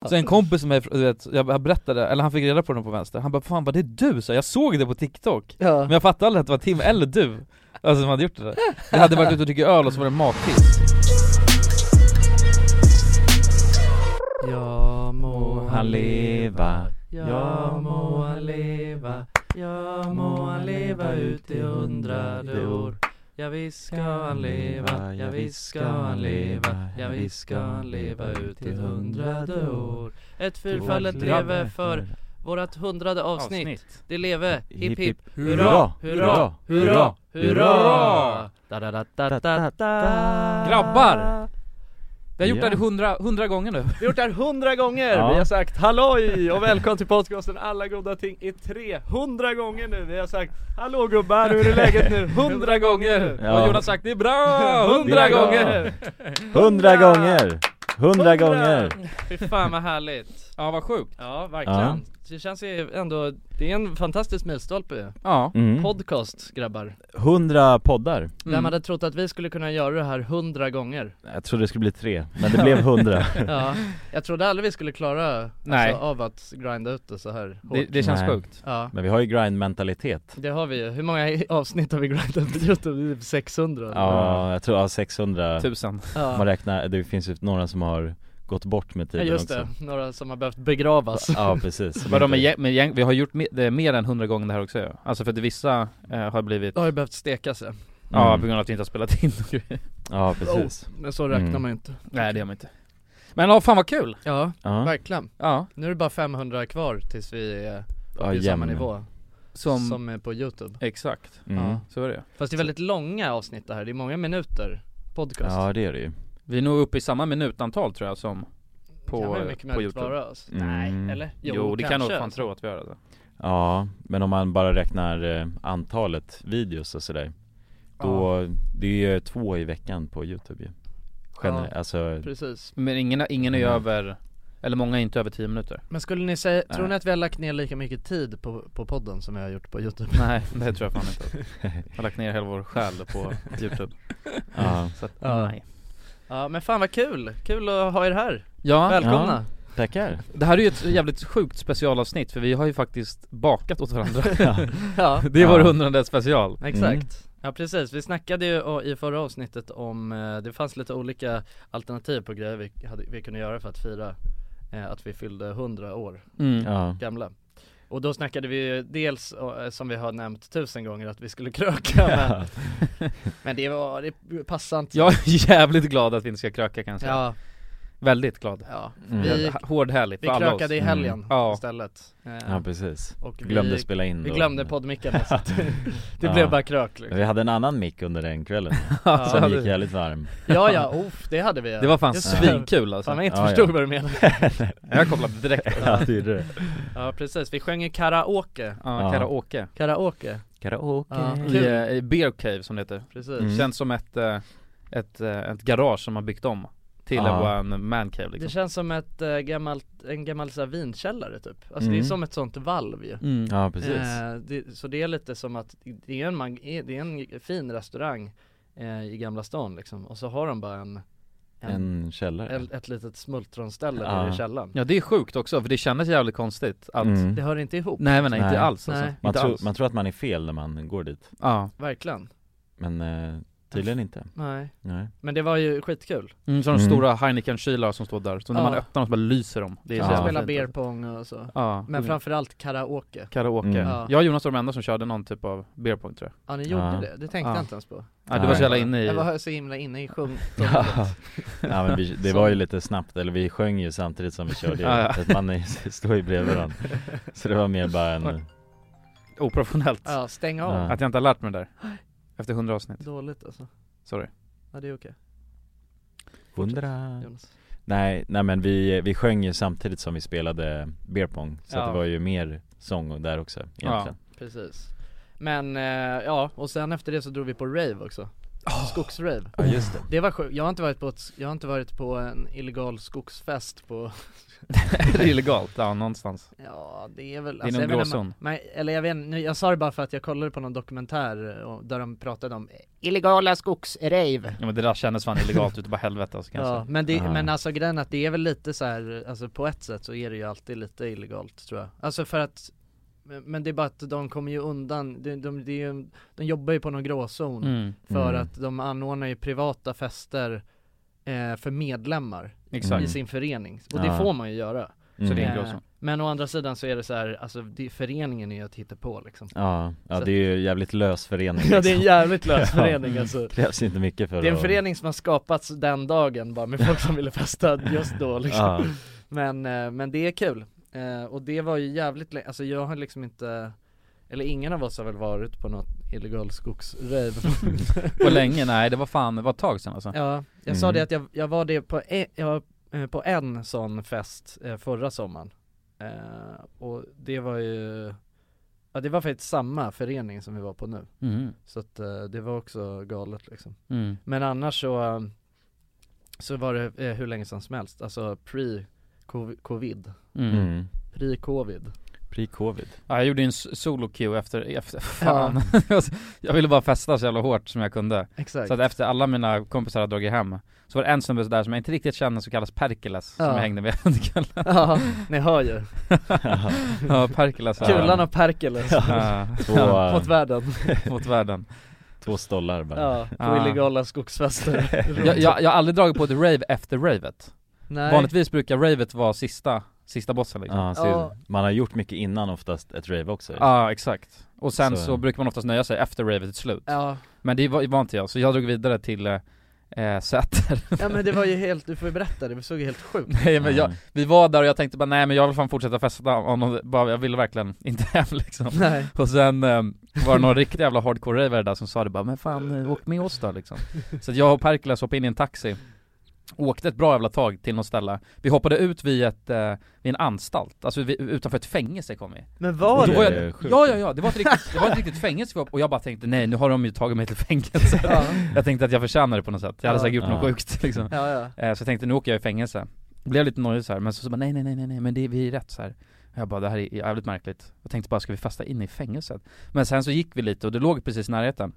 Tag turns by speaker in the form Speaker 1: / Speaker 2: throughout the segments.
Speaker 1: Så Alltså, en kompis som jag, vet, jag berättade, eller han fick reda på den på vänster, han bara 'Fan vad det är du' så jag såg det på TikTok
Speaker 2: Ja.
Speaker 1: Men jag fattade aldrig att det var Tim eller du, alltså som hade gjort det där Jag hade varit ute och druckit öl och så var det matkiss
Speaker 2: ja må han leva,
Speaker 3: Ja, må han leva.
Speaker 2: ja må han leva ut i hundrade år Ja visst ska han leva, ja visst ska han leva, ja visst ska han leva ut i hundrade år Ett fyrfallet leve för vårat hundrade avsnitt Det leve, hipp hipp, hurra, hurra, hurra, hurra! Da, da, da, da, da, da.
Speaker 1: Grabbar! Vi har gjort
Speaker 3: Ja.
Speaker 1: det här hundra, hundra gånger nu
Speaker 2: Vi har gjort det här hundra gånger!
Speaker 3: Ja.
Speaker 2: Vi har sagt halloj och välkommen till podcasten Alla goda ting i 300 gånger nu! Vi har sagt hallå gubbar, hur är läget nu? Hundra gånger!
Speaker 3: Ja.
Speaker 1: Och Jonas sagt 'Det är bra' hundra
Speaker 3: Det är bra.
Speaker 1: gånger!
Speaker 3: Hundra gånger! Hundra gånger!
Speaker 2: Fy fan vad härligt!
Speaker 1: Ja vad sjukt
Speaker 2: Ja, verkligen. Det känns ju ändå, det är en fantastisk milstolpe ju.
Speaker 1: Ja,
Speaker 3: Mm.
Speaker 2: Podcast grabbar.
Speaker 3: Hundra poddar.
Speaker 1: Mm.
Speaker 2: Vem hade trott att vi skulle kunna göra det här hundra gånger?
Speaker 3: Jag trodde det skulle bli tre, men det blev hundra.
Speaker 2: Ja, jag trodde aldrig vi skulle klara
Speaker 1: Nej.
Speaker 2: alltså, av att grinda ut det så här hårt.
Speaker 1: det, det känns
Speaker 3: Nej.
Speaker 1: sjukt
Speaker 2: Ja.
Speaker 3: Men vi har ju grind-mentalitet.
Speaker 2: Det har vi ju. Hur många i- avsnitt har vi grindat på Youtube? Typ 600?
Speaker 3: Ja, jag tror ja, 600.
Speaker 2: Typ.
Speaker 1: Tusen
Speaker 2: ja.
Speaker 3: Man räknar, det finns ju några som har gått bort med
Speaker 2: ja
Speaker 3: tiden
Speaker 2: just det, Alltså.
Speaker 3: också.
Speaker 2: några som har behövt begravas
Speaker 3: Ja, precis.
Speaker 1: Vadå med gäng, med gäng, vi har gjort me- det mer än hundra gånger det här också ja. Alltså för att vissa eh, har blivit,
Speaker 2: Har ju behövt steka sig,
Speaker 1: ja på
Speaker 3: Mm.
Speaker 1: grund av att vi inte har spelat in och grejer.
Speaker 3: Ja, precis.
Speaker 2: men så räknar
Speaker 3: Mm.
Speaker 2: man ju inte
Speaker 1: Nej det gör man inte Men ja, fan vad kul!
Speaker 2: Ja,
Speaker 3: Ja,
Speaker 2: verkligen
Speaker 1: Ja,
Speaker 2: Nu är det bara 500 kvar tills vi eh, är
Speaker 3: ja
Speaker 2: uppe i samma
Speaker 3: jämn.
Speaker 2: nivå
Speaker 1: som,
Speaker 2: som är på youtube
Speaker 1: exakt,
Speaker 3: Mm.
Speaker 2: Ja.
Speaker 1: så är det
Speaker 2: Fast det är väldigt långa avsnitt det här, det är många minuter podcast
Speaker 3: Ja, det är det ju.
Speaker 1: Vi är nog uppe i samma minutantal tror jag som på,
Speaker 2: kan väl
Speaker 1: på
Speaker 2: mycket möjligt
Speaker 1: youtube
Speaker 2: vara alltså.
Speaker 3: Mm.
Speaker 2: Nej, eller?
Speaker 1: Jo, det kan nog
Speaker 2: kanske.
Speaker 1: fan tro att vi gör det
Speaker 3: Ja, men om man bara räknar eh, antalet videos och sådär Då, det är ju två i veckan på youtube ju Generellt, alltså
Speaker 2: Precis
Speaker 1: Men ingen, ingen är ju
Speaker 3: Mm.
Speaker 1: över, eller många är inte över 10 minuter
Speaker 2: Men skulle ni säga, tror
Speaker 3: Nej.
Speaker 2: ni att vi har lagt ner lika mycket tid på, på podden som vi har gjort på youtube?
Speaker 1: Nej det tror jag fan inte Jag har lagt ner hela vår själ på youtube
Speaker 3: ja,
Speaker 1: så att,
Speaker 2: Ja.
Speaker 1: nej
Speaker 2: Ja men fan vad kul, kul att ha er här,
Speaker 1: Ja,
Speaker 2: välkomna!
Speaker 3: tackar
Speaker 1: det här är ju ett jävligt sjukt specialavsnitt för vi har ju faktiskt bakat åt varandra
Speaker 2: ja.
Speaker 1: Det är vår
Speaker 3: Ja.
Speaker 1: hundrade special
Speaker 2: Exakt. Ja precis, vi snackade ju och- i förra avsnittet om, eh, det fanns lite olika alternativ på grejer vi, hade, vi kunde göra för att fira eh, att vi fyllde 100 år
Speaker 1: Mm.
Speaker 3: Ja,
Speaker 2: gamla. Och då snackade vi ju dels, eh, som vi har nämnt tusen gånger, att vi skulle kröka men, men det var, det passade inte.
Speaker 1: Jag är jävligt glad att vi inte ska kröka kanske
Speaker 2: ja,
Speaker 1: Väldigt glad
Speaker 2: ja.
Speaker 3: Mm.
Speaker 2: Vi,
Speaker 1: Hårdhärligt
Speaker 2: vi
Speaker 1: för alla
Speaker 2: krökade
Speaker 1: oss
Speaker 2: i
Speaker 3: Mm.
Speaker 2: helgen
Speaker 1: Ja.
Speaker 2: istället. Eh,
Speaker 3: ja precis
Speaker 2: och
Speaker 3: Vi glömde
Speaker 2: vi,
Speaker 3: spela in
Speaker 2: vi
Speaker 3: då.
Speaker 2: glömde poddmickarna så att det,
Speaker 3: Ja.
Speaker 2: blev bara krök liksom.
Speaker 3: Men vi hade en annan mick under den kvällen
Speaker 2: Ja.
Speaker 3: som gick jävligt varm
Speaker 2: Ja ja, uff, det hade vi
Speaker 1: Det var fan
Speaker 2: Just
Speaker 1: svinkul
Speaker 2: Fan
Speaker 1: alltså
Speaker 2: jag inte
Speaker 3: Ja, ja.
Speaker 2: förstod vad du menade
Speaker 1: Jag kopplade direkt
Speaker 3: Ja det är det
Speaker 2: Ja precis, vi sjöng ju karaoke
Speaker 1: Ja,
Speaker 3: Ja.
Speaker 1: karaoke
Speaker 2: Karaoke,
Speaker 3: Karaoke
Speaker 2: Ja.
Speaker 1: I, eh, i Bear Cave som det heter
Speaker 2: precis
Speaker 3: Mm.
Speaker 1: Känns som ett, eh, ett, eh, ett garage som man byggt om till
Speaker 3: Ja.
Speaker 1: ah. en man cave
Speaker 2: Det
Speaker 1: liksom
Speaker 2: känns som ett äh, gammalt, en gammal så här, vinkällare typ Alltså det är
Speaker 3: Mm.
Speaker 2: som ett sånt valv ju
Speaker 1: mm.
Speaker 3: Ja precis
Speaker 2: Eh, det, Så det är lite som att, det är en, man, det är en fin restaurang eh, i Gamla stan liksom Och så har de bara en, en,
Speaker 3: En källare
Speaker 2: en ett litet smultronställe
Speaker 3: Ja.
Speaker 2: nere i källaren
Speaker 1: Ja det är sjukt också för det kändes jävligt konstigt att
Speaker 3: Mm.
Speaker 2: Det hör inte ihop,
Speaker 1: Nej men nej,
Speaker 3: Nej.
Speaker 1: inte alls alltså.
Speaker 2: Nej.
Speaker 3: man,
Speaker 1: inte
Speaker 3: tror,
Speaker 1: alls.
Speaker 3: man tror att man är fel när man går dit
Speaker 1: Ja,
Speaker 2: verkligen
Speaker 3: Men eh, tydligen inte
Speaker 2: Nej,
Speaker 3: Nej
Speaker 2: men det var ju skitkul
Speaker 1: mm, som de
Speaker 3: Mm.
Speaker 1: stora Heineken-kylar som står där, så när man
Speaker 2: Ja.
Speaker 1: öppnar dem så bara lyser de Det är
Speaker 3: Ja.
Speaker 1: så
Speaker 2: Vi
Speaker 1: jävla
Speaker 2: spelade
Speaker 1: fint, Mm.
Speaker 2: beer
Speaker 1: alltså.
Speaker 2: pong och så
Speaker 1: Ja,
Speaker 2: Men
Speaker 1: men
Speaker 2: framförallt karaoke
Speaker 1: karaoke
Speaker 3: Mm.
Speaker 2: Ja.
Speaker 1: Jag och Jonas var de enda som körde någon typ av beer pong tror jag
Speaker 2: Ja ni gjorde
Speaker 3: Ja.
Speaker 2: det, det tänkte
Speaker 1: Ja.
Speaker 2: jag inte ens på
Speaker 1: Ja, du
Speaker 3: Nej.
Speaker 1: var så jävla inne i
Speaker 2: Jag var så himla inne i sjung
Speaker 3: Ja. ja men vi, det var ju lite snabbt, eller vi sjöng ju samtidigt som vi körde ju,
Speaker 1: Ja, ja.
Speaker 3: så att man är- står ju bredvid varandra Så det var mer bara en,
Speaker 1: oprofessionellt
Speaker 2: Ja, stäng av
Speaker 3: Ja.
Speaker 1: Att jag inte har lärt mig det där Efter hundra avsnitt,
Speaker 2: Dåligt alltså,
Speaker 1: sorry
Speaker 2: ja det är okej
Speaker 3: hundra
Speaker 2: Jonas
Speaker 3: Nej, nej men vi, vi sjöng ju samtidigt som vi spelade beer pong Så
Speaker 1: Ja.
Speaker 3: att det var ju mer sång där också egentligen
Speaker 2: Precis Men eh, ja, och sen efter det så drog vi på rave också
Speaker 1: Oh.
Speaker 2: skogsrave
Speaker 3: Ja just det
Speaker 2: Det var sjukt, jag har inte varit på ett, jag har inte varit på en illegal skogsfest på
Speaker 1: det är illegalt, ja någonstans
Speaker 2: Ja det är väl, alltså,
Speaker 1: Det är någon
Speaker 2: jag vet inte,
Speaker 1: gråzon.
Speaker 2: man- man- eller jag vet inte, nu- jag sa det bara för att jag kollade på någon dokumentär eh, och, där de pratade om illegala skogsrave
Speaker 1: Ja men det där kändes fan illegalt ute på helvete alltså, kan jag
Speaker 2: Ja,
Speaker 1: säga.
Speaker 2: men, det,
Speaker 3: Ah.
Speaker 2: men alltså grejen är att det är väl lite så här, alltså på ett sätt så är det ju alltid lite illegalt tror jag Alltså för att, men men det är bara att de kommer ju undan, de, de, det är ju, de jobbar ju på någon gråzon
Speaker 1: Mm,
Speaker 2: för
Speaker 3: Mm.
Speaker 2: att de anordnar ju privata fester eh, för medlemmar
Speaker 1: exakt
Speaker 2: i
Speaker 3: Mm.
Speaker 2: sin förening, och det
Speaker 3: Ah.
Speaker 2: får man ju göra
Speaker 3: Mm.
Speaker 1: Så det är en
Speaker 2: Eh,
Speaker 1: gråzon.
Speaker 2: Men å andra sidan så är det så här, alltså det, föreningen är ju att hitta på liksom
Speaker 3: Ja, ja
Speaker 2: Så-
Speaker 3: det är ju en jävligt lös förening
Speaker 2: Ja det är en jävligt lös
Speaker 3: Ja.
Speaker 2: förening alltså
Speaker 3: Det krävs inte mycket för
Speaker 2: Det är en
Speaker 3: att-
Speaker 2: förening som har skapats den dagen bara med folk som ville festa just då liksom
Speaker 3: Ja,
Speaker 2: Men, eh, men det är kul. Eh, och det var ju jävligt länge, alltså jag har liksom inte, eller ingen av oss har väl varit på något illegal skogsrave
Speaker 1: På länge, nej det var fan, det var ett tag sedan alltså
Speaker 2: Ja, jag sa
Speaker 3: Mm.
Speaker 2: det att jag, jag var det på, e- jag, eh, på en sån fest eh, förra sommaren eh, Och det var ju, ja det var faktiskt samma förening som vi var på nu
Speaker 1: mm.
Speaker 2: Så att eh, det var också galet liksom
Speaker 1: Mm.
Speaker 2: Men annars så, eh, så var det eh, hur länge sedan som helst, alltså pre-covid,
Speaker 1: Mm.
Speaker 3: mm.
Speaker 2: pre-covid
Speaker 3: Pre-covid
Speaker 1: Ja, jag gjorde ju en s- solo queue efter, efter fan Jag ville bara festa så jävla hårt som jag kunde
Speaker 2: Exakt
Speaker 1: Så att efter alla mina kompisar hade dragit hem Så var det en snubbe där som jag inte riktigt kände som kallas Perkeles Som
Speaker 2: Ja.
Speaker 1: jag hängde med under kvällen
Speaker 2: Ja, ni hör ju.
Speaker 1: Ja, Perkeles
Speaker 2: Kulan och Perkeles
Speaker 1: Ja,
Speaker 3: Två,
Speaker 1: ja,
Speaker 3: eh,
Speaker 2: mot världen.
Speaker 1: mot världen
Speaker 3: två stollar bara
Speaker 2: Ja, på
Speaker 1: Ah.
Speaker 2: illegala skogsfester.
Speaker 1: jag, jag, jag har aldrig dragit på ett rave efter ravet
Speaker 2: Nej.
Speaker 1: Vanligtvis brukar ravet vara sista, sista bossen liksom
Speaker 3: Ja, så
Speaker 2: Ja.
Speaker 3: man har gjort mycket innan oftast ett rave också
Speaker 1: Ja exakt, och sen så,
Speaker 3: Så-
Speaker 1: brukar man oftast nöja sig efter ravet är slut
Speaker 2: Ja.
Speaker 1: Men det var, var inte jag, så jag drog vidare till eh, eh, Säter
Speaker 2: ja, men det var ju helt, du får ju berätta det, det såg ju helt sjukt
Speaker 1: Nej men
Speaker 3: Ja.
Speaker 1: jag, vi var där och jag tänkte bara nej men jag vill fan fortsätta festa om någon, bara, jag ville verkligen inte hem liksom
Speaker 2: Nej.
Speaker 1: Och sen eh, var det någon riktig jävla hardcore-ravare där som sa det bara men fan eh, åk med oss då liksom Så att jag och Perkeles hoppade in i en taxi Åkte ett bra jävla tag till något ställe Vi hoppade ut vid ett, eh, vid en anstalt, alltså vi, utanför ett fängelse kom vi
Speaker 2: Men
Speaker 1: Och
Speaker 2: var
Speaker 1: då
Speaker 2: det?
Speaker 1: var jag,
Speaker 3: Det är sjukt.
Speaker 1: Ja ja ja, det var ett riktigt, det var ett riktigt fängelse vi var på. och jag bara tänkte nej nu har de ju tagit mig till fängelse
Speaker 2: Ja,
Speaker 1: Jag tänkte att jag förtjänar det på något sätt, jag hade
Speaker 2: Ja.
Speaker 1: säkert gjort något
Speaker 3: Ja.
Speaker 1: sjukt liksom
Speaker 2: ja, ja.
Speaker 1: Eh, Så jag tänkte nu åker jag i fängelse Blev lite nojig så här, men så, så bara nej nej nej nej, nej men det, vi är rätt så här. Och Jag bara det här är jävligt märkligt Jag tänkte bara ska vi festa in i fängelset? Men sen så gick vi lite och det låg precis i närheten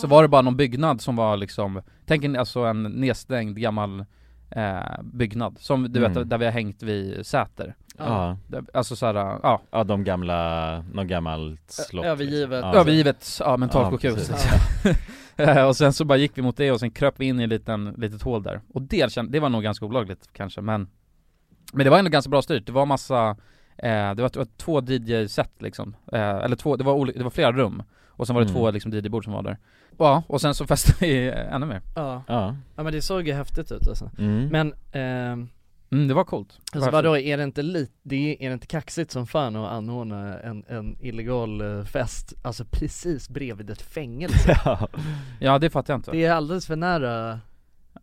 Speaker 1: Så var det bara någon byggnad som var liksom Tänk en, alltså en nedstängd gammal eh, byggnad Som du
Speaker 3: Mm.
Speaker 1: vet där vi har hängt vid Säter
Speaker 3: Ja,
Speaker 1: Där- Alltså såhär, ja
Speaker 3: ja de gamla, någon gammalt slott
Speaker 2: övergivet.
Speaker 3: liksom.
Speaker 2: Ja,
Speaker 1: Övergivet, ja mentalsjukhus
Speaker 3: precis.
Speaker 1: liksom. Eh, Och sen så bara gick vi mot det och sen kröp vi in i en liten, litet hål där Och det, kände, det var nog ganska olagligt kanske men Men det var ändå ganska bra styrt, det var massa eh, Det var, det var två DJ-set liksom eh, Eller två, det var, oli- det var flera rum Och sen var det
Speaker 3: Mm.
Speaker 1: två liksom DJ-bord som var där Ja, och sen så festade vi eh, ännu mer
Speaker 2: Ja.
Speaker 3: Ja,
Speaker 2: ja, men det såg ju häftigt ut alltså.
Speaker 3: mm.
Speaker 2: Men, ehm,
Speaker 1: mm, det var coolt
Speaker 2: alltså vadå, är det inte lite, det är, är det inte kaxigt som fan att anordna en, en illegal eh, fest, alltså precis bredvid ett fängelse?
Speaker 3: ja.
Speaker 1: Ja det fattar jag inte
Speaker 2: Det är alldeles för nära,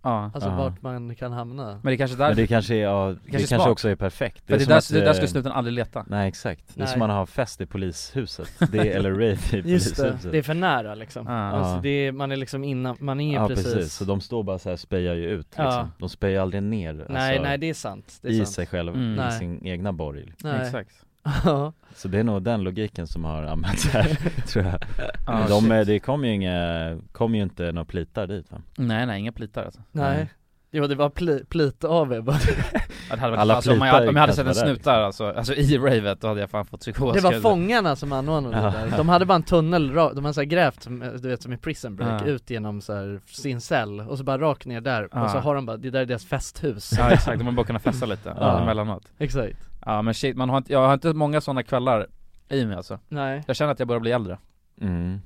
Speaker 1: Ja
Speaker 2: alltså
Speaker 3: Ja.
Speaker 2: vart man kan hamna
Speaker 1: Men det är kanske där,
Speaker 3: Men
Speaker 1: det,
Speaker 3: det kanske är, ja, det
Speaker 1: kanske är
Speaker 3: kanske,
Speaker 1: smart.
Speaker 3: också är perfekt
Speaker 1: för det,
Speaker 3: är
Speaker 1: är
Speaker 3: som
Speaker 1: där,
Speaker 3: att,
Speaker 1: det är där
Speaker 3: eh,
Speaker 1: ska snuten aldrig leta
Speaker 3: Nej exakt, det är
Speaker 2: Nej.
Speaker 3: som man har haft i polishuset, det är, eller rave i
Speaker 2: Just det,
Speaker 3: polishuset
Speaker 2: det är för nära liksom
Speaker 1: Ja.
Speaker 2: Alltså det är, man är liksom innan, man är
Speaker 3: Ja
Speaker 2: precis,
Speaker 3: precis. så de står bara så här spejar ju ut liksom.
Speaker 2: Ja.
Speaker 3: De spejar aldrig ner alltså,
Speaker 2: Nej nej det är sant, det är
Speaker 3: i
Speaker 2: sant
Speaker 3: sig själv,
Speaker 1: Mm.
Speaker 3: i
Speaker 2: Nej.
Speaker 3: sin egna borg liksom.
Speaker 2: nej.
Speaker 1: Exakt
Speaker 2: Ja.
Speaker 3: Så det är nog den logiken som har använts här, tror jag
Speaker 1: Ja,
Speaker 3: de,
Speaker 1: shit.
Speaker 3: eh, Det kom ju inga, kom ju inte några plitar dit va?
Speaker 1: Nej nej, inga plitar alltså
Speaker 2: nej
Speaker 3: Nej.
Speaker 2: Jo det var pli, plit av bara.
Speaker 1: Ja, det hade varit,
Speaker 3: Alla
Speaker 1: alltså, om, jag,
Speaker 3: plitar
Speaker 1: om jag hade
Speaker 3: kanske
Speaker 1: sett en
Speaker 3: var där,
Speaker 1: snut där alltså, alltså i ravet, då hade jag fan fått psykos
Speaker 2: Det
Speaker 1: skulle
Speaker 2: var
Speaker 1: jag
Speaker 2: fångarna som anordnade
Speaker 3: Ja.
Speaker 2: det där, de hade bara en tunnel, ra- de hade så här grävt, som, eh, du vet som i prison break,
Speaker 1: Ja.
Speaker 2: ut genom så här, sin cell och så bara rakt ner där,
Speaker 1: Ja.
Speaker 2: och så har de bara, det där är deras festhus
Speaker 1: säga. Ja exakt, de har bara kunnat festa lite
Speaker 3: Ja.
Speaker 1: emellanåt
Speaker 2: Exakt
Speaker 1: Ja men shit, man har inte, jag har inte många sådana kvällar i mig alltså
Speaker 2: Nej
Speaker 1: Jag känner att jag börjar bli äldre
Speaker 3: Mm,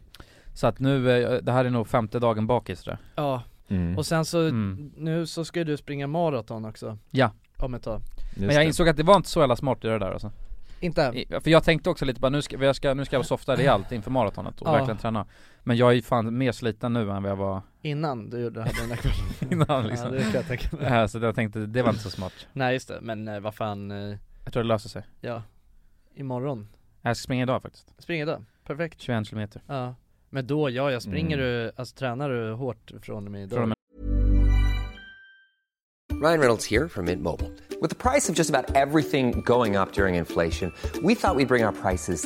Speaker 1: Så att nu, eh, det här är nog femte dagen bakis tror jag
Speaker 2: Ja,
Speaker 3: mm.
Speaker 2: och sen så,
Speaker 1: Mm.
Speaker 2: nu så ska ju du springa maraton också
Speaker 1: Ja.
Speaker 2: Om ett tag
Speaker 3: Just
Speaker 1: Men jag
Speaker 3: det.
Speaker 1: insåg att det var inte så jävla smart att göra det där alltså
Speaker 2: Inte?
Speaker 1: I- För jag tänkte också lite bara nu ska jag, ska, nu ska jag softa rejält inför maratonet och
Speaker 2: Ja.
Speaker 1: verkligen träna Men jag är ju fan mer sliten nu än vad jag var
Speaker 2: Innan du gjorde, hade den där kvällen
Speaker 1: innan liksom
Speaker 2: Ja det kan jag tänka mig
Speaker 1: Eh, Så jag tänkte, det var inte så smart
Speaker 2: Nej just det, men eh, vad fan, eh,
Speaker 1: Jag tror det löser sig
Speaker 2: ja Imorgon,
Speaker 1: Jag ska springa idag faktiskt,
Speaker 2: spring idag, perfekt
Speaker 1: 21 kilometer
Speaker 2: Ja Men då, ja jag springer
Speaker 3: Mm.
Speaker 2: du, alltså tränar du hårt från och med idag?
Speaker 1: Från och med-
Speaker 4: Ryan Reynolds here from Mint Mobile. With the price of just about everything going up during inflation, we thought we'd bring our prices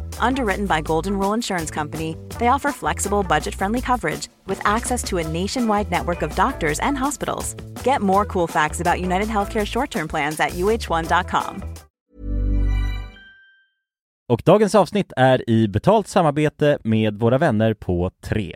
Speaker 5: Underwritten by Golden Rule Insurance Company, they offer flexible, budget friendly coverage with access to a nationwide network of doctors and hospitals. Get more cool facts about United Healthcare short term plans at uh1.com.
Speaker 3: Och dagens avsnitt är i betalt samarbete med våra vänner på 3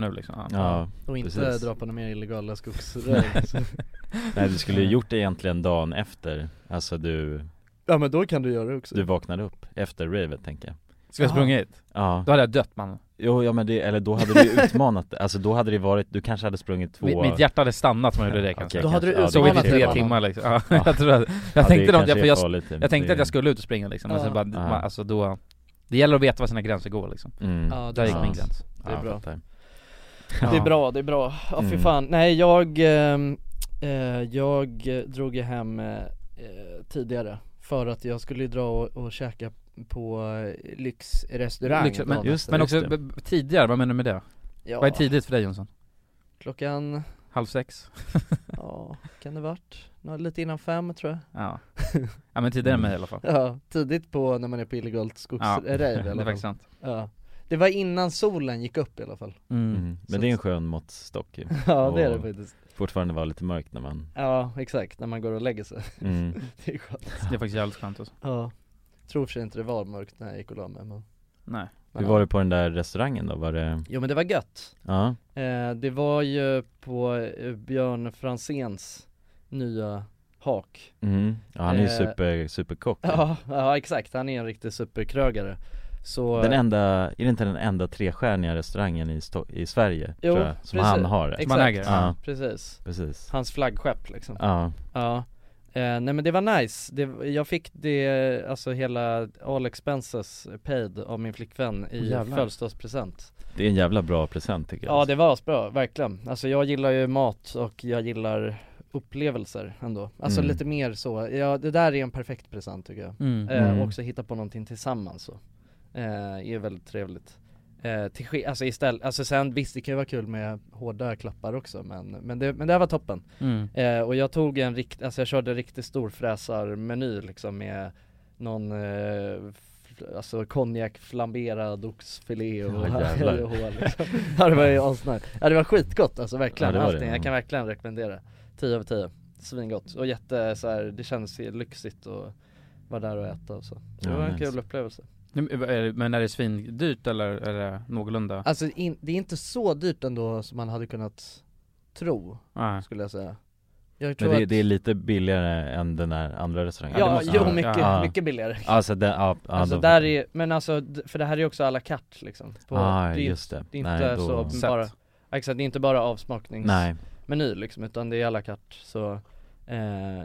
Speaker 1: nu liksom. Ja.
Speaker 3: Ja,
Speaker 2: Och
Speaker 3: inte Precis. dra
Speaker 2: på några mer illegala
Speaker 3: skogsröjningar. nej du skulle ju gjort det egentligen dagen efter, alltså du,
Speaker 2: ja men då kan du göra det också.
Speaker 3: du vaknade upp efter ravet tänker jag.
Speaker 1: Ska jag sprungit?
Speaker 3: Ja,
Speaker 1: Då hade jag dött man.
Speaker 3: jo, ja men det, eller då hade du utmanat det, alltså då hade det varit, du kanske hade sprungit två
Speaker 1: Mitt, mitt hjärta hade stannat om jag gjorde det
Speaker 3: Okej,
Speaker 1: kanske.
Speaker 2: Då hade du
Speaker 3: kanske. Ja,
Speaker 1: Sovit
Speaker 3: det
Speaker 1: i
Speaker 2: kanske-
Speaker 1: tre
Speaker 2: ja.
Speaker 1: timmar liksom. Ja,
Speaker 3: Ja.
Speaker 1: jag tror att, jag
Speaker 3: Ja,
Speaker 1: tänkte
Speaker 3: det
Speaker 1: något,
Speaker 3: kanske
Speaker 1: för
Speaker 3: är
Speaker 1: jag,
Speaker 3: farligt,
Speaker 1: jag tänkte
Speaker 3: det-
Speaker 1: att jag skulle ut och springa liksom, men
Speaker 2: Ja.
Speaker 1: sen bara,
Speaker 3: Ja.
Speaker 1: man, alltså då Det gäller att veta var sina gränser går liksom.
Speaker 3: mm.
Speaker 2: Ja,
Speaker 1: Där
Speaker 2: det är
Speaker 1: gick min
Speaker 2: sant.
Speaker 1: gräns.
Speaker 2: det är
Speaker 3: Ja, jag
Speaker 2: bra. Mm.
Speaker 3: fattar.
Speaker 2: Det är bra, det är bra. Ja fy
Speaker 3: Mm.
Speaker 2: fan. Nej jag, ehm, eh, jag eh, drog ju hem eh, eh, tidigare för att jag skulle ju dra och, och käka på eh, lyxrestaurang
Speaker 1: Lyx- men-
Speaker 2: dagen
Speaker 3: just
Speaker 2: efter.
Speaker 1: Men
Speaker 3: Just
Speaker 1: också
Speaker 3: det.
Speaker 1: b- b- tidigare, vad menar du med det?
Speaker 2: ja,
Speaker 1: Vad är tidigt för dig Jonsson?
Speaker 2: Klockan
Speaker 1: halv sex.
Speaker 2: Ja, kan det varit? Nå, lite innan fem tror jag
Speaker 1: Ja. ja men tidigare än
Speaker 3: Mm.
Speaker 1: mig i alla fall.
Speaker 2: Ja, tidigt på när man är på illegalt
Speaker 1: Ja,
Speaker 2: skogsrejv i
Speaker 1: det
Speaker 2: alla
Speaker 1: är
Speaker 2: fall
Speaker 1: faktiskt sant.
Speaker 2: ja. Det var innan solen gick upp i alla fall
Speaker 1: Mm.
Speaker 3: Mm. Men det är en skön måttstock ju.
Speaker 2: Ja det är det
Speaker 3: Och
Speaker 2: faktiskt
Speaker 3: Fortfarande var lite mörkt när man,
Speaker 2: Ja exakt, när man går och lägger sig
Speaker 3: mm.
Speaker 2: Det är skönt
Speaker 1: Det är faktiskt jävligt skönt alltså.
Speaker 2: Ja Tror för sig inte det var mörkt när jag gick och la mig men
Speaker 1: Nej.
Speaker 2: men
Speaker 3: Hur
Speaker 2: ja.
Speaker 3: var det på den där restaurangen då? Var det,
Speaker 2: Jo men det var gött
Speaker 3: ja?
Speaker 2: Eh, det var ju på eh, Björn Franzéns nya hak
Speaker 3: Mm. Ja han är ju
Speaker 2: Eh,
Speaker 3: super, superkock ju.
Speaker 2: Ja, ja exakt, han är en riktig superkrögare Så
Speaker 3: Den enda, är det inte den enda trestjärniga restaurangen i, Sto- i Sverige?
Speaker 2: Jo,
Speaker 3: tror jag, som
Speaker 2: precis.
Speaker 3: han har det.
Speaker 2: eh, exakt,
Speaker 1: man äger.
Speaker 3: Ja,
Speaker 2: precis
Speaker 3: precis
Speaker 2: Hans flaggskepp liksom
Speaker 3: Ja,
Speaker 2: Ja Eh, nej men det var nice, det, jag fick det, alltså hela all expenses paid av min flickvän i
Speaker 1: Åh, jävlar.
Speaker 2: födelsedagspresent
Speaker 3: det är en jävla bra present tycker jag
Speaker 2: Ja det var asbra, verkligen. Alltså jag gillar ju mat och jag gillar upplevelser ändå. Alltså
Speaker 3: Mm.
Speaker 2: lite mer så, ja det där är en perfekt present tycker jag.
Speaker 1: Mm.
Speaker 2: Eh,
Speaker 3: Mm.
Speaker 2: också hitta på någonting tillsammans så. Eh, är väldigt trevligt. Eh, till, ske- alltså istället, alltså sen visst det kan ju vara kul med hårda klappar också men, men, det, men det här var toppen.
Speaker 1: Mm.
Speaker 2: Eh, och jag tog en rikt, alltså jag körde en riktigt stor fräsarmeny liksom med någon eh, f- Alltså konjak, flamberad oxfilé och
Speaker 3: Ja,
Speaker 2: hej
Speaker 3: jävlar.
Speaker 2: och hå, liksom. Ja det var ju asnice, ja det var skitgott alltså verkligen
Speaker 3: Ja, det var det, Mm.
Speaker 2: allting,
Speaker 3: ja.
Speaker 2: jag kan verkligen rekommendera 10 av 10, svingott och jätte så här, det kändes ju lyxigt att vara där och äta och så Det
Speaker 3: Ja,
Speaker 2: var en
Speaker 3: nice.
Speaker 2: kul upplevelse
Speaker 1: Nu- är det- Men är det svindyrt eller är det någorlunda?
Speaker 2: Alltså in, det är inte så dyrt ändå som man hade kunnat tro
Speaker 1: Nej.
Speaker 2: skulle jag säga jag
Speaker 3: Men det, det är lite billigare än den där andra restaurangen
Speaker 1: det
Speaker 2: Ja,
Speaker 1: måste
Speaker 2: jo
Speaker 1: vara.
Speaker 2: mycket,
Speaker 3: Ja.
Speaker 2: mycket billigare
Speaker 3: Alltså den, ja, ja,
Speaker 2: Alltså
Speaker 3: då-
Speaker 2: där är, men alltså, d- för det här är ju också à la carte liksom på,
Speaker 3: ah,
Speaker 2: det, är,
Speaker 3: just det,
Speaker 2: det är inte
Speaker 3: då-
Speaker 2: så
Speaker 1: Sätt.
Speaker 2: bara, ja, exakt, det är inte bara avsmakningsmeny
Speaker 3: Nej,
Speaker 2: liksom utan det är à la carte så, eh,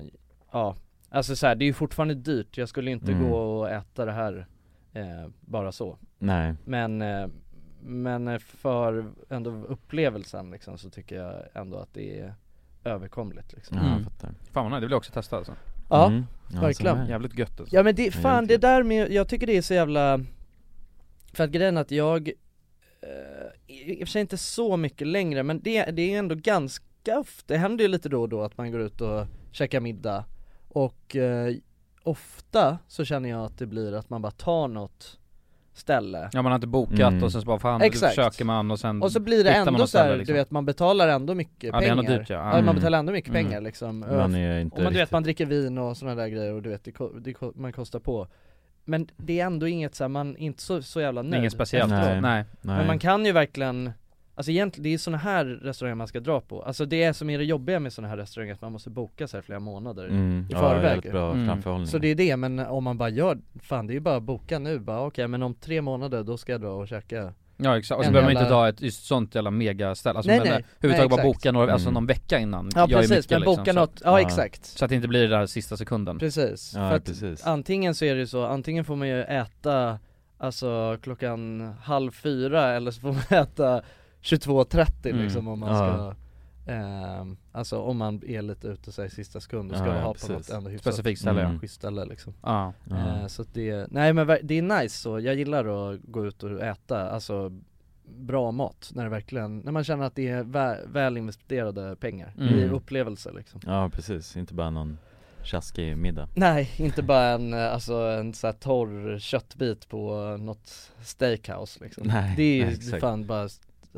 Speaker 2: ja Alltså så här, det är ju fortfarande dyrt, jag skulle inte
Speaker 3: Mm.
Speaker 2: gå och äta det här eh, bara så
Speaker 3: nej,
Speaker 2: Men, eh, men eh, för ändå upplevelsen liksom så tycker jag ändå att det är överkomligt liksom
Speaker 3: ja,
Speaker 1: Mm.
Speaker 3: jag fattar
Speaker 1: Fan vad nice. det vill jag också testa alltså.
Speaker 2: Ja,
Speaker 3: Mm. Ja,
Speaker 2: verkligen.
Speaker 3: så är det.
Speaker 1: Jävligt gött alltså.
Speaker 2: Ja men det,
Speaker 3: det är
Speaker 2: fan
Speaker 3: helt
Speaker 2: det
Speaker 3: rätt.
Speaker 2: där med, jag tycker det är så jävla För att grejen är att jag, eh, i i och för sig inte så mycket längre men det, det är ändå ganska ofta, det händer ju lite då och då att man går ut och käkar middag Och eh, ofta så känner jag att det blir att man bara tar något ställe
Speaker 1: Ja man har inte bokat
Speaker 3: Mm.
Speaker 1: och sen så bara fan,
Speaker 2: Exakt.
Speaker 1: försöker man och sen
Speaker 2: Och så blir det
Speaker 1: hittar man
Speaker 2: ändå
Speaker 1: något
Speaker 2: så här,
Speaker 1: ställe, liksom.
Speaker 2: du vet man betalar ändå mycket
Speaker 1: Ja, det är
Speaker 2: pengar
Speaker 1: ändå dyrt, ja.
Speaker 2: ja man
Speaker 3: Mm.
Speaker 2: betalar ändå mycket
Speaker 1: Mm.
Speaker 2: pengar liksom
Speaker 3: Man är ju inte
Speaker 2: Och man, du vet
Speaker 3: riktigt,
Speaker 2: man dricker vin och sådana där grejer och du vet det, ko- det, ko- man kostar på Men det är ändå inget så här, man är inte så, så jävla
Speaker 1: Det
Speaker 2: nöjd
Speaker 1: är inget speciellt. Nej.
Speaker 2: efteråt.
Speaker 3: Nej. nej.
Speaker 2: Men man kan ju verkligen Alltså egentligen, det är sådana här restauranger man ska dra på Alltså det är som är det jobbiga med sådana här restauranger att man måste boka så här flera månader
Speaker 3: mm.
Speaker 2: i
Speaker 3: ja,
Speaker 2: förväg.
Speaker 3: Väldigt bra
Speaker 1: Mm.
Speaker 3: framförhållning
Speaker 2: Så det är det, men om man bara gör, fan det är ju bara att boka nu bara okej men om tre månader då ska jag dra och käka
Speaker 1: Ja exakt, och så
Speaker 2: En
Speaker 1: behöver man
Speaker 2: jävla-
Speaker 1: inte ta ett just sånt jävla megaställe, alltså
Speaker 2: Nej,
Speaker 1: man-
Speaker 2: nej.
Speaker 1: överhuvudtaget
Speaker 2: Nej,
Speaker 1: bara
Speaker 2: exakt.
Speaker 1: boka några, alltså
Speaker 3: Mm.
Speaker 1: någon vecka innan
Speaker 2: Ja
Speaker 1: Jag är
Speaker 2: precis,
Speaker 1: Micke,
Speaker 2: men boka
Speaker 1: liksom,
Speaker 2: något, ja,
Speaker 3: Ja.
Speaker 2: exakt
Speaker 1: så, så att det inte blir det där sista sekunden
Speaker 2: Precis,
Speaker 3: Ja,
Speaker 2: för att
Speaker 3: precis
Speaker 2: antingen så är det ju så, antingen får man ju äta Alltså klockan halv fyra eller så får man äta 22.30
Speaker 1: Mm,
Speaker 2: liksom om man
Speaker 3: ja.
Speaker 2: ska ehm, Alltså om man är lite ute så här i sista sekund och ska
Speaker 3: Ja, ja,
Speaker 2: ha
Speaker 3: precis.
Speaker 2: på något ändå hyfsat
Speaker 1: Specifikt ställe
Speaker 3: Mm.
Speaker 1: ja.
Speaker 2: schysst ställe liksom
Speaker 1: ja
Speaker 3: Ja.
Speaker 2: Eh, Så att det, nej men ver- det är nice så, jag gillar att gå ut och äta, alltså bra mat när det verkligen, när man känner att det är vä- väl investerade pengar i
Speaker 1: Mm.
Speaker 2: upplevelser liksom
Speaker 3: ja, precis, inte bara någon tjaskig middag
Speaker 2: Nej, inte bara en, eh, alltså, en så här torr köttbit på eh, något steakhouse liksom
Speaker 3: Nej,
Speaker 2: Det är
Speaker 3: nej,
Speaker 2: ju
Speaker 3: exakt.
Speaker 2: fan bara,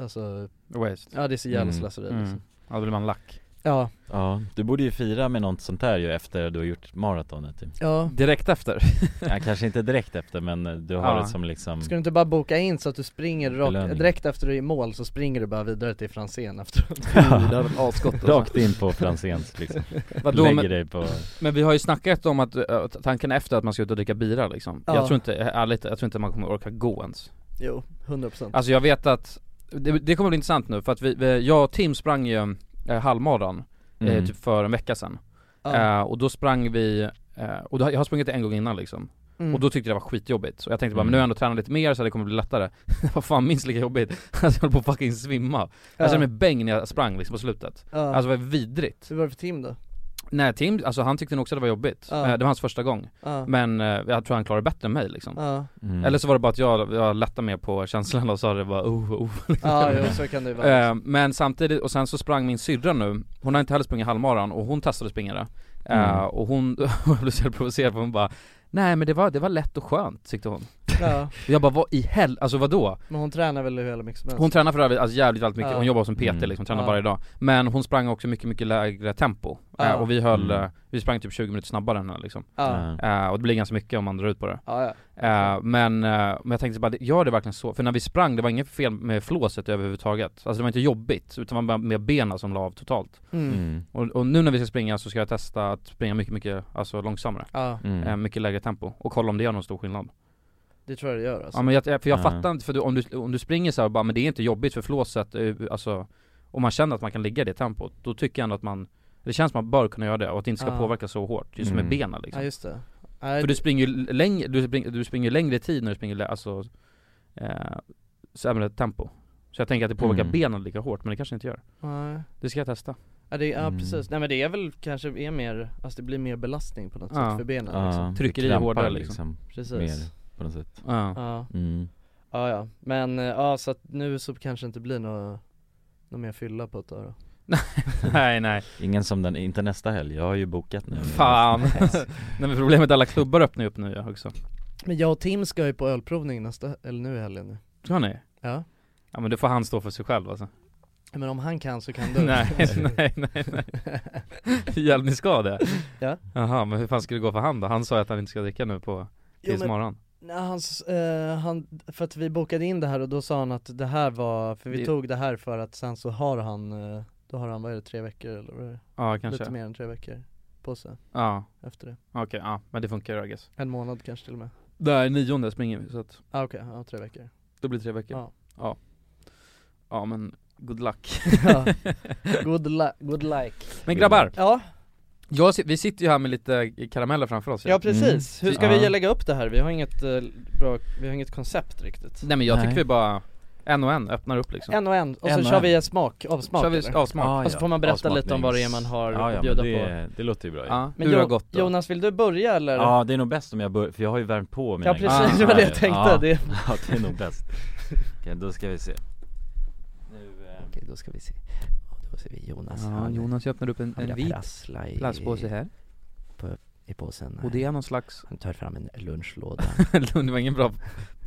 Speaker 2: alltså,
Speaker 1: Waste
Speaker 2: ja det är så jävla
Speaker 3: Mm.
Speaker 2: slöseri
Speaker 1: mm.
Speaker 2: liksom.
Speaker 1: Ja då blir man lack
Speaker 2: Ja,
Speaker 3: Ja, du borde ju fira med något sånt här ju efter du har gjort maratonet typ.
Speaker 2: ja
Speaker 1: Direkt efter?
Speaker 3: ja, Kanske inte direkt efter men eh, du har
Speaker 1: Ja.
Speaker 3: det som liksom
Speaker 2: Ska du inte bara boka in så att du springer rakt,
Speaker 3: Belöning.
Speaker 2: direkt efter du är i mål så springer du bara vidare till Franzén efteråt
Speaker 3: Ja.
Speaker 2: Det är väl asgott alltså.
Speaker 3: Rakt in på Franzéns liksom,
Speaker 1: Vadå,
Speaker 3: lägger
Speaker 1: men,
Speaker 3: dig på
Speaker 1: men vi har ju snackat om att, eh, att tanken efter att man ska ut och dricka bira liksom
Speaker 2: Ja.
Speaker 1: Jag tror inte, ärligt, jag tror inte man kommer orka gå ens
Speaker 2: Jo, 100%
Speaker 1: Alltså jag vet att, det, det kommer bli intressant nu för att vi, vi jag och Tim sprang ju eh, halvmaran eh,
Speaker 3: Mm.
Speaker 1: typ för en vecka sedan
Speaker 2: ja.
Speaker 1: Eh, Och då sprang vi, eh, och då, jag har sprungit en gång innan liksom
Speaker 2: mm.
Speaker 1: Och då tyckte jag det var skitjobbigt, så jag tänkte bara
Speaker 3: Mm.
Speaker 1: men nu har jag ändå tränat lite mer så det kommer bli lättare Det var fan minst lika jobbigt, alltså jag höll på att fucking svimma Jag kände mig bäng när jag sprang liksom på slutet
Speaker 2: ja.
Speaker 1: Alltså det var vidrigt
Speaker 2: Så vad var det för team då?
Speaker 1: Nej Tim, alltså han tyckte nog också att det var jobbigt.
Speaker 2: Ja.
Speaker 1: Eh, Det var hans första gång.
Speaker 2: Ja.
Speaker 1: Men eh, jag tror han klarade det bättre än mig liksom.
Speaker 2: Ja,
Speaker 3: Mm.
Speaker 1: Eller så var det bara att jag, jag lättade mer på känslan och sa det bara oh, oh.
Speaker 2: ja jo, så kan det ju vara.
Speaker 1: Eh, Men samtidigt, och sen så sprang min syrra nu, hon har inte heller sprungit halvmaran och hon testade att springa det Eh,
Speaker 3: Mm.
Speaker 1: Och hon, hon blev så jävla provocerad för hon bara Nej men det var, det var lätt och skönt tyckte hon
Speaker 2: Ja,
Speaker 1: Och Jag bara vad i hel, alltså vadå?
Speaker 2: men hon tränar väl hur jävla mycket som helst?
Speaker 1: Hon tränar för övrigt alltså jävligt allt mycket,
Speaker 2: Ja.
Speaker 1: hon jobbar som PT
Speaker 3: Mm.
Speaker 1: liksom, tränar
Speaker 2: Ja.
Speaker 1: varje dag Men hon sprang också mycket mycket lägre tempo Eh,
Speaker 2: Ja.
Speaker 1: Och vi höll,
Speaker 3: Mm.
Speaker 1: eh, vi sprang typ 20 minuter snabbare än henne liksom
Speaker 2: Ja,
Speaker 3: Ja.
Speaker 1: Eh, Och det blir ganska mycket om man drar ut på det
Speaker 2: ja, ja.
Speaker 1: Eh, men, eh, men jag tänkte bara, gör det verkligen så? För när vi sprang, det var inget fel med flåset överhuvudtaget Alltså det var inte jobbigt, utan det var bara med benen som la av totalt
Speaker 2: Mm.
Speaker 3: Mm.
Speaker 1: och, och nu när vi ska springa så ska jag testa att springa mycket, mycket, alltså långsammare
Speaker 2: Ja,
Speaker 3: Mm.
Speaker 1: Eh, Mycket lägre tempo, och kolla om det gör någon stor skillnad
Speaker 2: det tror jag det gör alltså.
Speaker 1: Ja men jag, för jag
Speaker 3: Ja.
Speaker 1: fattar inte, för du, om, du, om du springer så här och bara, men det är inte jobbigt för flåset, eh, alltså Om man känner att man kan ligga i det tempot, då tycker jag ändå att man Det känns som att man bör kunna göra det, och att det inte ska
Speaker 2: Ja.
Speaker 1: påverka så hårt, just
Speaker 3: Mm.
Speaker 1: med benen liksom
Speaker 2: Ja just det. Nej,
Speaker 1: För du springer ju längre, du springer, du springer ju längre tid när du springer, lä- alltså eh, sämre tempo Så jag tänker att det påverkar
Speaker 3: Mm.
Speaker 1: benen lika hårt, men det kanske inte gör
Speaker 2: nej.
Speaker 1: Det ska jag testa
Speaker 2: Ja, det, ja
Speaker 3: Mm.
Speaker 2: precis, nej men det är väl kanske är mer, alltså det blir mer belastning på något
Speaker 1: Ja.
Speaker 2: sätt för benen liksom.
Speaker 3: Ja.
Speaker 1: Trycker i
Speaker 3: Trampar
Speaker 1: hårdare, liksom.
Speaker 2: Precis.
Speaker 3: Mer. På något sätt.
Speaker 1: Ja,
Speaker 2: Ja.
Speaker 3: Mm.
Speaker 2: ja, ja, men eh, ja så att nu så kanske det inte blir något, något mer fylla på ett tag då.
Speaker 1: nej nej,
Speaker 3: Ingen som den, inte nästa helg, jag har ju bokat nu
Speaker 1: fan Nej men problemet är att alla klubbar öppnar ju upp nu ja, också
Speaker 2: Men jag och Tim ska ju på ölprovning nästa, eller nu i helgen nu.
Speaker 1: Ska ni?
Speaker 2: Ja.
Speaker 1: Ja men det får han stå för sig själv alltså
Speaker 2: Men om han kan så kan du. Alltså,
Speaker 1: Nej, nej, nej, nej Hjälp, ni ska det?
Speaker 2: Ja.
Speaker 1: Jaha, men hur fan ska det gå för han då? Han sa ju att han inte ska dricka nu på,
Speaker 2: Jo,
Speaker 1: tills
Speaker 2: men,
Speaker 1: morgon
Speaker 2: nej, han, s- eh, han, för att vi bokade in det här och då sa han att det här var, för vi
Speaker 1: Det-
Speaker 2: tog det här för att sen så har han, eh, då har han, vad är det, tre veckor eller vad är det?
Speaker 1: Ja
Speaker 2: Lite
Speaker 1: kanske,
Speaker 2: mer än tre veckor på sig
Speaker 1: ja
Speaker 2: efter det.
Speaker 1: okej, ja men det funkar ju I guess
Speaker 2: En månad kanske till och med.
Speaker 1: Där nionde springer vi så att
Speaker 2: Ah, okej, ja tre veckor.
Speaker 1: Det blir tre veckor?
Speaker 2: Ja.
Speaker 1: Ja, Ja, men good luck
Speaker 2: Ja. Good, li- good like.
Speaker 1: Men grabbar,
Speaker 2: Ja,
Speaker 1: jag, si- vi sitter ju här med lite karameller framför oss ju.
Speaker 2: ja precis.
Speaker 3: Mm.
Speaker 2: Hur ska
Speaker 3: Ja.
Speaker 2: vi lägga upp det här? Vi har inget eh, bra, vi har inget koncept riktigt.
Speaker 1: Nej men jag tycker
Speaker 3: Nej.
Speaker 1: vi bara, en och en öppnar upp liksom
Speaker 2: En och en, och
Speaker 3: En
Speaker 2: så
Speaker 3: och
Speaker 2: kör
Speaker 3: en.
Speaker 2: vi smak, avsmak
Speaker 1: Kör vi
Speaker 2: eller?
Speaker 1: avsmak?
Speaker 2: Och så Alltså, får man berätta lite om vad det är man har
Speaker 3: ja, ja,
Speaker 2: att bjuda
Speaker 3: men
Speaker 2: på.
Speaker 3: det, Det låter ju bra ju.
Speaker 1: Ja,
Speaker 2: Men
Speaker 1: hur
Speaker 2: Jo-
Speaker 1: har gått då?
Speaker 2: Jonas, vill du börja eller?
Speaker 3: Ja det är nog bäst om jag börjar, för jag har ju värmt på mina
Speaker 2: Ja, precis, det var det jag tänkte.
Speaker 3: ja,
Speaker 2: Det...
Speaker 3: ja det är nog bäst Okej då ska vi se Nu, eh,
Speaker 2: Okej, då ska vi se. Då ser vi Jonas.
Speaker 1: Ja, Jonas öppnar upp en, en vit
Speaker 2: prassla i,
Speaker 1: plastpåse här,
Speaker 2: i påsen.
Speaker 1: och det är någon slags,
Speaker 2: Han tar fram en lunchlåda.
Speaker 1: det var ingen bra,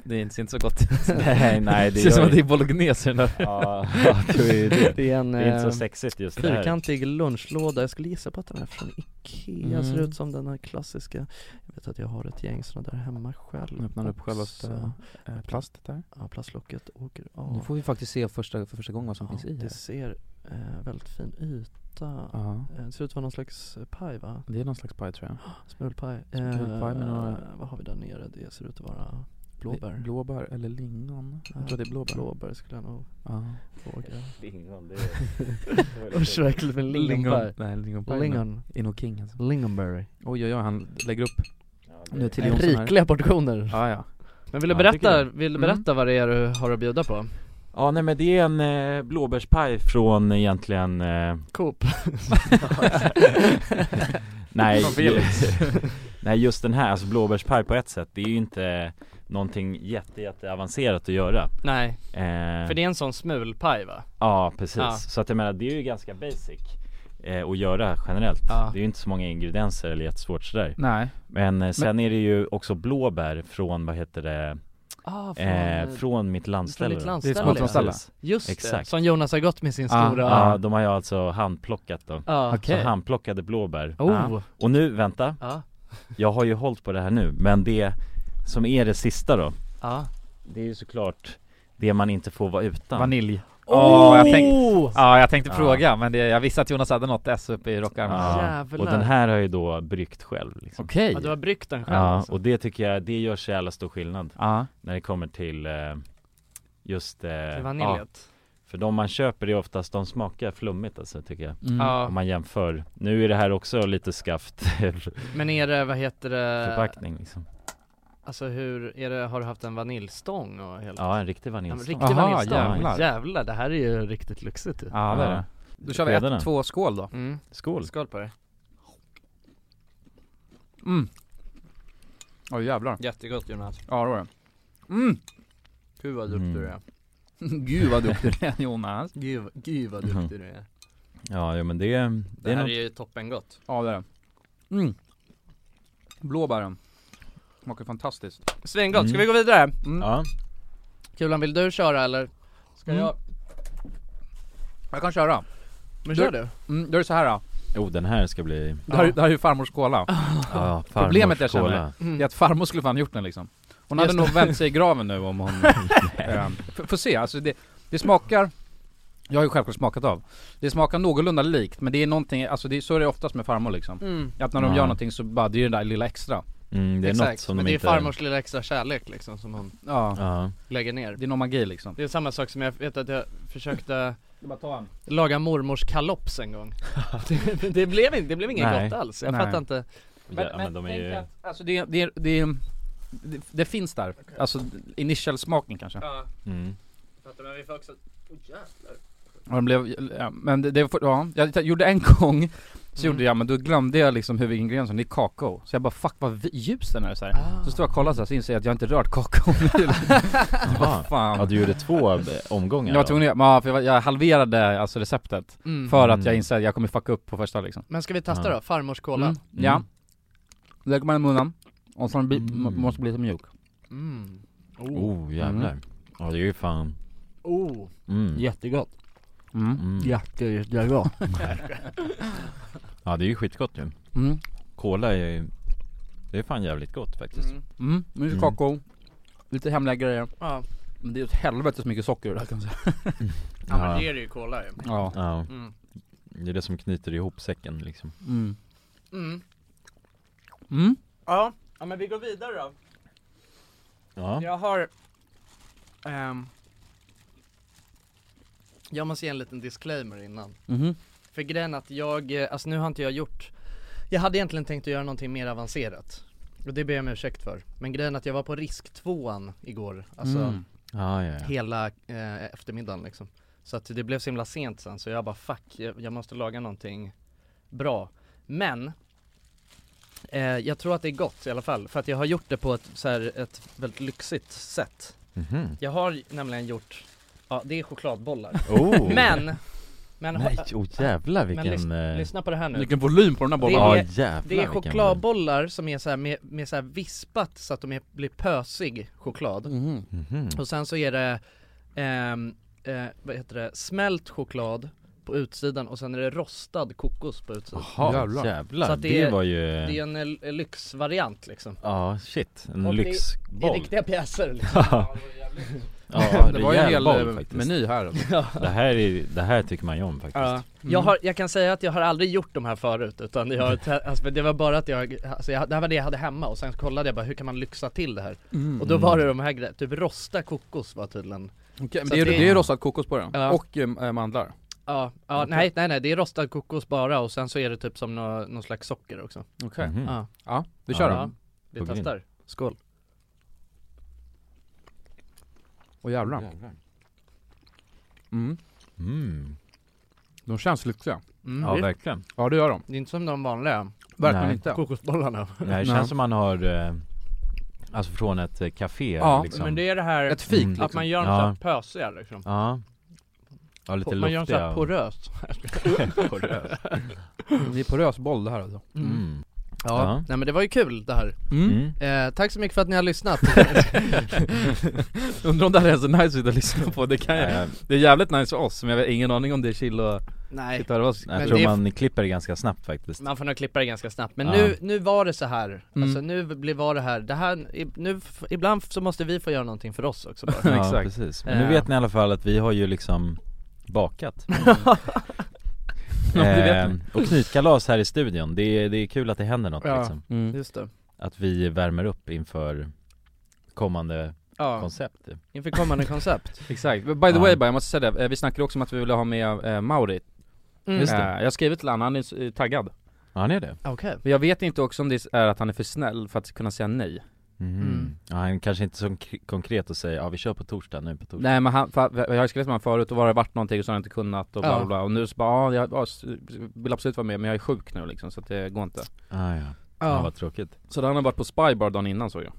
Speaker 1: det är inte så gott
Speaker 3: eh, Nej nej
Speaker 1: Det
Speaker 3: det
Speaker 1: känns som
Speaker 3: gör
Speaker 1: att det
Speaker 3: ju-
Speaker 1: är bolognese i den där
Speaker 3: Ja, ja, det är det
Speaker 2: Det är en
Speaker 3: Det är inte så
Speaker 2: eh,
Speaker 3: sexigt just det här
Speaker 2: fyrkantig lunchlåda. Jag skulle gissa på att den är från Ikea.
Speaker 1: Mm.
Speaker 2: Ser ut som den här klassiska. Jag vet att jag har ett gäng såna där hemma själv.
Speaker 1: Nu öppnar upp själva
Speaker 2: också.
Speaker 1: äh, plastet där
Speaker 2: Ja, plastlocket åker
Speaker 1: Nu
Speaker 2: av.
Speaker 1: får vi faktiskt se första, för första gången vad som
Speaker 2: ja,
Speaker 1: finns i
Speaker 2: det
Speaker 1: här
Speaker 2: ser eh, väldigt fin yta.
Speaker 1: Ja,
Speaker 2: Eh, Det ser ut att vara någon slags eh, paj va?
Speaker 1: det är någon slags paj tror jag
Speaker 2: Smulpaj. Eh,
Speaker 1: Smulpaj med några-
Speaker 2: Vad har vi där nere? Det ser ut att vara blåbär. Eh,
Speaker 1: Blåbär eller lingon, jag tror det är blåbär
Speaker 2: Blåbär skulle jag nog
Speaker 1: Ja.
Speaker 2: våga.
Speaker 3: Lingon, det
Speaker 2: Usch vad äckligt med lingonbär.
Speaker 1: Nej, lingonpaj
Speaker 2: Lingon.
Speaker 1: Inno King alltså.
Speaker 2: Lingonberry.
Speaker 1: Oj oj oj, han lägger upp nu till Jonsson här
Speaker 2: Eh, Rikliga portioner.
Speaker 1: Ja ja
Speaker 2: Men vill du
Speaker 3: Ja, jag tycker
Speaker 2: berätta, vill du
Speaker 1: Mm.
Speaker 2: berätta vad det är du har att bjuda på?
Speaker 3: Ja nej men det är en eh, blåbärspaj från egentligen eh,
Speaker 2: Coop.
Speaker 3: Nej,
Speaker 1: Från Felix.
Speaker 3: nej just den här, alltså blåbärspaj på ett sätt, det är ju inte någonting jätte, jätte avancerat att göra
Speaker 2: Nej,
Speaker 3: eh,
Speaker 2: för det är en sån smulpaj va?
Speaker 3: Ja precis,
Speaker 2: Ja.
Speaker 3: så att jag menar det är ju ganska basic eh, att göra generellt
Speaker 2: Ja.
Speaker 3: Det är ju inte så många ingredienser eller jättesvårt sådär
Speaker 1: Nej
Speaker 3: Men eh, sen är det ju också blåbär från, vad heter det,
Speaker 2: Ah,
Speaker 3: från, eh, från mitt landställe
Speaker 2: ditt
Speaker 3: då.
Speaker 2: landställe.
Speaker 1: Det är ett småstalle.
Speaker 3: Precis.
Speaker 2: Just det,
Speaker 3: Exakt.
Speaker 2: som Jonas har gått med sin
Speaker 1: Ah,
Speaker 2: stora...
Speaker 3: Ja.
Speaker 2: Ja,
Speaker 3: de har jag alltså handplockat då
Speaker 1: Okej. Ah.
Speaker 3: Så handplockade blåbär
Speaker 2: Oh,
Speaker 3: Och nu, vänta,
Speaker 2: ja,
Speaker 3: jag har ju hållit på det här nu Men det som är det sista då
Speaker 2: ja.
Speaker 3: Det är ju såklart det man inte får vara utan
Speaker 1: Vanilj
Speaker 2: Åh!
Speaker 1: jag tänkte, ja, jag tänkte
Speaker 3: Ja.
Speaker 1: fråga men det, jag visste att Jonas hade något S uppe i rockarmen
Speaker 3: ja.
Speaker 2: Jävlar.
Speaker 3: Och den här har jag ju då bryggt själv liksom.
Speaker 1: Okej
Speaker 2: Ja, du har bryggt den själv
Speaker 3: Ja,
Speaker 2: alltså.
Speaker 3: och det tycker jag, det gör så jävla stor skillnad
Speaker 1: Ja,
Speaker 3: när det kommer till eh, just eh,
Speaker 2: Till
Speaker 3: Ja,
Speaker 2: vaniljet.
Speaker 3: för de man köper är oftast, de smakar flummigt alltså tycker jag
Speaker 1: mm.
Speaker 2: Ja.
Speaker 3: Om man jämför, nu är det här också lite skaft
Speaker 2: Eh, Men är det, vad heter det,
Speaker 3: förpackning liksom
Speaker 2: alltså hur, är det, har du haft en vaniljstång och hela?
Speaker 3: Ja, en riktig
Speaker 2: Ja, men
Speaker 3: vaniljstång
Speaker 2: riktig
Speaker 1: Aha,
Speaker 2: vaniljstång,
Speaker 1: jävlar.
Speaker 2: jävlar. det här är ju riktigt lyxigt ju.
Speaker 1: ja det är det Då kör vi
Speaker 3: Redan.
Speaker 1: ett, två skål då
Speaker 2: Mm.
Speaker 3: Skål!
Speaker 2: Skål på dig
Speaker 1: Mm. Åh jävlar.
Speaker 2: Jättegott Jonas.
Speaker 1: Ja det var det. Mm.
Speaker 2: Gud vad
Speaker 3: Mm.
Speaker 2: duktig du är.
Speaker 1: Gud vad duktig du är Jonas.
Speaker 2: Gud, gud vad duktig du är.
Speaker 3: Ja, jo, men det, det,
Speaker 2: Det,
Speaker 3: är
Speaker 2: här
Speaker 3: något...
Speaker 2: är ju toppengott.
Speaker 1: Ja det är det. Mm. Blåbären. Smakar fantastiskt.
Speaker 2: Svingott, ska
Speaker 3: Mm.
Speaker 2: vi gå vidare?
Speaker 3: Ja,
Speaker 2: Kulan, vill du köra eller? Ska
Speaker 1: Mm.
Speaker 2: jag?
Speaker 1: Jag kan köra.
Speaker 2: Men kör du?
Speaker 1: Mm, då är det så här då.
Speaker 3: oh den här ska bli...
Speaker 1: Det här, det här är ju farmors cola.
Speaker 3: Ja,
Speaker 1: Problemet jag
Speaker 3: farmors cola.
Speaker 1: känner- Det är att farmor skulle fan gjort den liksom. Hon hade
Speaker 2: Just
Speaker 1: nog vänt sig i graven nu om hon... eh, f- Får se, alltså det, det smakar... Jag har ju självklart smakat av. Det smakar någorlunda likt men det är någonting, alltså det, så är det oftast med farmor liksom.
Speaker 2: Mm.
Speaker 1: Att när de
Speaker 3: Ja.
Speaker 1: gör någonting så bara, det är ju det där lilla extra.
Speaker 3: Mm, det är
Speaker 2: Exakt.
Speaker 3: något som
Speaker 2: Men
Speaker 3: de
Speaker 2: det är
Speaker 3: inte...
Speaker 2: farmors lilla extra kärlek liksom som hon
Speaker 1: Ja.
Speaker 3: Ja,
Speaker 2: lägger ner.
Speaker 1: Det är någon magi liksom.
Speaker 2: Det är samma sak som jag vet att jag försökte
Speaker 1: Bara ta en.
Speaker 2: laga mormors kalops en gång. det, det blev inte, det blev inget
Speaker 3: Nej.
Speaker 2: gott alls. Jag
Speaker 1: Nej.
Speaker 2: fattar inte.
Speaker 3: ja men de är ju...
Speaker 1: Alltså det, det, det, det, det finns där. Alltså initial smaken kanske.
Speaker 2: Ja,
Speaker 3: Mm.
Speaker 2: fattar men vi får också, oh, jävlar.
Speaker 1: Ja, den blev, ja, men det, det, ja, jag gjorde en gång så gjorde jag, men då glömde jag liksom huvudingrediensen, det är kakao. Så jag bara fuck vad vi- ljus den är så här. Så står jag och kollar så, här, så inser jag att jag inte rört kakao
Speaker 3: Jaha.
Speaker 1: Fan.
Speaker 3: Ja, du gjorde två eh, omgångar
Speaker 1: Jag var
Speaker 3: då.
Speaker 1: tvungen att, ja, för jag, var- jag halverade alltså receptet
Speaker 2: Mm.
Speaker 1: för att
Speaker 3: Mm.
Speaker 1: jag insåg att jag kommer fucka upp på första liksom.
Speaker 2: Men ska vi testa
Speaker 3: Ja.
Speaker 2: då? Farmors cola?
Speaker 1: Mm.
Speaker 2: Mm.
Speaker 1: Ja. Lägger man i munnen och sen bli,
Speaker 3: Mm.
Speaker 1: må- måste bli lite mjuk.
Speaker 2: Mm.
Speaker 3: Oh jävlar Ja det är ju fan
Speaker 2: Oh,
Speaker 3: mm.
Speaker 2: jättegott.
Speaker 1: Mm.
Speaker 3: Mm.
Speaker 2: Jätte, jättegott.
Speaker 3: Ja det är ju skitgott ju
Speaker 1: Mm.
Speaker 3: Cola är ju Det är fan jävligt gott faktiskt
Speaker 2: Mm.
Speaker 1: Mm. Mycket
Speaker 3: Mm.
Speaker 1: kakao, lite hemliga grejer.
Speaker 2: Ja.
Speaker 1: Men det är åt helvete så mycket socker där kan jag säga.
Speaker 2: ja, men
Speaker 3: Ja.
Speaker 2: det är det ju cola ju.
Speaker 1: Ja.
Speaker 3: Ja,
Speaker 2: Mm.
Speaker 3: det är det som knyter ihop säcken liksom
Speaker 1: Mm.
Speaker 2: Mm.
Speaker 1: Mm.
Speaker 2: Ja. ja, men vi går vidare då.
Speaker 3: Ja,
Speaker 2: Jag har... ehm, jag måste ge en liten disclaimer innan.
Speaker 1: Mhm.
Speaker 2: För grejen är att jag, eh, alltså nu har inte jag gjort Jag hade egentligen tänkt att göra någonting mer avancerat Och det ber jag om ursäkt för Men grejen är att jag var på risktvåan igår Alltså
Speaker 1: Mm.
Speaker 3: ja, ja, ja.
Speaker 2: hela eh, eftermiddagen liksom Så att det blev så himla sent sen så jag bara fuck, jag, jag måste laga någonting bra Men eh, Jag tror att det är gott i alla fall För att jag har gjort det på ett, så här, ett väldigt lyxigt sätt
Speaker 3: Mhm.
Speaker 2: Jag har nämligen gjort Ja det är chokladbollar
Speaker 3: Oh.
Speaker 2: Men Men
Speaker 3: Nej, oh jävlar vilken...
Speaker 2: lys-
Speaker 3: eh,
Speaker 2: lyssna på det här nu
Speaker 1: Vilken volym på den här bollen.
Speaker 2: Det är-
Speaker 3: Ja jävlar
Speaker 2: Det är
Speaker 3: vilken-
Speaker 2: chokladbollar som är så här med, med så här vispat så att de är, blir pösig choklad
Speaker 1: Mhm.
Speaker 3: Mhm.
Speaker 2: Och sen så är det, ehm, eh, vad heter det, smält choklad på utsidan och sen är det rostad kokos på utsidan
Speaker 3: Jaha,
Speaker 1: Jävlar.
Speaker 3: jävlar,
Speaker 2: Så
Speaker 3: Det,
Speaker 2: att det är-
Speaker 3: var ju...
Speaker 2: Det är en eh, lyxvariant liksom
Speaker 3: Ja shit, en
Speaker 2: Och det- Det är
Speaker 3: lyxboll
Speaker 2: riktiga pjäser liksom.
Speaker 3: Ja,
Speaker 1: Ja, det var ju en
Speaker 3: rejäl
Speaker 1: hel
Speaker 3: boll,
Speaker 1: eh,
Speaker 3: faktiskt.
Speaker 1: meny här alltså.
Speaker 3: Det här, är, det här tycker man ju om faktiskt
Speaker 2: Ja. Jag, har, jag kan säga att jag har aldrig gjort de här förut utan jag, har te- alltså, det var bara att jag, alltså, jag, det här var det jag hade hemma och sen kollade jag bara hur kan man lyxa till det här?
Speaker 1: Mm.
Speaker 2: Och
Speaker 3: Mm.
Speaker 2: då var det de här grejerna, typ rosta kokos var tydligen
Speaker 1: Okej, men
Speaker 2: Så
Speaker 1: det är,
Speaker 2: att det-
Speaker 1: det är rostad kokos på den,
Speaker 2: Ja.
Speaker 1: och eh, mandlar
Speaker 2: Ja, ja nej, nej nej det är rostad kokos bara och sen så är det typ som nå, någon slags socker också
Speaker 1: Okej,
Speaker 3: Mhm.
Speaker 2: Ja,
Speaker 1: ja vi kör
Speaker 3: Ja.
Speaker 1: då
Speaker 2: ja vi
Speaker 3: På gryn.
Speaker 2: testar, skål
Speaker 1: Åh jävlar mm.
Speaker 3: Mm.
Speaker 1: De känns lyxiga
Speaker 2: mm,
Speaker 3: Ja
Speaker 2: det, är-
Speaker 3: verkligen
Speaker 1: Ja det gör de,
Speaker 2: det är inte som de vanliga
Speaker 1: verkligen
Speaker 3: Nej.
Speaker 1: inte
Speaker 2: kokosbollarna
Speaker 3: Nej, det
Speaker 1: Ja.
Speaker 3: känns som man har eh, Alltså från ett eh, café
Speaker 1: Ja,
Speaker 3: liksom.
Speaker 2: Men det är det här
Speaker 1: Ett fik
Speaker 3: Mm.
Speaker 1: liksom.
Speaker 2: att man gör dem
Speaker 3: Ja.
Speaker 2: såhär pösiga liksom
Speaker 3: Ja Ja lite
Speaker 2: Man gör dem
Speaker 3: luftiga
Speaker 2: såhär poröst
Speaker 3: och- porös
Speaker 1: Det är porös boll det här alltså
Speaker 3: mm.
Speaker 2: ja.
Speaker 3: Ja.
Speaker 2: nej men det var ju kul det här
Speaker 1: mm.
Speaker 3: Mm.
Speaker 2: eh, Tack så mycket för att ni har lyssnat
Speaker 1: Undrar om det här är så nice att lyssna på, det kan jag
Speaker 3: Nej,
Speaker 1: Det är jävligt nice för oss, men jag har ingen aning om det är chill och
Speaker 2: Nej
Speaker 1: titta det var så-
Speaker 3: jag
Speaker 2: Men
Speaker 3: tror
Speaker 2: det är-
Speaker 3: man klipper det ganska snabbt faktiskt
Speaker 2: Man får nog klippa det ganska snabbt, men
Speaker 3: Ja.
Speaker 2: nu, nu var det så här
Speaker 1: Mm.
Speaker 2: alltså nu blev var det här, det här, i- nu, f- ibland så måste vi få göra någonting för oss också bara
Speaker 1: Ja,
Speaker 3: Ja
Speaker 1: exakt.
Speaker 3: precis, men nu
Speaker 2: Eh.
Speaker 3: vet ni i alla fall att vi har ju liksom bakat Mm.
Speaker 1: Ja, det vet
Speaker 3: Eh, Och knytkalas här i studion, det är, det är kul att det händer något
Speaker 2: Ja.
Speaker 3: liksom
Speaker 1: mm.
Speaker 2: Just det
Speaker 3: Att vi värmer upp inför kommande
Speaker 2: Ja,
Speaker 3: koncept ju.
Speaker 2: inför kommande koncept
Speaker 1: Exakt, by the way
Speaker 3: Ja.
Speaker 1: bara, jag måste säga det, eh, vi snackade också om att vi ville ha med eh, Mauri
Speaker 2: Mm.
Speaker 1: Eh, Jag har skrivit till honom, han är eh, taggad
Speaker 3: Ja han är det
Speaker 2: Okej
Speaker 1: Men jag vet inte också om det är att han är för snäll för att kunna säga nej
Speaker 3: Mhm.
Speaker 2: Mm.
Speaker 3: Ja, han kanske inte så k- konkret och säger ja vi kör på torsdag nu på torsdag
Speaker 1: Nej men han, för, jag har skrivit med honom förut och var det varit någonting så har jag inte kunnat och bla
Speaker 2: Ja.
Speaker 1: "Ah, bla bla och nu så bara, ja, jag ja, s- vill absolut vara med men jag är sjuk nu liksom så att det går inte
Speaker 3: ah, ja. Ja,
Speaker 2: Ja,
Speaker 3: vad tråkigt
Speaker 1: Så han har varit på spybar dagen innan såg jag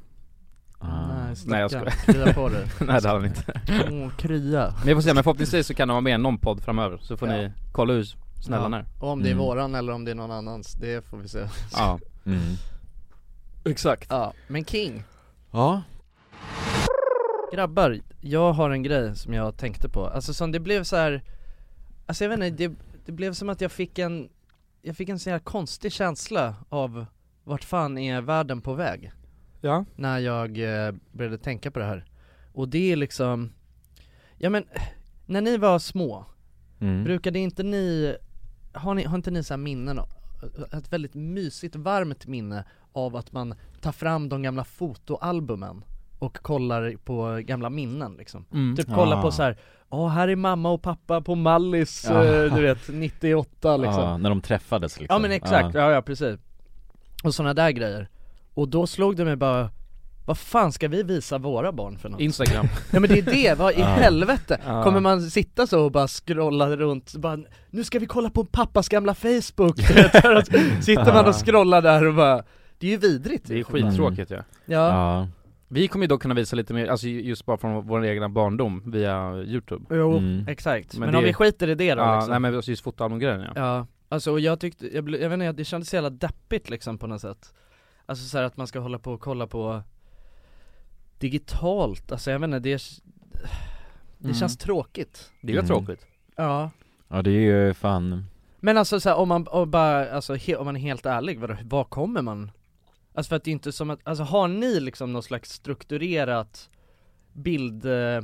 Speaker 3: ah.
Speaker 1: Nej, jag
Speaker 2: stackarn. Krya på dig.
Speaker 1: Nej det har han inte
Speaker 2: Åh, krya.
Speaker 1: Men jag får se, men förhoppningsvis så kan han vara med i någon podd framöver Så får
Speaker 2: Ja.
Speaker 1: ni kolla hur snäll han är
Speaker 2: Och om det är
Speaker 3: Mm.
Speaker 2: våran eller om det är någon annans, det får vi se
Speaker 1: Ja
Speaker 3: mm.
Speaker 1: Exakt
Speaker 2: Ja, men King
Speaker 3: Ja,
Speaker 2: Grabbar, jag har en grej som jag tänkte på, alltså som det blev så här. Alltså jag vet inte, det, det blev som att jag fick en Jag fick en sån här konstig känsla av Vart fan är världen på väg?
Speaker 1: Ja
Speaker 2: När jag eh, började tänka på det här Och det är liksom Ja men, när ni var små,
Speaker 3: mm.
Speaker 2: brukade inte ni Har, ni, har inte ni så här minnen Ett väldigt mysigt varmt minne av att man tar fram de gamla fotoalbumen och kollar på gamla minnen liksom
Speaker 1: mm.
Speaker 2: Typ kolla
Speaker 3: Ah.
Speaker 2: på så här. ja här är mamma och pappa på Mallis, eh, du vet, 98 liksom
Speaker 3: Ja, när de träffades liksom
Speaker 2: Ja men exakt, ja ja precis Och sådana där grejer Och då slog det mig bara vad fan ska vi visa våra barn för något?
Speaker 1: Instagram
Speaker 2: Ja men det är det, vad i helvete?
Speaker 1: Ja.
Speaker 2: Kommer man sitta så och bara scrolla runt, bara, nu ska vi kolla på pappas gamla Facebook, du vet, här, och så sitter man och scrollar där och bara Det är ju vidrigt
Speaker 1: Det är
Speaker 2: ju.
Speaker 1: skittråkigt ja.
Speaker 3: Ja,
Speaker 2: Ja,
Speaker 3: ja.
Speaker 1: Vi kommer ju dock kunna visa lite mer, alltså ju- just bara från vår egna barndom via youtube
Speaker 2: jo,
Speaker 3: Mm.
Speaker 2: exakt,
Speaker 1: Men
Speaker 2: men,
Speaker 1: det-
Speaker 2: om vi skiter i det då
Speaker 1: Ja,
Speaker 2: liksom.
Speaker 1: nej men alltså just fotoalbumgrejen ja.
Speaker 2: Ja, alltså och jag tyckte, jag, blev- jag vet inte, det kändes så jävla deppigt liksom på något sätt Alltså så här att man ska hålla på och kolla på digitalt, alltså jag vet inte, det, det
Speaker 1: Mm.
Speaker 2: känns tråkigt
Speaker 1: Det är ju
Speaker 3: Mm.
Speaker 1: tråkigt
Speaker 2: Ja
Speaker 3: ja det är ju fan
Speaker 2: Men alltså så här, om man och bara, alltså he, om man är helt ärlig, vad, vad kommer man? Alltså för att det är inte som att, alltså har ni liksom någon slags strukturerat bild, eh,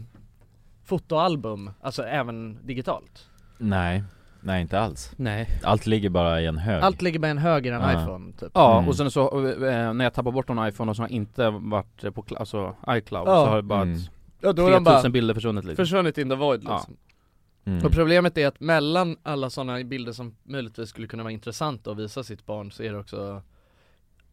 Speaker 2: fotoalbum, alltså även digitalt?
Speaker 3: Nej, nej inte alls
Speaker 1: Nej
Speaker 3: Allt ligger bara i en hög
Speaker 2: Allt ligger bara i en hög i en
Speaker 3: Ja.
Speaker 2: iPhone typ
Speaker 1: Ja,
Speaker 3: Mm.
Speaker 1: och sen så, eh, när jag tappar bort någon iPhone och som inte varit eh, på, cl- alltså iCloud
Speaker 2: Ja.
Speaker 1: så har det bara
Speaker 3: Mm.
Speaker 1: ett-
Speaker 2: Ja då
Speaker 1: 3000 bilder försvunnit lite
Speaker 2: försvunnit in the void liksom
Speaker 1: Ja.
Speaker 3: mm.
Speaker 2: Och problemet är att mellan alla sådana bilder som möjligtvis skulle kunna vara intressanta att visa sitt barn så är det också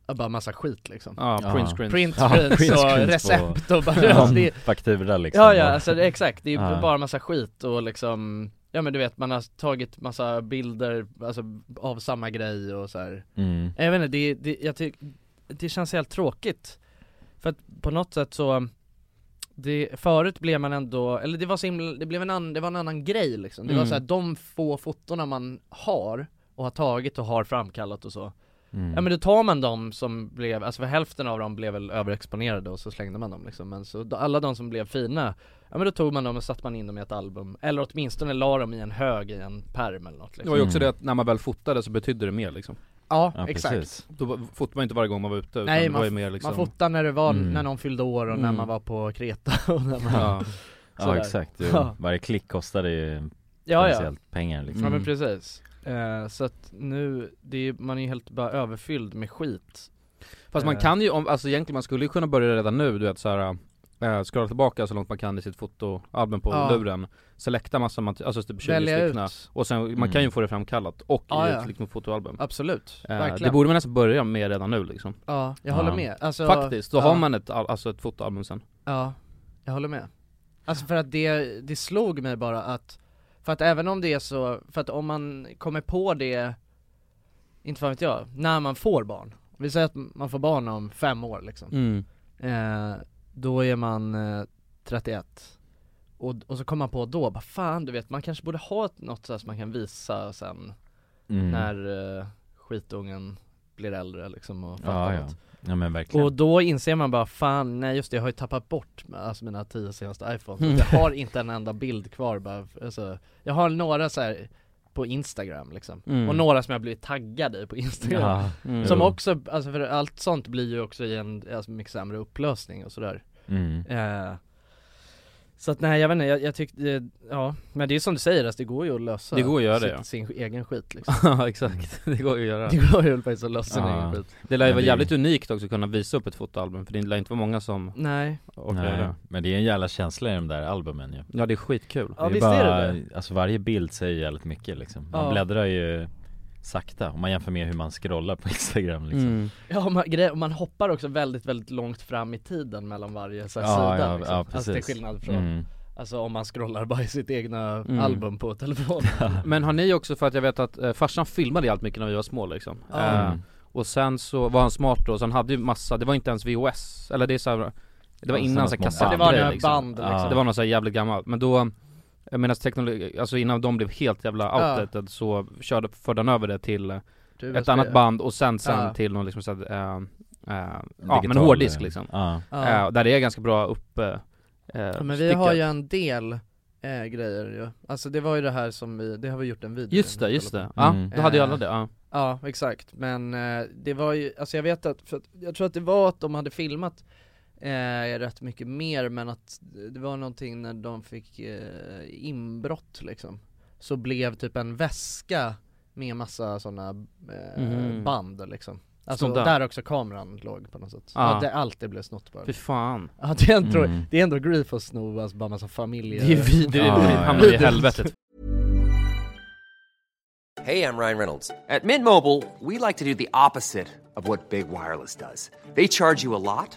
Speaker 2: ja, bara massa skit liksom
Speaker 1: Ja,
Speaker 3: Ja.
Speaker 1: print screens
Speaker 2: Print
Speaker 3: Ja,
Speaker 2: screens
Speaker 3: print
Speaker 2: och
Speaker 3: screens på-
Speaker 2: recept och bara
Speaker 3: Ja,
Speaker 2: alltså, det,
Speaker 3: faktura liksom
Speaker 2: Ja ja, alltså det, exakt, det är ju
Speaker 3: Ja.
Speaker 2: bara massa skit och liksom Ja men du vet, man har tagit massa bilder, alltså av samma grej och så här.
Speaker 3: mm.
Speaker 2: Jag vet inte, det, det, jag tyck, det känns helt tråkigt För att på något sätt så det, förut blev man ändå, eller det var så himla, det blev en annan, det var en annan grej liksom Det var
Speaker 1: Mm.
Speaker 2: så här, de få fotona man har och har tagit och har framkallat och så
Speaker 3: Mm.
Speaker 2: Ja men då tar man de som blev, alltså för hälften av dem blev väl överexponerade och så slängde man dem liksom Men så då, alla de som blev fina, ja men då tog man dem och satte man in dem i ett album Eller åtminstone la dem i en hög i en pärm eller något
Speaker 1: Det
Speaker 2: liksom
Speaker 1: var ju också
Speaker 3: Mm.
Speaker 1: det att när man väl fotade så betydde det mer liksom
Speaker 2: Ja,
Speaker 3: Ja,
Speaker 2: exakt
Speaker 3: precis.
Speaker 1: Då var- fotade man inte varje gång man var ute utan
Speaker 2: Nej,
Speaker 1: det var
Speaker 2: man-
Speaker 1: ju mer liksom
Speaker 2: Man fotar när det var,
Speaker 3: Mm.
Speaker 2: när någon fyllde år och när
Speaker 1: Mm.
Speaker 2: man var på Kreta och när man
Speaker 1: Ja,
Speaker 3: Ja
Speaker 2: sådär.
Speaker 3: exakt, jo.
Speaker 2: Ja.
Speaker 3: varje klick kostar ju
Speaker 2: Ja ja,
Speaker 3: potentiellt pengar liksom
Speaker 2: ja men
Speaker 1: Mm.
Speaker 2: precis Eh, Så att nu, det är, man är ju helt bara överfylld med skit
Speaker 1: fast man
Speaker 2: Eh.
Speaker 1: kan ju, om, alltså egentligen man skulle ju kunna börja redan nu du vet såhär äh, Scrolla tillbaka så långt man kan i sitt fotoalbum på
Speaker 2: Ja.
Speaker 1: luren Selekta massa, mat- alltså typ 20
Speaker 2: Välja
Speaker 1: stycken
Speaker 2: ut,
Speaker 1: Och sen, man
Speaker 3: Mm.
Speaker 1: kan ju få det framkallat och
Speaker 2: Ja,
Speaker 1: i
Speaker 2: ja.
Speaker 1: ett liksom, fotoalbum
Speaker 2: absolut,
Speaker 1: Eh,
Speaker 2: verkligen
Speaker 1: Det borde man nästan börja med redan nu liksom
Speaker 2: Ja, jag
Speaker 3: Ja.
Speaker 2: håller med alltså,
Speaker 1: Faktiskt, då
Speaker 2: ja.
Speaker 1: har man ett, al- alltså ett fotoalbum sen
Speaker 2: Ja, jag håller med. Alltså för att det, det slog mig bara att, för att även om det är så, för att om man kommer på det, inte fan vet jag, när man får barn. Vi säger att man får barn om fem år liksom.
Speaker 1: mm.
Speaker 2: Eh, då är man eh, 31. Och, och så kommer man på då, bara fan du vet, man kanske borde ha ett- något så här som man kan visa sen
Speaker 3: Mm.
Speaker 2: när eh, skitungen blir äldre liksom och fattar
Speaker 3: Ja, ja.
Speaker 2: något.
Speaker 3: ja men verkligen
Speaker 2: Och då inser man bara fan, nej just det, jag har ju tappat bort alltså, mina tio senaste iPhones Jag har inte en enda bild kvar bara, alltså, Jag har några så här på Instagram liksom
Speaker 1: Mm.
Speaker 2: Och några som jag blivit taggad i på Instagram
Speaker 3: ja.
Speaker 1: Mm.
Speaker 2: Som
Speaker 3: jo.
Speaker 2: också, alltså för allt sånt blir ju också i en alltså, mycket sämre upplösning och sådär
Speaker 3: mm.
Speaker 2: eh, Så att nej jag vet inte, jag, jag tyckte, eh, ja Men det är som du säger, alltså, det går ju att lösa
Speaker 1: Det går att göra det,
Speaker 2: sitt,
Speaker 1: ja.
Speaker 2: sin egen skit liksom
Speaker 1: Ja exakt, det går ju att göra
Speaker 2: Det går ju faktiskt att lösa sin
Speaker 3: Ja.
Speaker 2: egen skit
Speaker 1: Det lär ju
Speaker 3: Men
Speaker 1: vara
Speaker 3: det-
Speaker 1: jävligt unikt också att kunna visa upp ett fotoalbum för det lär inte vara många som
Speaker 2: Nej,
Speaker 1: orkar göra
Speaker 3: Nej,
Speaker 1: det
Speaker 3: men det är en jävla känsla i de där albumen ju
Speaker 1: Ja det är skitkul
Speaker 2: ja
Speaker 3: är
Speaker 2: visst är
Speaker 3: bara-
Speaker 2: det det
Speaker 3: Alltså varje bild säger jävligt mycket liksom Man
Speaker 2: Ja.
Speaker 3: bläddrar ju sakta om man jämför med hur man scrollar på Instagram liksom
Speaker 1: Mm.
Speaker 2: Ja, man, grej, och man hoppar också väldigt, väldigt långt fram i tiden mellan varje så här,
Speaker 3: Ja,
Speaker 2: sida
Speaker 3: ja,
Speaker 2: liksom.
Speaker 3: ja,
Speaker 2: Alltså till
Speaker 3: precis.
Speaker 2: skillnad från,
Speaker 3: Mm.
Speaker 2: alltså om man scrollar bara i sitt egna
Speaker 1: Mm.
Speaker 2: album på telefonen
Speaker 1: Men har ni också, för att jag vet att eh, farsan filmade allt mycket när vi var små liksom
Speaker 2: Ja.
Speaker 1: eh,
Speaker 3: Mm.
Speaker 1: Och sen så var han smart då, så han hade ju massa, det var inte ens VHS, eller det är så här, Det var
Speaker 3: Ja,
Speaker 1: innan
Speaker 3: samma
Speaker 1: så här
Speaker 3: små
Speaker 1: kassettgrej
Speaker 6: det var några
Speaker 1: liksom.
Speaker 6: band liksom.
Speaker 3: Ja.
Speaker 1: Det var något så här jävligt gammalt, men då eh, Medan teknologi, alltså innan de blev helt jävla
Speaker 6: Ja.
Speaker 1: outdated så körde, förde han över det till eh,
Speaker 6: Du,
Speaker 1: ett annat band och sen, sen
Speaker 6: Ja.
Speaker 1: till någon liksom så här, eh, eh, ja
Speaker 3: Digital,
Speaker 1: men hårddisk
Speaker 3: eh,
Speaker 1: liksom
Speaker 3: Ja,
Speaker 6: Ja.
Speaker 1: Eh, Där det är ganska bra upp eh, eh,
Speaker 6: Ja, men vi
Speaker 1: stickat.
Speaker 6: har ju en del eh, grejer ju. Alltså det var ju det här som vi, det har vi gjort en video
Speaker 1: Just det,
Speaker 6: med.
Speaker 1: just det, ja,
Speaker 3: Mm.
Speaker 1: då hade ju alla
Speaker 6: Eh,
Speaker 1: det, ja.
Speaker 6: Ja, exakt. Men eh, det var ju, alltså jag vet att, för att, jag tror att det var att de hade filmat eh, rätt mycket mer men att det var någonting när de fick eh, inbrott liksom. Så blev typ en väska med massa sådana eh,
Speaker 1: Mhm.
Speaker 6: band liksom. Alltså
Speaker 1: Snodda. Ah.
Speaker 6: där också kameran låg på något sätt.
Speaker 1: Ja.
Speaker 6: Ja, det, allt det blev snott bara.
Speaker 1: Fy fan,
Speaker 6: Ja, det, är ändå,
Speaker 3: Mm.
Speaker 6: det är ändå grief att sno alltså, bara massa familjer.
Speaker 1: det är vi, det
Speaker 3: Ja,
Speaker 1: är- vi
Speaker 3: ja, ja.
Speaker 1: hamnar i helvetet
Speaker 4: Hey, I'm Ryan Reynolds. At Mint Mobile, we like to do the opposite of what Big Wireless does. They charge you a lot,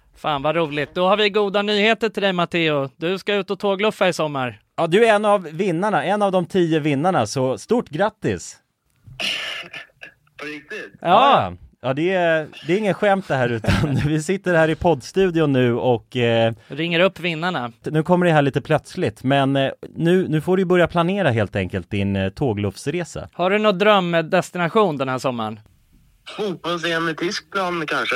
Speaker 7: Fan vad roligt. Då har vi goda nyheter till dig Matteo. Du ska ut och tågluffa i sommar.
Speaker 3: Ja, du är en av vinnarna, en av de tio vinnarna, så stort grattis!
Speaker 8: på riktigt?
Speaker 3: Ja! Ja, det är, det är ingen skämt det här utan vi sitter här i poddstudion nu och eh,
Speaker 7: Ringer upp vinnarna.
Speaker 3: nu kommer det här lite plötsligt men eh, nu, nu får du ju börja planera helt enkelt din eh, tågluffsresa.
Speaker 7: Har du någon drömdestination den här sommaren?
Speaker 8: Fotbolls-EM i Tyskland kanske?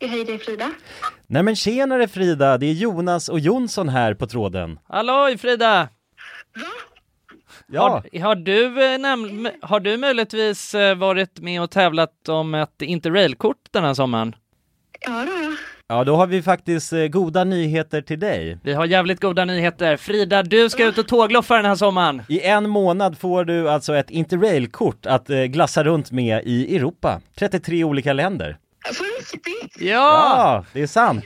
Speaker 8: Hej, det är Frida.
Speaker 3: Nej men tjenare Frida, det är Jonas och Jonsson här på tråden.
Speaker 7: Halloj Frida!
Speaker 3: Ja,
Speaker 7: Har, har, du, eh, näm- m- har du möjligtvis eh, varit med och tävlat om ett interrailkort den här sommaren?
Speaker 8: Ja, då.
Speaker 3: ja då har vi faktiskt eh, goda nyheter till dig.
Speaker 7: Vi har jävligt goda nyheter. Frida, du ska ut och tågloffa den här sommaren.
Speaker 3: I en månad får du alltså ett interrailkort att eh, glassa runt med i Europa. 33 olika länder.
Speaker 8: På riktigt?
Speaker 7: Ja!
Speaker 3: Ja, det är sant.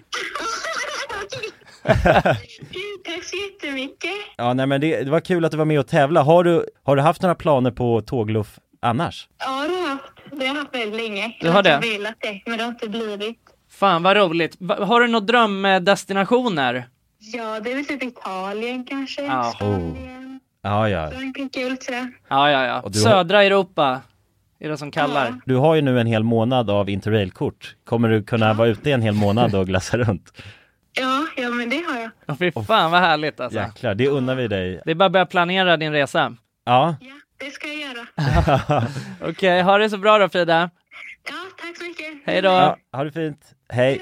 Speaker 8: tack så jättemycket.
Speaker 3: Ja, nej men det, det var kul att du var med och tävla. Har du, har du haft några planer på tågluff annars?
Speaker 8: Ja, det har jag haft. Det har jag haft väldigt länge.
Speaker 7: Du har det?
Speaker 8: Jag har velat det, men det har inte blivit.
Speaker 7: Fan vad roligt. Va- Har du några drömdestinationer?
Speaker 8: Ja, det är väl typ Italien kanske.
Speaker 7: Ja.
Speaker 3: Ja, ja.
Speaker 8: Frankrike, kul sådär.
Speaker 7: Ja, ja, ja.
Speaker 3: Och du har-
Speaker 7: Södra Europa är det som kallar.
Speaker 3: Du har ju nu en hel månad av interrailkort. Kommer du kunna vara ute en hel månad och glassa runt?
Speaker 8: Ja, ja, men det har jag.
Speaker 7: Åh, Fy fan vad härligt alltså.
Speaker 3: Jäklar, det unnar vi dig.
Speaker 7: Det är bara att börja planera din resa.
Speaker 3: Ja.
Speaker 8: Det ska jag göra.
Speaker 7: Okej, ha det så bra då Frida.
Speaker 8: Tack så mycket.
Speaker 7: Hej då.
Speaker 3: ja. Ha det fint. Hej.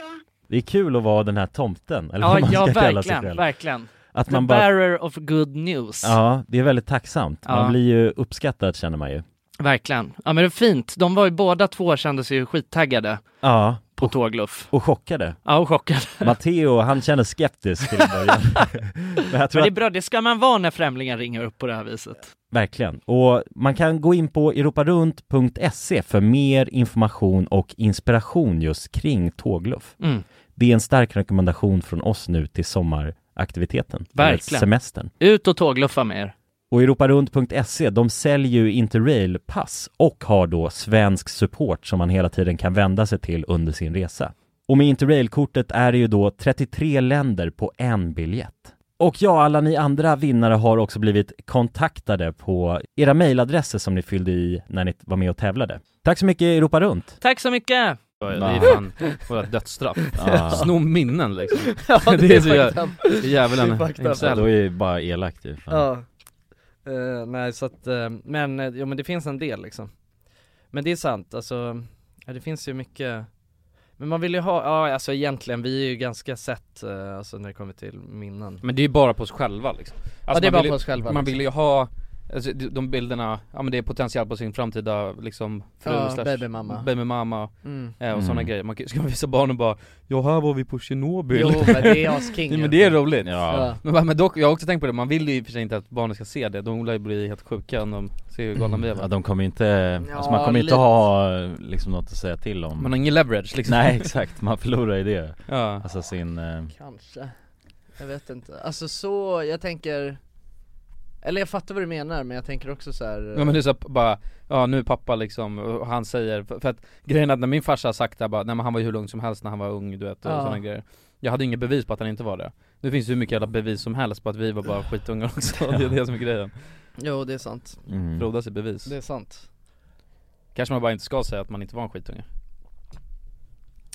Speaker 3: Det är kul att vara den här tomten, eller
Speaker 7: Ja,
Speaker 3: vad man
Speaker 7: ja
Speaker 3: ska kalla sig
Speaker 7: verkligen,
Speaker 3: själv.
Speaker 7: verkligen.
Speaker 3: Att
Speaker 7: The
Speaker 3: man bara-
Speaker 7: bearer of good news.
Speaker 3: Ja, det är väldigt tacksamt.
Speaker 7: Ja.
Speaker 3: Man blir ju uppskattad känner man ju.
Speaker 7: Verkligen. Ja men det är fint. De var ju båda två kände sig ju skittaggade.
Speaker 3: Ja.
Speaker 7: På tågluff.
Speaker 3: Och chockade.
Speaker 7: Ja, och chockad.
Speaker 3: Matteo, han känner skeptisk till en början. Men jag tror
Speaker 7: Men det är
Speaker 3: att,
Speaker 7: bra, det ska man vara när främlingar ringer upp på det här viset.
Speaker 3: verkligen. Och man kan gå in på europarunt.se E för mer information och inspiration just kring tågluff.
Speaker 7: Mm.
Speaker 3: Det är en stark rekommendation från oss nu till sommaraktiviteten. eller
Speaker 7: Verkligen.
Speaker 3: Semestern.
Speaker 7: Ut och tågluffa med er.
Speaker 3: Och europarunt.se, E, de säljer ju Interrail-pass och har då svensk support som man hela tiden kan vända sig till under sin resa. Och med Interrail-kortet är det ju då 33 länder på en biljett. Och ja, alla ni andra vinnare har också blivit kontaktade på era mejladresser som ni fyllde i när ni var med och tävlade. Tack så mycket Europa Runt!
Speaker 7: Tack så mycket!
Speaker 1: Det är fan våra dödsstraff.
Speaker 3: Ja.
Speaker 1: Sno minnen liksom.
Speaker 2: Ja, det är fucked
Speaker 1: jä-
Speaker 2: up.
Speaker 1: det är djävulen
Speaker 2: Det är fucked up.
Speaker 1: himself.
Speaker 2: Då är
Speaker 3: det bara elakt ju.
Speaker 2: Ja.
Speaker 7: Eh, nej så att, eh, men, eh, ja men det finns en del liksom Men det är sant, alltså, ja, det finns ju mycket Men man vill ju ha, ja alltså egentligen, vi är ju ganska sett, eh, alltså när det kommer till minnen
Speaker 1: Men det är ju bara på oss själva liksom.
Speaker 7: Ja, det är
Speaker 1: man
Speaker 7: bara
Speaker 1: vill ju-
Speaker 7: på oss själva,
Speaker 1: Man
Speaker 7: liksom.
Speaker 1: vill ju ha, alltså, de- de bilderna, ja men det är potentiellt på sin framtida liksom fru
Speaker 2: Ja,
Speaker 1: slash
Speaker 2: babymamma.
Speaker 1: babymamma,
Speaker 2: Mm.
Speaker 1: eh, och sådana
Speaker 2: Mm.
Speaker 1: grejer. Man kan- ska man visa barnen bara Ja här var vi på Tjernobyl
Speaker 2: Jo, men det är asking
Speaker 1: Nej,
Speaker 2: ju.
Speaker 1: men det är roligt
Speaker 2: Ja.
Speaker 1: men, men dock, jag har också tänkt på det, man vill ju i och för sig inte att barnen ska se det, de lär ju bli helt sjuka om de ser hur galna vi är va?
Speaker 3: Ja, de kommer ju inte, alltså
Speaker 1: Ja,
Speaker 3: man kommer inte
Speaker 1: lite.
Speaker 3: ha liksom något att säga till om
Speaker 1: Man har ingen leverage, liksom.
Speaker 3: Nej exakt, man förlorar ju det
Speaker 1: Ja.
Speaker 3: Alltså sin, eh,
Speaker 2: Kanske, jag vet inte, alltså så, jag tänker Eller jag fattar vad du menar men jag tänker också så här. eh,
Speaker 1: Ja men det är så p- bara, ja nu är pappa liksom, och han säger, för, för att grejen är att när min farsa har sagt det här, bara, nej men han var ju hur lugn som helst när han var ung du vet och
Speaker 2: Ja.
Speaker 1: sådana grejer Jag hade inga bevis på att han inte var det Det finns ju hur mycket jävla bevis som helst på att vi var bara skitungar också, det är det som är grejen
Speaker 2: Jo det är sant
Speaker 3: Mm.
Speaker 1: Frodas i bevis
Speaker 2: Det är sant
Speaker 1: Kanske man bara inte ska säga att man inte var en skitunge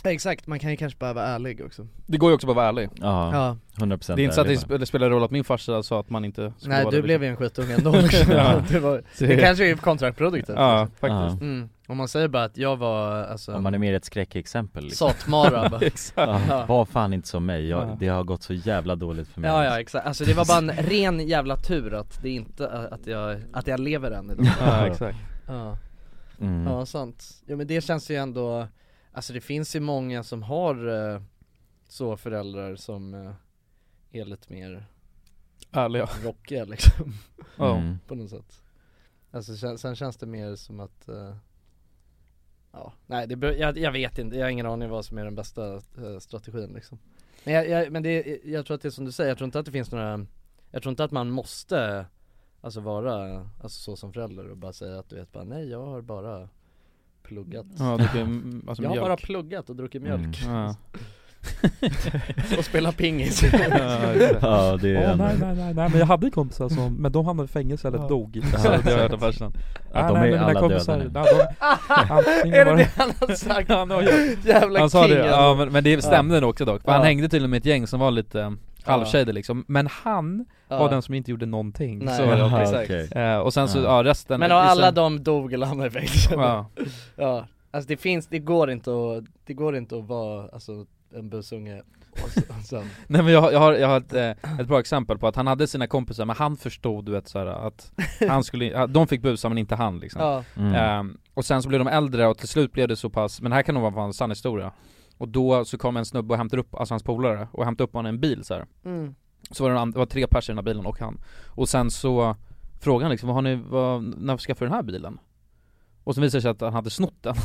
Speaker 2: Exakt, man kan ju kanske bara vara ärlig också
Speaker 1: Det går ju också bara att vara ärlig
Speaker 3: Ja, Ja. 100%
Speaker 1: Det är inte så att det
Speaker 3: ärlig,
Speaker 1: sp- det spelar roll att min farsa sa att man inte skulle
Speaker 2: Nej
Speaker 1: vara
Speaker 2: du
Speaker 1: det,
Speaker 2: blev ju en
Speaker 1: liksom.
Speaker 2: skitunge ändå liksom.
Speaker 1: Ja.
Speaker 2: det, var,
Speaker 1: Så
Speaker 2: det kanske är kontraproduktivt
Speaker 1: Ja,
Speaker 2: liksom.
Speaker 1: faktiskt
Speaker 2: mm. Om man säger bara att jag var alltså
Speaker 3: man är mer ett skräckexempel liksom.
Speaker 2: Satmara bara.
Speaker 3: ja,
Speaker 2: Ja.
Speaker 3: Var fan inte som mig, jag,
Speaker 2: Ja.
Speaker 3: det har gått så jävla dåligt för mig
Speaker 2: Ja ja exakt, alltså det var bara en ren jävla tur att det inte, att jag, att jag lever än idag
Speaker 3: Ja, exakt.
Speaker 2: Ja,
Speaker 3: Mm.
Speaker 2: ja sant. Ja men det känns ju ändå, alltså det finns ju många som har eh, så föräldrar som eh, är lite mer
Speaker 1: Ärliga
Speaker 2: Rockiga liksom,
Speaker 1: Ja. Mm.
Speaker 2: på något sätt Alltså sen, sen känns det mer som att eh, Ja, nej det, be- jag, jag vet inte, jag har ingen aning vad som är den bästa eh, strategin liksom Men, jag, jag, men det, jag tror att det är som du säger, jag tror inte att det finns några Jag tror inte att man måste Alltså vara, alltså så som förälder och bara säga att du vet bara nej jag har bara pluggat
Speaker 1: Ja, druckit, mm, alltså,
Speaker 2: Jag har
Speaker 1: mjölk.
Speaker 2: bara pluggat och druckit mjölk
Speaker 1: Mm. Ja.
Speaker 2: Och spelat pingis
Speaker 3: Mm. Ja, det
Speaker 9: Åh,
Speaker 2: Oh
Speaker 3: är en-
Speaker 9: nej, nej, nej, nej, men jag hade kompisar som, men de hamnade i fängelse eller dog
Speaker 1: Ja,
Speaker 9: Så
Speaker 1: det har jag
Speaker 9: exakt.
Speaker 1: hört av farsan.
Speaker 9: Nej,
Speaker 1: Att de
Speaker 9: nej,
Speaker 1: är
Speaker 9: men mina
Speaker 1: alla
Speaker 9: kompisar,
Speaker 1: döda nu.
Speaker 9: nej, de- antingen
Speaker 2: Är det
Speaker 9: var
Speaker 2: det han har sagt?
Speaker 9: Han har ju-
Speaker 2: Jävla
Speaker 1: Han sa det,
Speaker 2: king,
Speaker 1: ja
Speaker 2: alltså.
Speaker 1: men, men det stämde nog också dock, för han
Speaker 2: Ja.
Speaker 1: hängde tydligen med ett gäng som var lite um,
Speaker 2: Ja.
Speaker 1: halvtjejer liksom, men han
Speaker 2: Ja.
Speaker 1: var den som inte gjorde någonting
Speaker 2: Nej,
Speaker 1: så,
Speaker 2: ja, exakt.
Speaker 1: Eh, Och sen så, ja, resten
Speaker 2: Men
Speaker 1: i-
Speaker 2: av
Speaker 1: sen-
Speaker 2: alla de dog eller hamnade i fängelse
Speaker 1: Ja.
Speaker 2: ja, alltså det finns, det går inte att, det går inte att vara alltså en busunge och så- och sen
Speaker 1: Nej men jag, har- jag har, jag har ett, eh, ett bra exempel på att han hade sina kompisar men han förstod du vet såhär att han skulle, de fick busa men inte han liksom
Speaker 2: Ja. Mm.
Speaker 1: Ehm, Och sen så blev de äldre och till slut blev det så pass, men det här kan nog vara en sann historia Och då så kom en snubbe och hämtade upp, alltså hans polare, och hämtade upp honom i en bil så här.
Speaker 2: Mm.
Speaker 1: Så var det, en an- det var tre pers i den här bilen och han Och sen så frågade han liksom, vad har ni, vad, när skaffade du den här bilen? Och så visade det sig att han hade snott den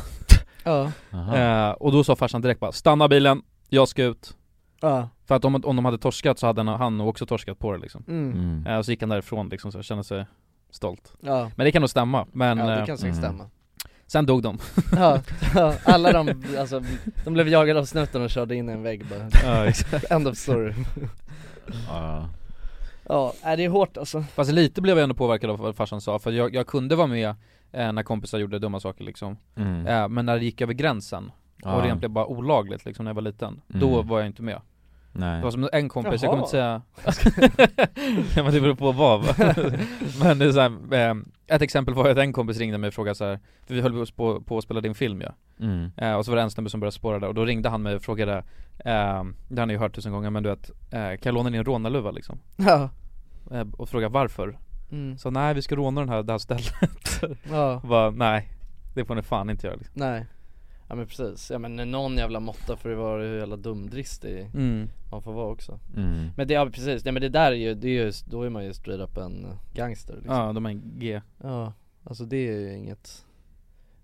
Speaker 2: Ja.
Speaker 1: Eh, och då sa farsan direkt bara, stanna bilen, jag ska ut
Speaker 2: Ja.
Speaker 1: För att om, om de hade torskat så hade han- han nog också torskat på det liksom
Speaker 2: Mm.
Speaker 1: Eh, Och så gick han därifrån liksom så här, kände sig stolt
Speaker 2: Ja.
Speaker 1: Men det kan nog stämma, men
Speaker 2: Ja, det
Speaker 1: eh,
Speaker 2: kan säkert stämma.
Speaker 1: Sen dog de
Speaker 2: Ja, ja, alla de, alltså, de blev jagade av snuten och körde in i en vägg bara
Speaker 1: Ja, exakt.
Speaker 2: End of story
Speaker 3: Ja
Speaker 2: Ja, är det är hårt alltså
Speaker 1: Fast lite blev jag ändå påverkad av vad farsan sa, för jag, jag kunde vara med eh, när kompisar gjorde dumma saker liksom
Speaker 3: Mm.
Speaker 1: eh, Men när det gick över gränsen
Speaker 3: Ja.
Speaker 1: och rent blev bara olagligt liksom när jag var liten,
Speaker 3: Mm.
Speaker 1: då var jag inte med
Speaker 3: Nej.
Speaker 1: Det var som en kompis, jag
Speaker 2: Jaha.
Speaker 1: kommer inte säga ja, men det beror på vad va? Men det är så här, eh, ett exempel var att en kompis ringde mig och frågade så här, för vi höll på, på att spela din film ja.
Speaker 3: Mm.
Speaker 1: eh, Och så var det en snubbe som började spåra där och då ringde han mig och frågade eh, Det har ni ju hört tusen gånger men du vet, eh, kan jag låna din rånarluva liksom?
Speaker 2: Ja.
Speaker 1: Eh, och fråga varför?
Speaker 2: Mm.
Speaker 1: Så nej vi ska råna den här, det här stället
Speaker 2: Ja.
Speaker 1: Bara, nej, det får ni fan inte göra liksom.
Speaker 2: Nej Ja men precis, ja men någon jävla måtta för att vara hur jävla dumdristig
Speaker 1: Mm.
Speaker 2: man får vara också
Speaker 1: Mm.
Speaker 2: Men det, ja precis, nej men det där är ju, det är ju, då är man ju straight up en gangster liksom
Speaker 1: Ja, de är en G
Speaker 2: Ja, alltså det är ju inget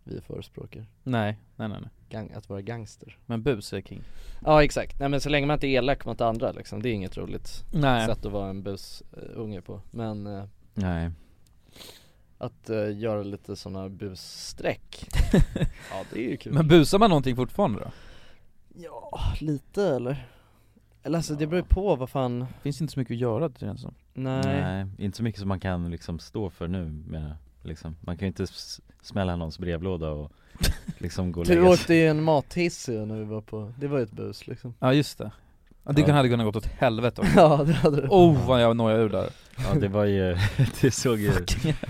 Speaker 2: vi förespråkar
Speaker 1: Nej, nej nej, nej.
Speaker 2: Gang, att vara gangster
Speaker 1: Men bus är king
Speaker 2: Ja exakt, nej men så länge man inte är elak mot andra liksom, det är inget roligt
Speaker 1: Nej.
Speaker 2: sätt att vara en busunge på Men eh,
Speaker 3: Nej
Speaker 2: att eh, göra lite sådana busstreck Ja det är ju kul
Speaker 1: Men busar man någonting fortfarande då?
Speaker 2: Ja, lite eller? Eller alltså det beror ju på vad fan
Speaker 1: Finns inte så mycket att göra det känns som
Speaker 2: Nej.
Speaker 3: inte så mycket som man kan liksom stå för nu menar jag, liksom. Man kan ju inte s- smälla någons brevlåda och liksom gå och
Speaker 2: Du
Speaker 3: lägga sig
Speaker 2: åkte ju en mathiss ju när vi var på, det var ju ett bus liksom
Speaker 1: Ja just det ja, Det
Speaker 3: Ja.
Speaker 1: hade kunnat gått åt helvete också
Speaker 2: Ja, det hade det.
Speaker 1: Oh vad jag nojade ur där
Speaker 3: Ja det var ju, det såg ju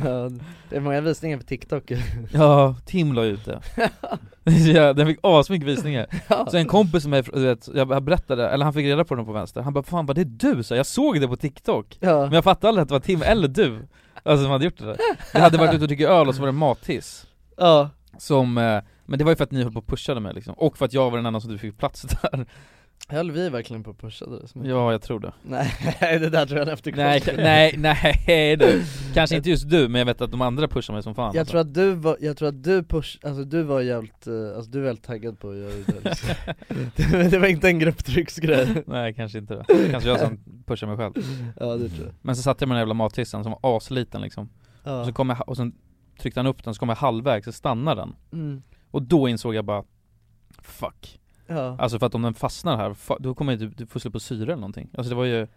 Speaker 2: Ja, Det är många visningar på TikTok ju.
Speaker 1: Ja, Tim la ut det ja, Den fick asmycket visningar Så en kompis som är, du vet, jag berättade, eller han fick reda på den på vänster Han bara 'Fan var det du?' Så jag såg det på TikTok
Speaker 2: Ja.
Speaker 1: Men jag fattade aldrig att det var Tim eller du Alltså som hade gjort det där Det hade varit ute och druckit öl och så var det en mathiss
Speaker 2: Ja
Speaker 1: Som, eh, men det var ju för att ni höll på och pushade mig liksom Och för att jag var den enda som du fick plats där
Speaker 2: Höll vi verkligen på att pusha det? så mycket?
Speaker 1: Ja, jag tror det
Speaker 2: Nej, Mm. det där tror jag är en efterkonst
Speaker 1: Nej, ka- nej, nej du Kanske inte just du, men jag vet att de andra pushar mig som fan alltså.
Speaker 2: Jag tror att du var, jag tror att du push, alltså du var jävligt, eh, alltså du var jävligt taggad på att göra det där, liksom. det, det var inte en grupptrycksgrej
Speaker 1: Nej kanske inte det, Det kanske jag som pushar mig själv
Speaker 2: Ja det tror jag
Speaker 1: Men så satte jag med den jävla mathissen som var asliten liksom
Speaker 2: Ja.
Speaker 1: och, så kom jag, ha- och sen tryckte han upp den, så kom jag halvvägs, så stannade den
Speaker 2: Mm.
Speaker 1: Och då insåg jag bara Fuck
Speaker 2: Ja.
Speaker 1: Alltså för att om den fastnar här, fa- då kommer jag typ, du får slut på syra eller någonting Alltså det var ju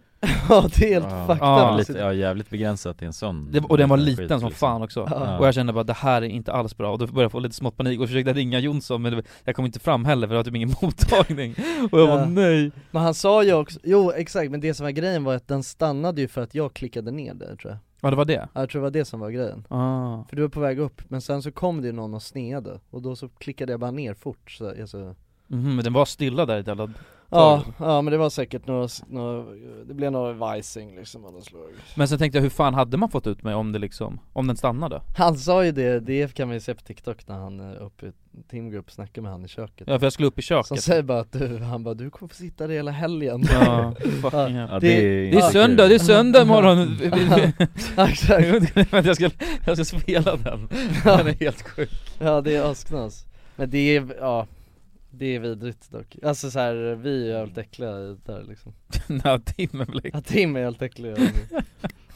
Speaker 2: Ja det är helt fucked
Speaker 1: Ja.
Speaker 2: up.
Speaker 3: lite, ja jävligt begränsat i en sån
Speaker 1: det, och den var
Speaker 3: skit,
Speaker 1: liten som
Speaker 3: liksom.
Speaker 1: fan också,
Speaker 3: Ja.
Speaker 1: och jag kände bara det här är inte alls bra och då började jag få lite smått panik och försökte ringa Jonsson men det, jag kom inte fram heller för det var typ ingen mottagning och jag bara
Speaker 2: Ja.
Speaker 1: nej
Speaker 2: Men han sa ju också, jo exakt men det som var grejen var att den stannade ju för att jag klickade ner där tror jag
Speaker 1: Ja det var det?
Speaker 2: Ja, jag tror det var det som var grejen
Speaker 1: Ah.
Speaker 2: För du var på väg upp, men sen så kom det ju någon och sneade och då så klickade jag bara ner fort så, alltså.
Speaker 1: Mhm, men den var stilla där i ett jävla tag
Speaker 2: Ja, ja men det var säkert några, några det blev några vajsing liksom av något slag
Speaker 1: Men sen tänkte jag hur fan hade man fått ut mig om det liksom, om den stannade?
Speaker 2: Han sa ju det, det kan man ju se på TikTok när han är uppe i teamgroup snackar med han i köket
Speaker 1: Ja, för jag skulle upp i köket.
Speaker 2: Så han säger bara att du, han bara du kommer få sitta där hela helgen
Speaker 1: Ja, fucking hell. Ja, det är- Det är
Speaker 2: ja.
Speaker 1: söndag, det är söndag imorgon.
Speaker 2: Ja, exakt
Speaker 1: Vänta, jag ska, jag ska spela den,
Speaker 2: Ja.
Speaker 1: den är helt sjuk
Speaker 2: Ja det är asknas Men det är, ja Det är vidrigt dock Alltså så här, vi är ju jävligt äckliga i det där liksom
Speaker 1: Ja Tim är väl äcklig.
Speaker 2: Ja Tim är helt äcklig ja.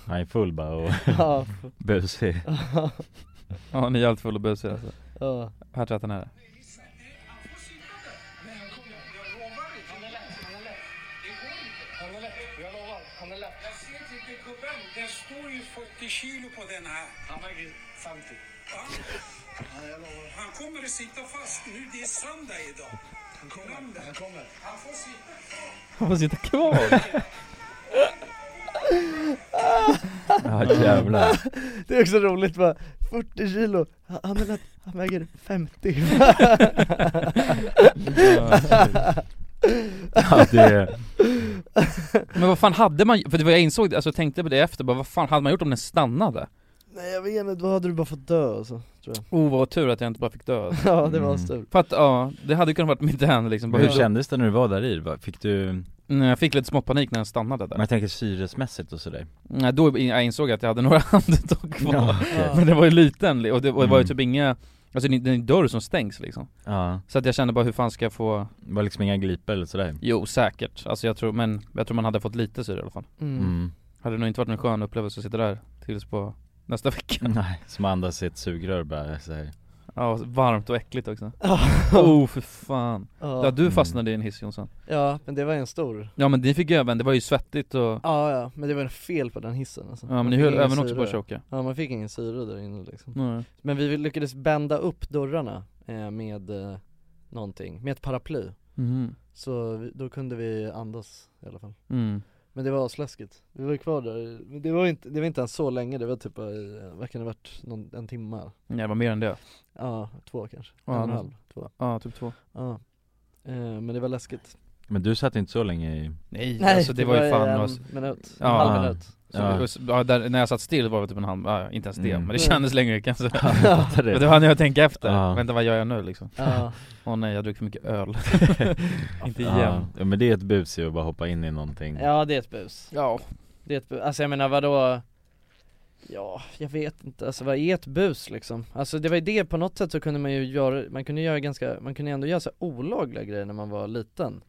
Speaker 3: Han är full bara och
Speaker 2: Ja.
Speaker 3: busig
Speaker 1: Ja ni är allt full och busiga alltså.
Speaker 2: Ja.
Speaker 1: Här tror jag att den är
Speaker 10: Jag ser inte gubben, det står ju 40 kilo på den här. Han väger 50. Han kommer att sitta fast nu, det är söndag idag. Han kommer, han kommer. Han får sitta kvar.
Speaker 1: Han får sitta kvar
Speaker 3: Ja jävlar
Speaker 2: Det är också roligt bara, 40 kilo, han, han är lätt, han väger 50
Speaker 3: Ja det är,
Speaker 1: Men vad fan hade man, för det var jag insåg, det, alltså jag tänkte på det efter bara, vad fan hade man gjort om den stannade?
Speaker 2: Nej jag vet inte, då hade du bara fått dö alltså, tror jag
Speaker 1: Oh vad tur att jag inte bara fick dö alltså.
Speaker 2: Ja det var mm. stor
Speaker 1: För att ja, det hade kunnat varit mitt hand liksom bara,
Speaker 3: hur kändes det när du var där i? Vad- Fick du,
Speaker 1: Nej, jag fick lite smått panik när den stannade där
Speaker 3: men jag tänker syresmässigt och sådär
Speaker 1: Nej då in- jag insåg jag att jag hade några andetag kvar
Speaker 3: Ja, okej.
Speaker 1: Men det var ju liten li- och det, och det var ju
Speaker 3: Mm.
Speaker 1: typ inga, alltså det är en dörr som stängs liksom
Speaker 3: Ja.
Speaker 1: Så att jag kände bara hur fan ska jag få
Speaker 3: Det var liksom inga glipor eller sådär
Speaker 1: Jo säkert, alltså jag tror, men jag tror man hade fått lite syre i alla fall
Speaker 2: Mm.
Speaker 3: Mm.
Speaker 1: Hade nog inte varit en skön upplevelse att sitta där tills på nästa vecka
Speaker 3: Nej, som andas sitt sugrör bara så här.
Speaker 1: Ja, varmt och äckligt också
Speaker 2: Ja.
Speaker 1: Oh för fan
Speaker 2: Ja.
Speaker 1: Ja
Speaker 3: Mm.
Speaker 1: du fastnade i en hiss Jonsson
Speaker 2: Ja, men det var en stor
Speaker 1: Ja men ni fick öven, det var ju svettigt och
Speaker 2: Ja ja, men det var en fel på den hissen alltså.
Speaker 1: Ja, men
Speaker 2: Man
Speaker 1: ni
Speaker 2: fick
Speaker 1: höll
Speaker 2: ingen
Speaker 1: även också på att Mm.
Speaker 2: syre.
Speaker 1: choka.
Speaker 2: Ja man fick ingen syre där inne liksom
Speaker 1: Nej.
Speaker 2: Men vi lyckades bända upp dörrarna eh, med eh, någonting, med ett paraply
Speaker 1: Mhm.
Speaker 2: Så vi, då kunde vi andas i alla fall
Speaker 1: Mm.
Speaker 2: Men det var asläskigt, vi var ju kvar där, i- men det var ju inte, det var inte ens så länge, det var typ, eh, vad kan det ha varit, någon, en timme?
Speaker 1: Nej, det var Mm, mer än det
Speaker 2: Ja, två kanske,
Speaker 1: Ja,
Speaker 2: en och en
Speaker 1: nå-
Speaker 2: halv, två
Speaker 1: Ja typ två
Speaker 2: Ja, eh, men det var läskigt
Speaker 3: Men du satt inte så länge i...
Speaker 1: Nej,
Speaker 2: Nej,
Speaker 1: alltså det,
Speaker 2: det
Speaker 1: var ju
Speaker 2: var
Speaker 1: fan
Speaker 2: en
Speaker 1: alltså-
Speaker 2: minut, en
Speaker 1: ja.
Speaker 2: halv minut.
Speaker 1: Så,
Speaker 3: Ja.
Speaker 1: och s- ja, där, när jag satt still var det typ en halv, ja, inte ens det,
Speaker 3: Mm.
Speaker 1: men det kändes längre kanske
Speaker 3: Ja, jag fattar det.
Speaker 1: Men det var när jag tänkte efter,
Speaker 3: Ja.
Speaker 1: vänta vad gör jag nu liksom?
Speaker 2: Ja.
Speaker 1: Åh nej, jag drack för mycket öl Inte igen
Speaker 3: ja. ja, men det är ett bus ju att bara hoppa in i någonting
Speaker 2: Ja det är ett bus
Speaker 1: Ja
Speaker 2: Det är ett bus, alltså jag menar vadå Ja, jag vet inte, alltså vad är ett bus liksom? Alltså det var ju det, på något sätt så kunde man ju göra, man kunde göra ganska, man kunde ändå göra så här olagliga grejer när man var liten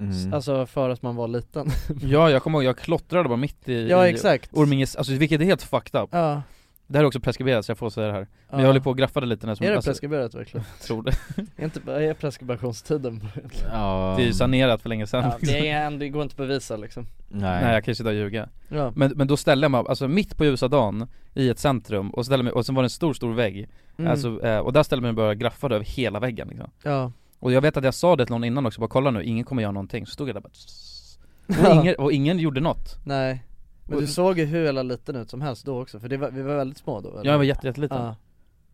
Speaker 1: Mm.
Speaker 2: Alltså för att man var liten
Speaker 1: Ja jag kommer ihåg, jag klottrade bara mitt i
Speaker 2: Ja,
Speaker 1: i
Speaker 2: exakt.
Speaker 1: Orminges, alltså vilket är helt fucked up
Speaker 2: Ja.
Speaker 1: Det här är också preskriberat så jag får säga det här Men
Speaker 2: Ja.
Speaker 1: jag håller på och graffade lite när som,
Speaker 2: Är det
Speaker 1: alltså,
Speaker 2: preskriberat verkligen?
Speaker 1: Tror det
Speaker 2: Är inte, bara- är preskriptionstiden egentligen?
Speaker 1: Det är ju sanerat för länge sedan
Speaker 2: Ja,
Speaker 1: liksom.
Speaker 2: det, är, en- det går inte att bevisa liksom
Speaker 1: Nej. jag kan ju sitta och ljuga
Speaker 2: Ja.
Speaker 1: men, men då ställde jag mig, alltså mitt på ljusa dagen i ett centrum och ställde mig, och sen var det en stor stor vägg
Speaker 2: Mm.
Speaker 1: Alltså, eh, och där ställde jag mig och började graffa över hela väggen liksom.
Speaker 2: Ja.
Speaker 1: Och jag vet att jag sa det till någon innan också, bara kolla nu, ingen kommer göra någonting, så stod jag där bara tss. och, ingen, och ingen gjorde något
Speaker 2: Nej Men du såg ju hur jävla liten ut som helst då också, för det var, vi var väldigt små då eller?
Speaker 1: Ja jag var jätte, jätteliten
Speaker 2: Ja.
Speaker 1: ja.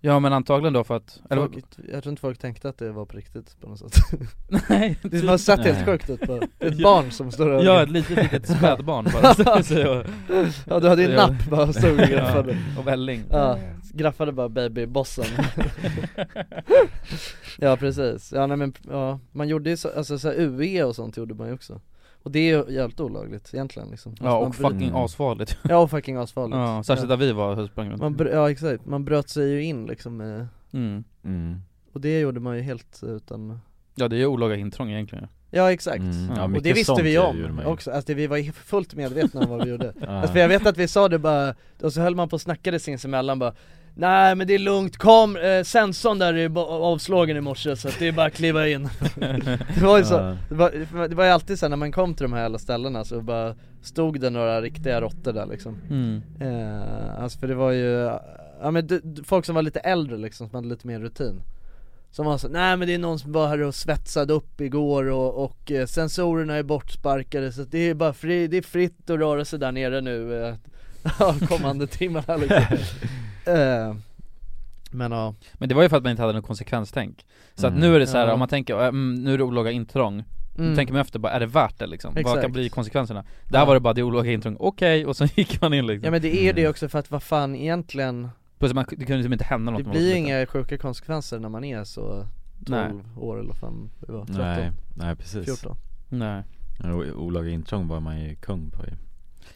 Speaker 1: ja men antagligen då för att, eller,
Speaker 2: Folk, jag tror inte folk tänkte att det var på riktigt på något sätt Nej Det har sett helt sjukt ut bara Ett barn som står och
Speaker 1: typ. Ja, ett litet, litet spädbarn bara. Så jag-
Speaker 2: Ja du hade ju en
Speaker 1: Ja.
Speaker 2: napp bara, stod och graffade
Speaker 1: Ja, och välling.
Speaker 2: Ja,
Speaker 1: Mm.
Speaker 2: graffade bara babybossen Ja precis, ja nej men ja, man gjorde ju så, alltså så här, UE och sånt gjorde man ju också Och det är ju jävligt olagligt egentligen liksom
Speaker 1: Ja,
Speaker 2: Alltså, man
Speaker 1: och
Speaker 2: bryter-
Speaker 1: fucking asfarligt.
Speaker 2: Ja och fucking asfarligt
Speaker 1: Ja, särskilt där vi var och sprang runt.
Speaker 2: man br- Ja exakt, man bröt sig ju in liksom med,
Speaker 1: Mm.
Speaker 3: Mm.
Speaker 2: Och det gjorde man ju helt utan
Speaker 1: ja det är ju olaga intrång egentligen
Speaker 2: Ja exakt,
Speaker 1: Mm. Ja,
Speaker 2: och det
Speaker 1: mycket
Speaker 2: visste
Speaker 1: sånt
Speaker 2: vi
Speaker 1: gör- gjorde
Speaker 2: om
Speaker 1: man ju.
Speaker 2: också, alltså det, vi var ju fullt medvetna om vad vi gjorde
Speaker 1: Ja.
Speaker 2: alltså, för jag vet att vi sa det bara, och så höll man på och snackade sinsemellan bara Nej men det är lugnt, kom, eh, sensorn där är ba- avslagen i morse så att det är bara att kliva in Det var ju så,
Speaker 3: Ja.
Speaker 2: det var, det var ju alltid så här, när man kom till de här alla ställena så bara stod det några riktiga råttor där liksom
Speaker 1: Mm.
Speaker 2: eh, Alltså för det var ju, ja men d- d- folk som var lite äldre liksom, som hade lite mer rutin som var så, nej men det är någon som var här och svetsade upp igår och, och eh, sensorerna är bortsparkade så att det är bara fri, det är fritt att röra sig där nere nu eh, ja, kommande timmarna liksom. eh, Men ja
Speaker 1: Men det var ju för att man inte hade något konsekvenstänk Så att
Speaker 2: Mm.
Speaker 1: nu är det så här,
Speaker 2: Ja.
Speaker 1: om man tänker, "Äh, mm, nu är det olaga intrång
Speaker 2: Mm.
Speaker 1: Då tänker man efter bara, är det värt det liksom? Vad
Speaker 2: Exakt.
Speaker 1: kan bli konsekvenserna? Där
Speaker 2: Ja.
Speaker 1: var det bara, det är olaga intrång, okej, och sen gick man in liksom
Speaker 2: Ja men det är ju det också för att vad fan egentligen
Speaker 1: Plus man, det kunde liksom inte hända något
Speaker 2: Det
Speaker 1: om man var så
Speaker 2: blir
Speaker 1: liten.
Speaker 2: inga sjuka konsekvenser när man är så 12 år eller fan, det var 13,
Speaker 3: Nej, nej precis
Speaker 2: 14
Speaker 1: Nej
Speaker 3: Ja, o- Olaga intrång var man ju kung på ju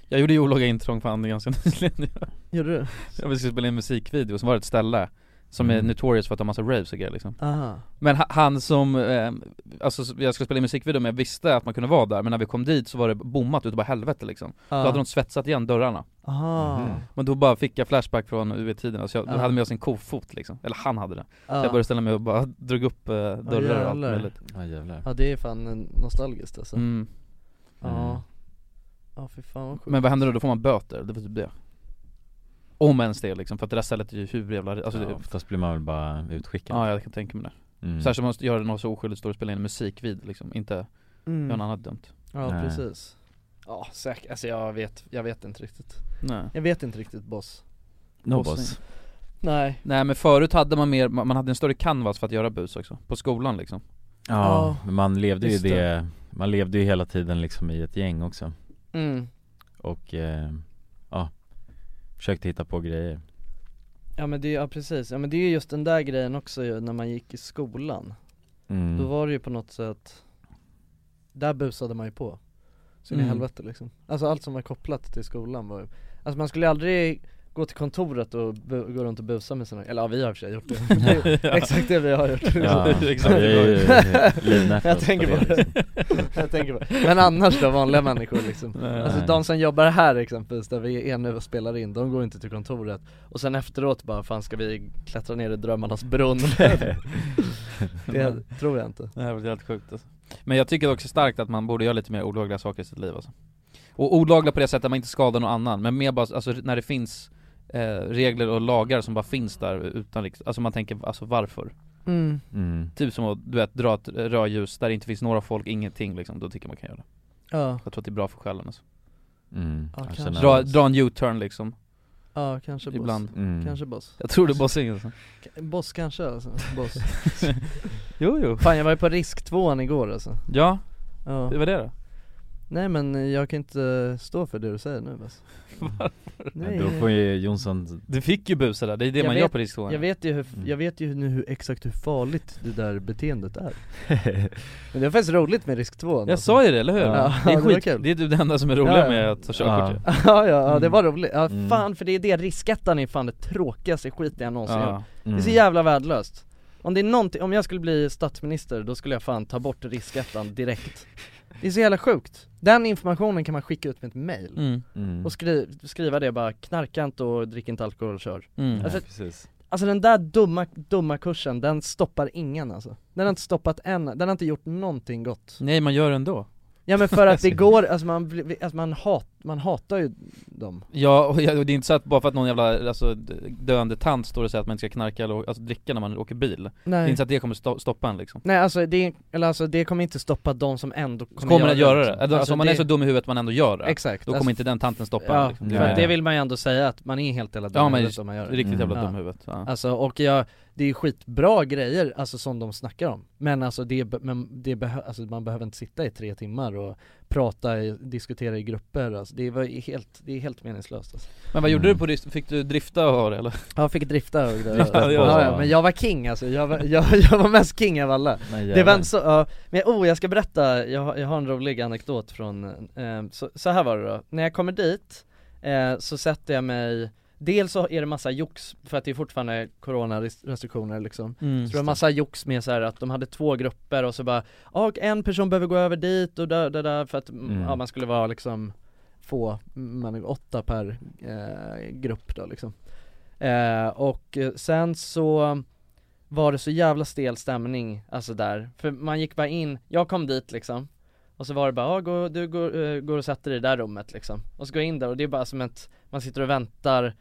Speaker 1: Jag gjorde ju olaga intrång fan ganska nyligen
Speaker 2: Gjorde du?
Speaker 1: Jag skulle spela in en musikvideo, som var det ett ställe Som
Speaker 2: Mm.
Speaker 1: är notorious för att ha massa raves och grejer liksom
Speaker 2: Aha.
Speaker 1: Men ha- han som, eh, alltså s- jag ska spela in musikvideo men jag visste att man kunde vara där Men när vi kom dit så var det bommat utav bara helvete liksom
Speaker 2: Ah.
Speaker 1: Då hade de svetsat igen dörrarna
Speaker 2: Aha. Mhm.
Speaker 1: Men då bara fick jag flashback från UE-tiden, så jag
Speaker 2: Ah.
Speaker 1: då hade med oss en kofot liksom, eller han hade det
Speaker 2: Ah.
Speaker 1: Så jag började ställa mig och bara drog upp eh, dörrar och allt
Speaker 2: jävlar.
Speaker 1: möjligt
Speaker 3: Ja jävlar
Speaker 2: Ja det är fan eh, nostalgiskt alltså
Speaker 1: Mm.
Speaker 2: Ja Ja för fan vad sjukt
Speaker 1: Men vad händer då? Då får man böter, det var typ det Om ens det liksom, för att det där stället är ju hur jävla, alltså
Speaker 3: ja,
Speaker 1: det,
Speaker 3: Oftast blir man väl bara utskickad
Speaker 1: Ja, jag kan tänka mig det.
Speaker 3: Mm.
Speaker 1: Särskilt om man gör något så oskyldigt, står och spelar in musik vid liksom, inte
Speaker 2: Mm.
Speaker 1: gör något annat dumt
Speaker 2: Ja
Speaker 3: Nej.
Speaker 2: precis Ja säkert, alltså jag vet, jag vet inte riktigt
Speaker 1: Nej.
Speaker 2: Jag vet inte riktigt boss
Speaker 3: No
Speaker 1: Bossing.
Speaker 3: boss.
Speaker 2: Nej
Speaker 1: Nej men förut hade man mer, man man hade en större canvas för att göra bus också, på skolan liksom
Speaker 3: Ja, men man levde ju
Speaker 1: just
Speaker 3: det.
Speaker 1: det.
Speaker 3: man levde ju hela tiden liksom i ett gäng också
Speaker 2: Mm.
Speaker 3: Och, eh, ja, försökte hitta på grejer
Speaker 2: Ja men det, ja precis, ja men det är ju just den där grejen också ju, när man gick i skolan
Speaker 3: Mm.
Speaker 2: Då var det ju på något sätt Där busade man ju på Så in i
Speaker 1: Mm.
Speaker 2: helvete liksom Alltså allt som var kopplat till skolan var ju Alltså man skulle aldrig Gå till kontoret och bu- gå runt och busa med sina, eller ja vi har i och för sig gjort det, det är exakt det vi har gjort
Speaker 3: Ja, exakt. Ja, vi är ju livnärt
Speaker 2: Jag
Speaker 3: oss
Speaker 2: tänker på
Speaker 3: på det,
Speaker 2: det, jag tänker på det. Men annars då, vanliga människor liksom
Speaker 3: Nej.
Speaker 2: Alltså de som jobbar här exempelvis, där vi är nu och spelar in, de går inte till kontoret Och sen efteråt bara, fan ska vi klättra ner i drömmarnas brunn? det tror jag inte
Speaker 1: Det här var helt sjukt alltså. Men jag tycker också starkt att man borde göra lite mer olagliga saker i sitt liv alltså. Och olagliga på det sättet att man inte skadar någon annan, men mer bara alltså, när det finns eh, regler och lagar som bara finns där utan liksom, alltså man tänker alltså varför?
Speaker 2: Mm.
Speaker 3: Mm.
Speaker 1: Typ som att du vet, dra ett rödljus där det inte finns några folk, ingenting liksom, då tycker jag man kan göra det.
Speaker 2: Ja.
Speaker 1: Jag tror att det är bra för själen alltså.
Speaker 3: Mm.
Speaker 2: Ja,
Speaker 3: Alltså,
Speaker 2: kanske.
Speaker 1: Dra,
Speaker 3: när-
Speaker 1: dra en U-turn liksom,
Speaker 2: Ja kanske boss,
Speaker 1: ibland.
Speaker 3: Mm.
Speaker 2: kanske boss
Speaker 1: Jag tror det är bossing alltså.
Speaker 2: Boss kanske alltså, boss
Speaker 1: Jo jo.
Speaker 2: Fan jag var ju på risktvåan igår alltså
Speaker 1: Ja,
Speaker 2: Ja.
Speaker 1: det var det då.
Speaker 2: Nej men jag kan inte stå för det du säger nu alltså.
Speaker 3: Men Då får ju Jonsson
Speaker 1: Du fick ju busa där, det är det
Speaker 2: Jag
Speaker 1: man gör
Speaker 2: vet-
Speaker 1: på riskzonen.
Speaker 2: Jag vet ju, hur,
Speaker 1: Mm.
Speaker 2: jag vet ju nu hur, exakt hur farligt det där beteendet är Men det är faktiskt roligt med alltså. risk 2
Speaker 1: Jag sa ju det, eller hur?
Speaker 2: Ja,
Speaker 1: Det är
Speaker 2: det var
Speaker 1: skit,
Speaker 2: kul.
Speaker 1: det är typ det enda som är roliga
Speaker 2: Ja, ja.
Speaker 1: med att ta körkort ju.
Speaker 2: Ja ja, ja det
Speaker 1: Mm.
Speaker 2: var roligt, ja
Speaker 1: Mm.
Speaker 2: fan för det är det, riskettan är fan det tråkigaste skiten jag någonsin
Speaker 1: Ja.
Speaker 2: gjort Det är så
Speaker 1: Mm.
Speaker 2: jävla värdelöst Om det är någonting, om jag skulle bli statsminister då skulle jag fan ta bort riskettan direkt Det är så jävla sjukt, den informationen kan man skicka ut med ett mail
Speaker 1: Mm.
Speaker 3: Mm.
Speaker 2: och skri, skriva det bara, knarka inte och drick inte alkohol och kör
Speaker 1: Mm.
Speaker 2: alltså,
Speaker 3: Nej, precis.
Speaker 2: alltså den där dumma, dumma kursen, den stoppar ingen alltså Den har inte stoppat en, den har inte gjort någonting gott
Speaker 1: Nej man gör det ändå.
Speaker 2: Ja men för att det går, alltså man, blir- alltså man, hat, man hatar ju dem
Speaker 1: Ja, och jag- och det är inte så att bara för att någon jävla alltså, d- döende tant står och säger att man inte ska knarka eller å- alltså, dricka när man åker bil Det är
Speaker 2: Nej.
Speaker 1: inte så att det kommer sto- stoppa en liksom
Speaker 2: Nej alltså det, eller alltså det kommer inte stoppa de som ändå kommer,
Speaker 1: Kommer den göra det?
Speaker 2: liksom.
Speaker 1: Alltså, om man är så dum i huvudet att man ändå gör det
Speaker 2: Exakt,
Speaker 1: Då kommer
Speaker 2: alltså-
Speaker 1: inte den tanten stoppa en
Speaker 2: Ja,
Speaker 1: liksom.
Speaker 2: för det vill man ju ändå säga att man är helt jävla dum
Speaker 1: Ja,
Speaker 2: i
Speaker 1: man är
Speaker 2: huvudet om man gör det
Speaker 1: riktigt jävla
Speaker 2: Mm.
Speaker 1: dum i huvudet, ja.
Speaker 2: Alltså och jag, det är ju skitbra grejer alltså som de snackar om Men alltså det, be- men det behö, alltså, man behöver inte sitta i tre timmar och prata, i, diskutera i grupper alltså, det, var ju helt, det är helt meningslöst alltså.
Speaker 1: Men vad gjorde du på risk? Fick du drifta och ha det eller?
Speaker 2: Ja, jag fick drifta och det
Speaker 1: Drifta
Speaker 2: ja,
Speaker 1: på.
Speaker 2: ja, men jag var king alltså, jag var, jag, jag var mest king av alla
Speaker 1: Nej,
Speaker 2: Det var
Speaker 1: jävlar.
Speaker 2: inte så, ja, men oh jag ska berätta, jag, har- jag har en rolig anekdot från, eh, så, så här var det då, när jag kommer dit eh, så sätter jag mig Dels så är det massa jox, för att det är fortfarande coronarestriktioner liksom
Speaker 1: Mm.
Speaker 2: Så det var massa jox med så här att de hade två grupper och så bara, ja och en person behöver gå över dit och där, där, där för att
Speaker 1: Mm.
Speaker 2: ja, man skulle vara liksom få, man, åtta per eh, grupp då liksom eh, Och eh, sen så var det så jävla stel stämning, alltså där, för man gick bara in, jag kom dit liksom och så var det bara, ja gå, du går, eh, går och sätter dig i det där rummet liksom Och så går jag in där och det är bara som att man sitter och väntar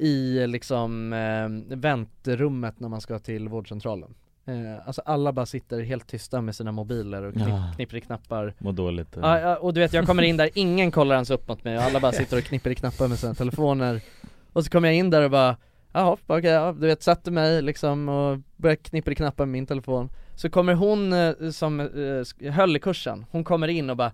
Speaker 2: i liksom eh, väntrummet när man ska till vårdcentralen eh, Alltså alla bara sitter helt tysta med sina mobiler och knipp,
Speaker 3: Ja.
Speaker 2: knipper i knappar
Speaker 3: Mår dåligt eh.
Speaker 2: Ja, ja, och du vet jag kommer in där, ingen kollar ens upp mot mig och alla bara sitter och knipper i knappar med sina telefoner Och så kommer jag in där och bara, jaha okej, ja, du vet satte mig liksom och började knippa i knappar med min telefon Så kommer hon eh, som eh, sk- höll i kursen, hon kommer in och bara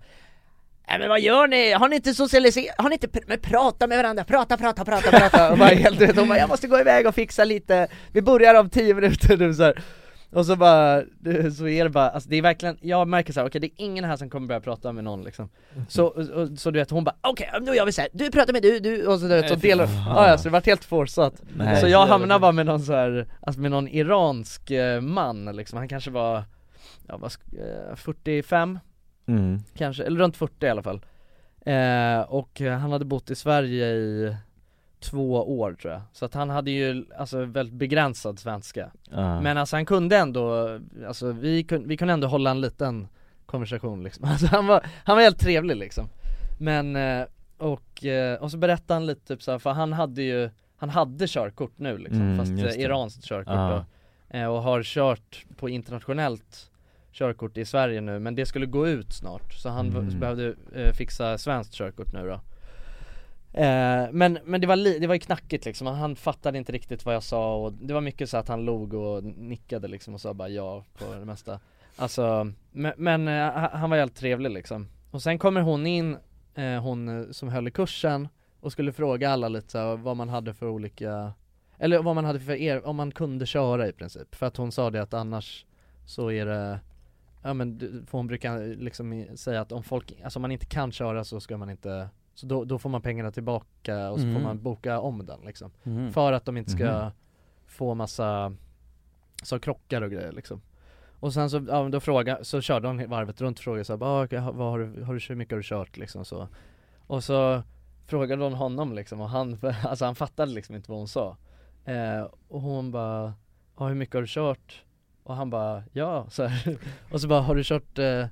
Speaker 2: Nej men vad gör ni? Har ni inte socialiserat? Har ni inte pr- men prata med varandra? Prata, prata, prata, prata! Och bara helt du vet, hon bara 'Jag måste gå iväg och fixa lite, vi börjar om 10 minuter' du så här. Och så bara, så är det bara, alltså det är verkligen, jag märker så här, okej det är ingen här som kommer börja prata med någon liksom
Speaker 1: Mm.
Speaker 2: Så, och, så du vet hon bara, okej nu gör vi så här. du pratar med du, du, och så du vet, och
Speaker 1: Nej, fy
Speaker 2: delar,
Speaker 1: fan.
Speaker 2: ja, ja, så det vart helt forsat
Speaker 1: Nej.
Speaker 2: Så jag hamnade bara med någon så här, alltså med någon iransk eh, man liksom, han kanske var, ja vad, sk- eh, 45
Speaker 3: Mm.
Speaker 2: kanske, eller runt 40 i alla fall eh, Och eh, han hade bott i Sverige i två år tror jag, så att han hade ju alltså väldigt begränsad svenska
Speaker 3: Ja.
Speaker 2: Men alltså han kunde ändå, alltså vi kunde, vi kunde ändå hålla en liten konversation liksom Alltså han var, han var helt trevlig liksom Men, eh, och, eh, och så berättade han lite typ så här, för han hade ju, han hade körkort nu liksom,
Speaker 3: Mm,
Speaker 2: fast
Speaker 3: just
Speaker 2: eh,
Speaker 3: det.
Speaker 2: iranskt körkort
Speaker 3: Ja.
Speaker 2: då eh, Och har kört på internationellt körkort i Sverige nu, men det skulle gå ut snart Så han v-
Speaker 11: Mm.
Speaker 2: behövde eh, fixa svenskt körkort nu då Eh, men, men det var, li- det var ju knackigt liksom, han, han fattade inte riktigt vad jag sa och det var mycket så att han log och nickade liksom och sa bara ja på det mesta Alltså, men, men eh, ha- han var helt trevlig liksom Och sen kommer hon in, eh, hon eh, som höll i kursen och skulle fråga alla lite så här, vad man hade för olika Eller vad man hade för er, om man kunde köra i princip För att hon sa det att annars så är det Ja men du- för hon brukar liksom i- säga att om folk, alltså om man inte kan köra så ska man inte Så då, då får man pengarna tillbaka och så
Speaker 7: Mm.
Speaker 2: får man boka om den liksom
Speaker 7: Mm.
Speaker 2: För att de inte ska
Speaker 7: Mhm.
Speaker 2: få massa, så krockar och grejer liksom och sen så, ja, men då fråga, så körde hon varvet runt och frågade såhär, ah, okej, ha- vad har du, har du, hur mycket har du kört liksom så Och så frågade hon honom liksom och han, alltså han fattade liksom inte vad hon sa eh, Och hon bara, ah, hur mycket har du kört? Och han bara, ja så här. Och så bara, har du kört eh,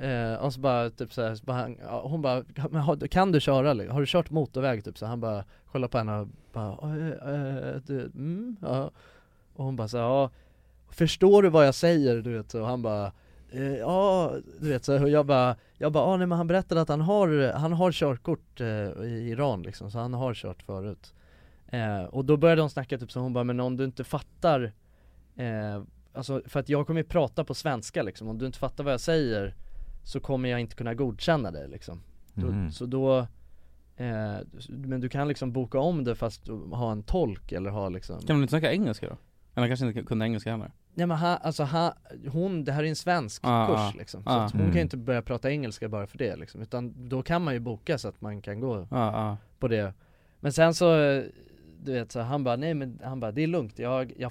Speaker 2: Eh, och så bara typ såhär, så bara, han- ja, hon bara, men har, kan du köra? eller? Har du kört motorväg? Typ så han bara kollar på henne och bara, eh, eh, du, mm, ja. Och hon bara såhär, ja, förstår du vad jag säger? Du vet, så. och han bara, eh, ja, du vet så. här. Och jag bara, jag bara, ah, nej men han berättade att han har, han har körkort eh, i Iran liksom, så han har kört förut. Eh, och då började hon snacka typ så, hon bara, men om du inte fattar eh, Alltså för att jag kommer ju prata på svenska liksom, om du inte fattar vad jag säger Så kommer jag inte kunna godkänna dig liksom
Speaker 3: Mhm.
Speaker 2: då, Så då eh, Men du kan liksom boka om det fast du- ha en tolk eller ha liksom
Speaker 1: Kan man inte snacka engelska då? Eller han kanske inte kunde engelska heller?
Speaker 2: Nej men han, alltså han, hon, det här är en svensk
Speaker 1: Ah,
Speaker 2: kurs
Speaker 1: ah,
Speaker 2: liksom Så
Speaker 1: ah.
Speaker 2: att hon
Speaker 1: Mm.
Speaker 2: kan ju inte börja prata engelska bara för det liksom Utan då kan man ju boka så att man kan gå
Speaker 1: Ja, ja.
Speaker 2: på det Men sen så, eh, du vet så han bara, nej men han bara, det är lugnt, jag, jag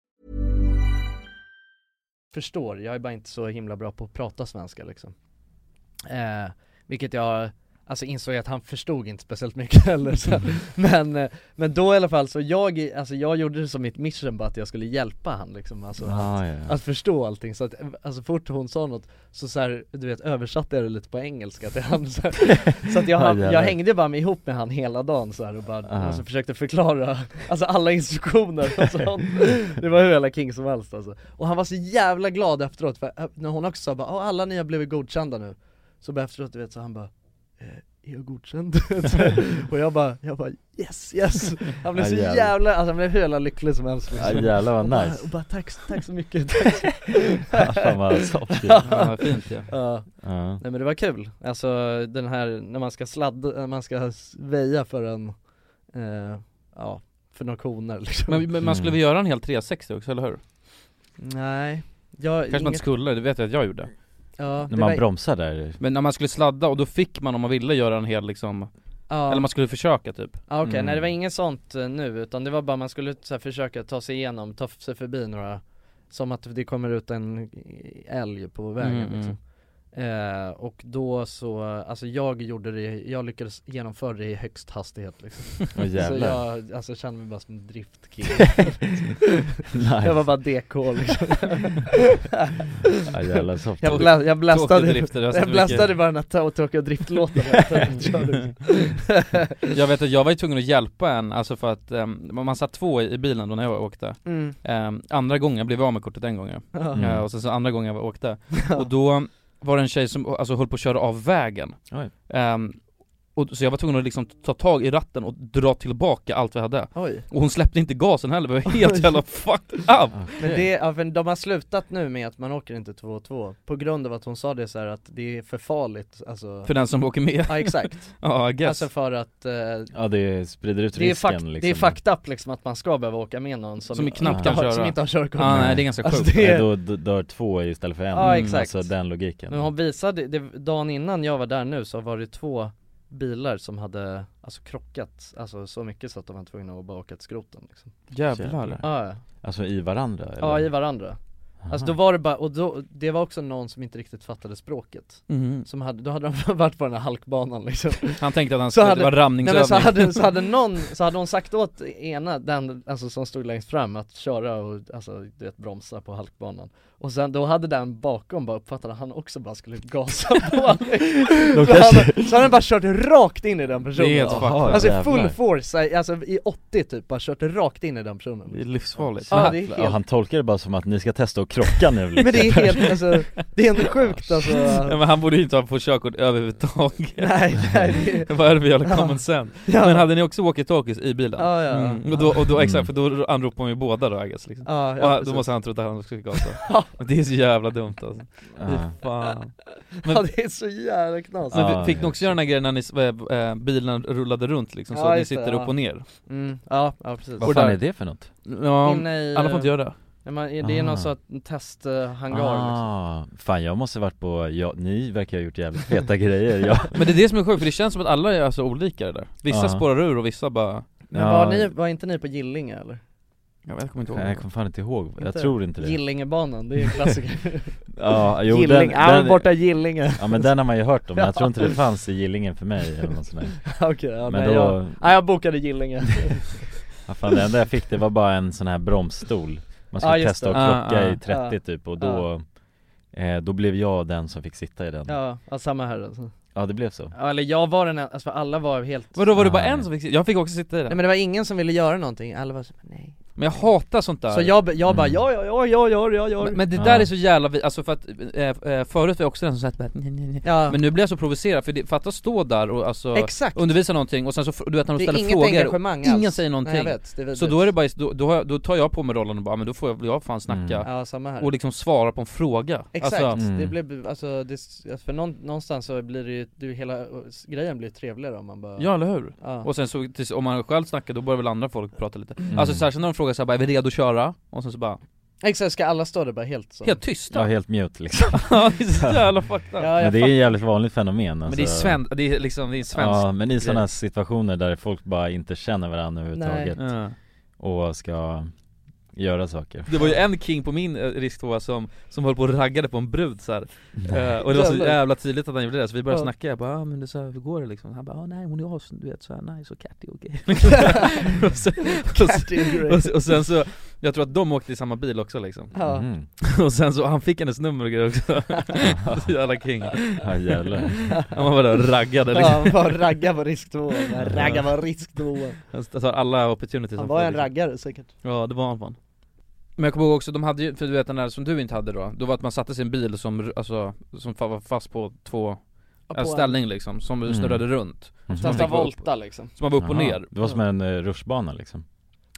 Speaker 2: förstår, jag är bara inte så himla bra på att prata svenska liksom eh, Vilket jag, alltså insåg att han förstod inte speciellt mycket heller så. Men, eh, men då i alla fall så jag, alltså jag gjorde det som mitt mission bara att jag skulle hjälpa han liksom alltså,
Speaker 3: Ah,
Speaker 2: att,
Speaker 3: ja, ja.
Speaker 2: att förstå allting så att, eh, alltså fort hon sa något så, så här, du vet översatte jag det lite på engelska till han så, här. så att jag,
Speaker 3: Ja,
Speaker 2: han,
Speaker 3: jävlar.
Speaker 2: jag hängde bara med, ihop med han hela dagen så här och bara,
Speaker 3: Ah.
Speaker 2: alltså, försökte förklara, alltså alla instruktioner och sånt Det var hur jävla king som helst alltså. Och han var så jävla glad efteråt för eh, när hon också sa bara, "Ja, alla ni har blivit godkända nu Så bara efteråt du vet så han bara "Eh, är jag godkänd? och jag bara, jag bara yes yes! Han blev
Speaker 3: Ja,
Speaker 2: så
Speaker 3: jävlar.
Speaker 2: jävla, alltså han blev hur jävla lycklig som helst liksom.
Speaker 3: Ja, jävlar vad
Speaker 2: och bara,
Speaker 3: nice.
Speaker 2: och bara tack, tack så mycket, tack så
Speaker 3: Ja, fan vad soft ju. Ja, vad fint ju.
Speaker 2: ja.
Speaker 3: Ja.
Speaker 2: Nej men det var kul, alltså den här, när man ska sladda, när man ska s- väja för en, eh, ja, för några koner liksom
Speaker 1: Men, men man skulle väl göra en hel 360 också, eller hur?
Speaker 2: Nej, jag,
Speaker 1: Kanske man inte skulle, det vet jag att jag gjorde
Speaker 2: Ja, När det man var-
Speaker 3: bromsar där
Speaker 1: Men när man skulle sladda och då fick man om man ville göra en hel liksom
Speaker 2: Ja.
Speaker 1: Eller man skulle försöka typ
Speaker 2: Ja Ah, okej,
Speaker 1: Mm.
Speaker 2: nej det var inget sånt eh, nu utan det var bara man skulle så här, försöka ta sig igenom, ta sig förbi några Som att det kommer ut en älg på vägen
Speaker 1: Mm,
Speaker 2: liksom eh, Och då så, alltså jag gjorde det, jag lyckades genomföra det i högst hastighet liksom
Speaker 3: Åh,
Speaker 2: Så
Speaker 3: jävlar.
Speaker 2: jag, alltså kände mig bara som en driftkill
Speaker 3: Nice.
Speaker 2: Jag var bara DK liksom
Speaker 3: Ja, jävlar, så
Speaker 2: Jag,
Speaker 3: tråkigt.
Speaker 2: bla, jag
Speaker 1: Tråkig
Speaker 2: blastade,
Speaker 1: drift, det är
Speaker 2: jag
Speaker 1: så
Speaker 2: blastade
Speaker 1: mycket.
Speaker 2: bara den här ta- tråkiga driftlåten hela tiden. Körde.
Speaker 1: Jag vet att jag var ju tvungen att hjälpa en, alltså för att ehm, man- man satt två i i bilen då när jag åkte
Speaker 2: Mm.
Speaker 1: Ehm, Andra gången, jag blev av med kortet en gång ja.
Speaker 2: Ja.
Speaker 1: Eh, och sen så andra gången jag åkte Och då var det en tjej som alltså, höll på att köra av vägen
Speaker 3: Oj.
Speaker 1: Ehm, och, Så jag var tvungen att liksom ta tag i ratten och dra tillbaka allt vi hade
Speaker 2: Oj.
Speaker 1: Och hon släppte inte gasen heller, vi var helt jävla fucked
Speaker 3: Ah,
Speaker 1: up!
Speaker 2: Men det, ja, för de har slutat nu med att man åker inte 2 och 2 På grund av att hon sa det så här att det är för farligt alltså
Speaker 1: För den som åker med.
Speaker 2: Ja exakt
Speaker 1: Ja, I guess.
Speaker 2: Alltså för att eh,
Speaker 3: Ja det sprider ut
Speaker 2: det, är
Speaker 3: risken
Speaker 2: fakt,
Speaker 3: liksom
Speaker 2: det är fucked up liksom att man ska behöva åka med någon som,
Speaker 1: Som knappt
Speaker 2: inte
Speaker 1: kan
Speaker 2: har,
Speaker 1: köra.
Speaker 2: Som inte har körkort
Speaker 1: Ja, Ah, nej, det mm, är ganska
Speaker 2: Alltså,
Speaker 1: sjukt.
Speaker 2: det är-
Speaker 3: Nej, då d- dör två istället för en,
Speaker 2: Ja, exakt.
Speaker 3: alltså den logiken
Speaker 2: Men hon visade, det, dagen innan jag var där nu så var det två bilar som hade alltså krockat, alltså så mycket så att de var tvungna att bara åka till skroten liksom.
Speaker 3: Jävlar.
Speaker 2: Ja, ja.
Speaker 3: Alltså i varandra eller?
Speaker 2: Ja i varandra Alltså då var det bara, och då, det var också någon som inte riktigt fattade språket
Speaker 1: Mhm.
Speaker 2: Som hade, då hade de varit på den här halkbanan liksom
Speaker 1: Han tänkte att han
Speaker 2: Så
Speaker 1: skulle- det
Speaker 2: hade-
Speaker 1: var ramningsövning.
Speaker 2: Nej, men så hade, så hade någon, så hade hon sagt åt ena, den alltså som stod längst fram att köra och alltså du vet bromsa på halkbanan Och sen då hade den bakom bara uppfattat att han också bara skulle gasa på liksom. så,
Speaker 3: kanske-
Speaker 2: hade, så hade den bara kört rakt in i den personen
Speaker 1: Det är helt fucked up.
Speaker 2: Alltså i full
Speaker 1: Jävlar.
Speaker 2: force, alltså i 80 typ, bara kört rakt in i den personen
Speaker 1: Det är livsfarligt
Speaker 2: Ja det är helt
Speaker 3: han tolkar det bara som att ni ska testa att krocka nu liksom.
Speaker 2: Men det är helt, alltså, det är ändå sjukt alltså
Speaker 1: Ja, men han borde ju inte ha fått körkort överhuvudtaget
Speaker 2: Nej, nej, det-
Speaker 1: Vad är det för jävla
Speaker 2: Ja.
Speaker 1: common sense?
Speaker 2: Ja.
Speaker 1: Men hade ni också walkie-talkies i bilen?
Speaker 2: Ja, ja.
Speaker 1: Mm. Och, då, och då, exakt, för då anropar man ju båda då I guess, liksom.
Speaker 2: Ja, ja,
Speaker 1: Och han- Då
Speaker 2: precis.
Speaker 1: måste han tro att han också ska gasa Men Det är så jävla dumt alltså
Speaker 3: Ja.
Speaker 1: Fy fan
Speaker 2: Ja det är så jävla knas
Speaker 1: Men fick ni också göra den här grejen när ni, s- eh, eh, bilen rullade runt liksom, så
Speaker 2: Ja,
Speaker 1: att ni
Speaker 2: just det,
Speaker 1: sitter
Speaker 2: ja.
Speaker 1: upp och ner?
Speaker 2: Mm, ja, ja precis
Speaker 3: Vad fan är det för något?
Speaker 1: Ja, alla får inte
Speaker 2: eh,
Speaker 1: göra det
Speaker 2: ja, man, Det är
Speaker 3: Ah.
Speaker 2: någon sorts testhangar liksom.
Speaker 3: ah, Fan jag måste ha varit på, ja, ni verkar ha gjort jävligt feta grejer, jag
Speaker 1: Men det är det som är sjukt, för det känns som att alla är alltså olika det där Vissa
Speaker 3: Ja.
Speaker 1: spårar ur och vissa bara
Speaker 2: Men var, ni, var inte ni på Gillinge eller?
Speaker 1: Jag vet, jag kommer inte
Speaker 3: Nej,
Speaker 1: ihåg
Speaker 3: jag kommer fan inte ihåg, jag
Speaker 2: Inte?
Speaker 3: tror inte det
Speaker 2: Gillingebanan, det är en klassiker
Speaker 3: Ja, jo,
Speaker 2: Gilling,
Speaker 3: den,
Speaker 2: ja,
Speaker 3: den,
Speaker 2: borta Gillinge
Speaker 3: Ja men den har man ju hört om, men jag tror inte det
Speaker 2: Ja.
Speaker 3: fanns i Gillingen för mig eller något sånt där
Speaker 2: Okej, ja,
Speaker 3: Men
Speaker 2: nej,
Speaker 3: då-
Speaker 2: jag, nej, jag bokade Gillinge
Speaker 3: ja, fan, det enda jag fick det var bara en sån här bromsstol Man skulle
Speaker 2: Ja, just
Speaker 3: testa att
Speaker 2: det. Ah,
Speaker 3: krocka
Speaker 2: ah.
Speaker 3: i 30 typ och då, eh, då blev jag den som fick sitta i den Ja,
Speaker 2: Ja, ja samma här alltså.
Speaker 3: det blev så
Speaker 2: Ja, eller jag var den en- alltså för alla var helt
Speaker 1: Vadå var det bara en som fick sitta? Jag fick också sitta i
Speaker 2: Nej
Speaker 1: den
Speaker 2: men det var ingen som ville göra någonting, alla var så, nej
Speaker 1: Men jag hatar sånt där Mm.
Speaker 2: Så jag, jag bara, ja ja ja ja ja ja ja
Speaker 1: Men, men det
Speaker 2: Ja.
Speaker 1: där är så jävla, vi- alltså för att, eh, eh, förut var jag också den som satt bara, nej, nej, nej.
Speaker 2: Ja.
Speaker 1: Men nu blir jag så provocerad, för det, fatta att stå där och alltså
Speaker 2: Exakt.
Speaker 1: undervisa någonting och sen så, fr- du vet när de
Speaker 2: Det är
Speaker 1: ställer
Speaker 2: inget
Speaker 1: frågor,
Speaker 2: engagemang
Speaker 1: och ingen
Speaker 2: alls.
Speaker 1: säger någonting
Speaker 2: Nej, jag vet, det är
Speaker 1: Så
Speaker 2: vidrigt.
Speaker 1: då är det bara, då, då, har jag- då tar jag på mig rollen och bara, men då får jag, jag fan snacka
Speaker 2: Ja, samma här.
Speaker 1: och liksom svara på en fråga
Speaker 2: Exakt,
Speaker 1: Alltså,
Speaker 2: det blev, alltså, det, för någon, någonstans så blir det ju, du, hela grejen blir trevligare om man bara
Speaker 1: Ja eller hur?
Speaker 2: Ja.
Speaker 1: Och sen så, tills- om man själv snackar då börjar väl andra folk prata lite
Speaker 2: Mm.
Speaker 3: Mm.
Speaker 1: Alltså särskilt när de frågar såhär bara, är vi redo att köra? Och sen så bara,
Speaker 2: Exakt, ska alla stå där bara helt så?
Speaker 1: helt tysta
Speaker 3: Ja helt mute liksom
Speaker 1: Ja det är så jävla fucked up
Speaker 2: Ja, jag
Speaker 3: Men det är ett jävligt vanligt fenomen
Speaker 1: Men
Speaker 3: alltså.
Speaker 1: det är sven, det är liksom, det är en svensk
Speaker 3: Ja men i
Speaker 1: grej.
Speaker 3: sådana situationer där folk bara inte känner varandra överhuvudtaget
Speaker 1: Nej. Ja.
Speaker 3: och ska göra saker
Speaker 1: Det var ju en king på min eh, rikstvåa som, som höll på och raggade på en brud så här. Eh, och det var så
Speaker 11: Jävlar.
Speaker 1: jävla tydligt att han gjorde det, så vi började
Speaker 11: Ja.
Speaker 1: snacka, jag bara ah, men det är så här, hur går det liksom? Han bara ah, nej hon är as, du vet såhär nice och catty och gay och, så, och,
Speaker 11: Catty and
Speaker 1: så,
Speaker 11: grey.
Speaker 1: och, så, och sen så, jag tror att de åkte i samma bil också liksom
Speaker 11: Ja.
Speaker 3: Mhm.
Speaker 1: Och sen så, han fick hennes nummer och grejer också Så jävla king
Speaker 3: Ja, jävlar.
Speaker 1: Han var där och raggade
Speaker 2: Ja,
Speaker 1: liksom
Speaker 2: han var ragga på risknivån, ragga på risknivån
Speaker 1: Han tar alla opportunities
Speaker 2: Han
Speaker 1: han
Speaker 2: var
Speaker 1: får,
Speaker 2: en
Speaker 1: liksom.
Speaker 2: raggare säkert
Speaker 1: Ja det var han fan Men jag kommer ihåg också, de hade ju, för du vet den där som du inte hade då Då var att man satte sin bil som, alltså, som fa- var fast på två
Speaker 2: Ja,
Speaker 1: ja,
Speaker 2: på en.
Speaker 1: ställning liksom, som
Speaker 3: Mm.
Speaker 1: snurrade runt
Speaker 3: Mhm.
Speaker 1: Så man
Speaker 3: Testa
Speaker 1: fick vara upp-
Speaker 2: volta, liksom.
Speaker 1: Så man var upp och
Speaker 3: Jaha,
Speaker 1: ner
Speaker 3: Det var som en uh, rutschbana liksom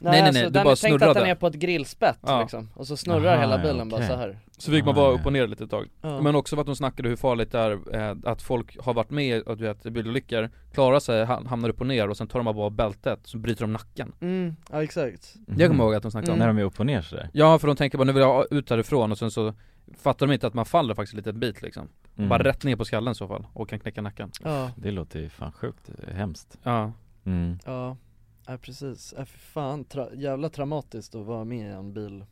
Speaker 1: Nej, nej, nej,
Speaker 2: alltså,
Speaker 1: du
Speaker 2: den-
Speaker 1: bara
Speaker 2: Tänk dig att den
Speaker 1: snurrade.
Speaker 2: är på ett grillspett
Speaker 1: Ja.
Speaker 2: liksom, och så snurrar
Speaker 1: Aha,
Speaker 2: hela
Speaker 1: ja,
Speaker 2: bilen bara
Speaker 1: okej.
Speaker 2: så här.
Speaker 1: Så fick man vara upp och ner lite ett tag
Speaker 2: Ja.
Speaker 1: Men också att de snackade hur farligt det är eh, att folk har varit med i- att du vet, i bilolyckor Klarar sig, ha- hamnar upp och ner och sen tar de bara av bältet, så bryter de nacken
Speaker 3: Mhm.
Speaker 2: Mm, ja exakt
Speaker 1: Jag kommer ihåg att de snackade om
Speaker 3: Mm.
Speaker 2: Mm.
Speaker 3: När de är upp och ner sådär
Speaker 1: Ja för de tänker bara nu vill jag ut härifrån och sen så Fattar de inte att man faller faktiskt lite bit liksom
Speaker 3: Mm.
Speaker 1: Bara rätt ner på skallen i så fall och kan knäcka nacken
Speaker 2: Ja.
Speaker 3: Det låter ju fan sjukt eh, hemskt
Speaker 1: Ja
Speaker 3: mm.
Speaker 2: Ja, ja precis, ja, för fan, tra- jävla traumatiskt att vara med i en bil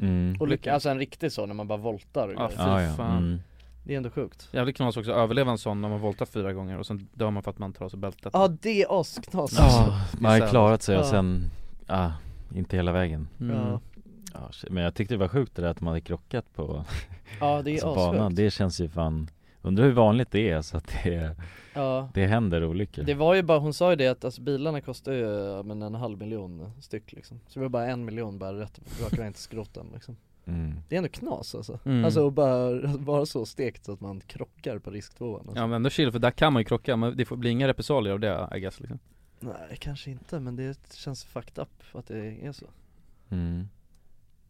Speaker 3: Mm.
Speaker 2: och lycka, alltså en riktig så när man bara voltar och
Speaker 1: Ja,
Speaker 2: grejer.
Speaker 1: fy Ja, ja, fan. mm.
Speaker 2: Det är ändå sjukt
Speaker 1: Jävligt knas också att överleva en sån när man voltar fyra gånger och sen dör man för att man tar av sig bältet
Speaker 2: Ja det är asknas
Speaker 3: Ja,
Speaker 2: Alltså, Det
Speaker 3: man
Speaker 2: är
Speaker 3: har
Speaker 2: sad.
Speaker 3: klarat sig och
Speaker 2: Ja.
Speaker 3: sen, ah, inte hela vägen
Speaker 2: Mm. Ja.
Speaker 3: Ja, shit. Men jag tyckte det var sjukt det där att man hade krockat på alltså,
Speaker 2: Ja, det är
Speaker 3: banan,
Speaker 2: assjukt.
Speaker 3: det känns ju fan Undrar hur vanligt det är så att det,
Speaker 2: Ja.
Speaker 3: det händer olyckor
Speaker 2: Det var ju bara, hon sa ju det att alltså, bilarna kostar ju ja, men en halv miljon styck liksom Så det var bara en miljon bara rätt raka vägen till skrotten liksom Det är ändå knas alltså,
Speaker 1: Mm.
Speaker 2: alltså att bara vara så stekt så att man krockar på risktvåan alltså.
Speaker 1: Ja men ändå chill för där kan man ju krocka men det får bli inga repressalier av det I guess liksom
Speaker 2: Nej kanske inte men det känns fucked up att det är så
Speaker 3: mm.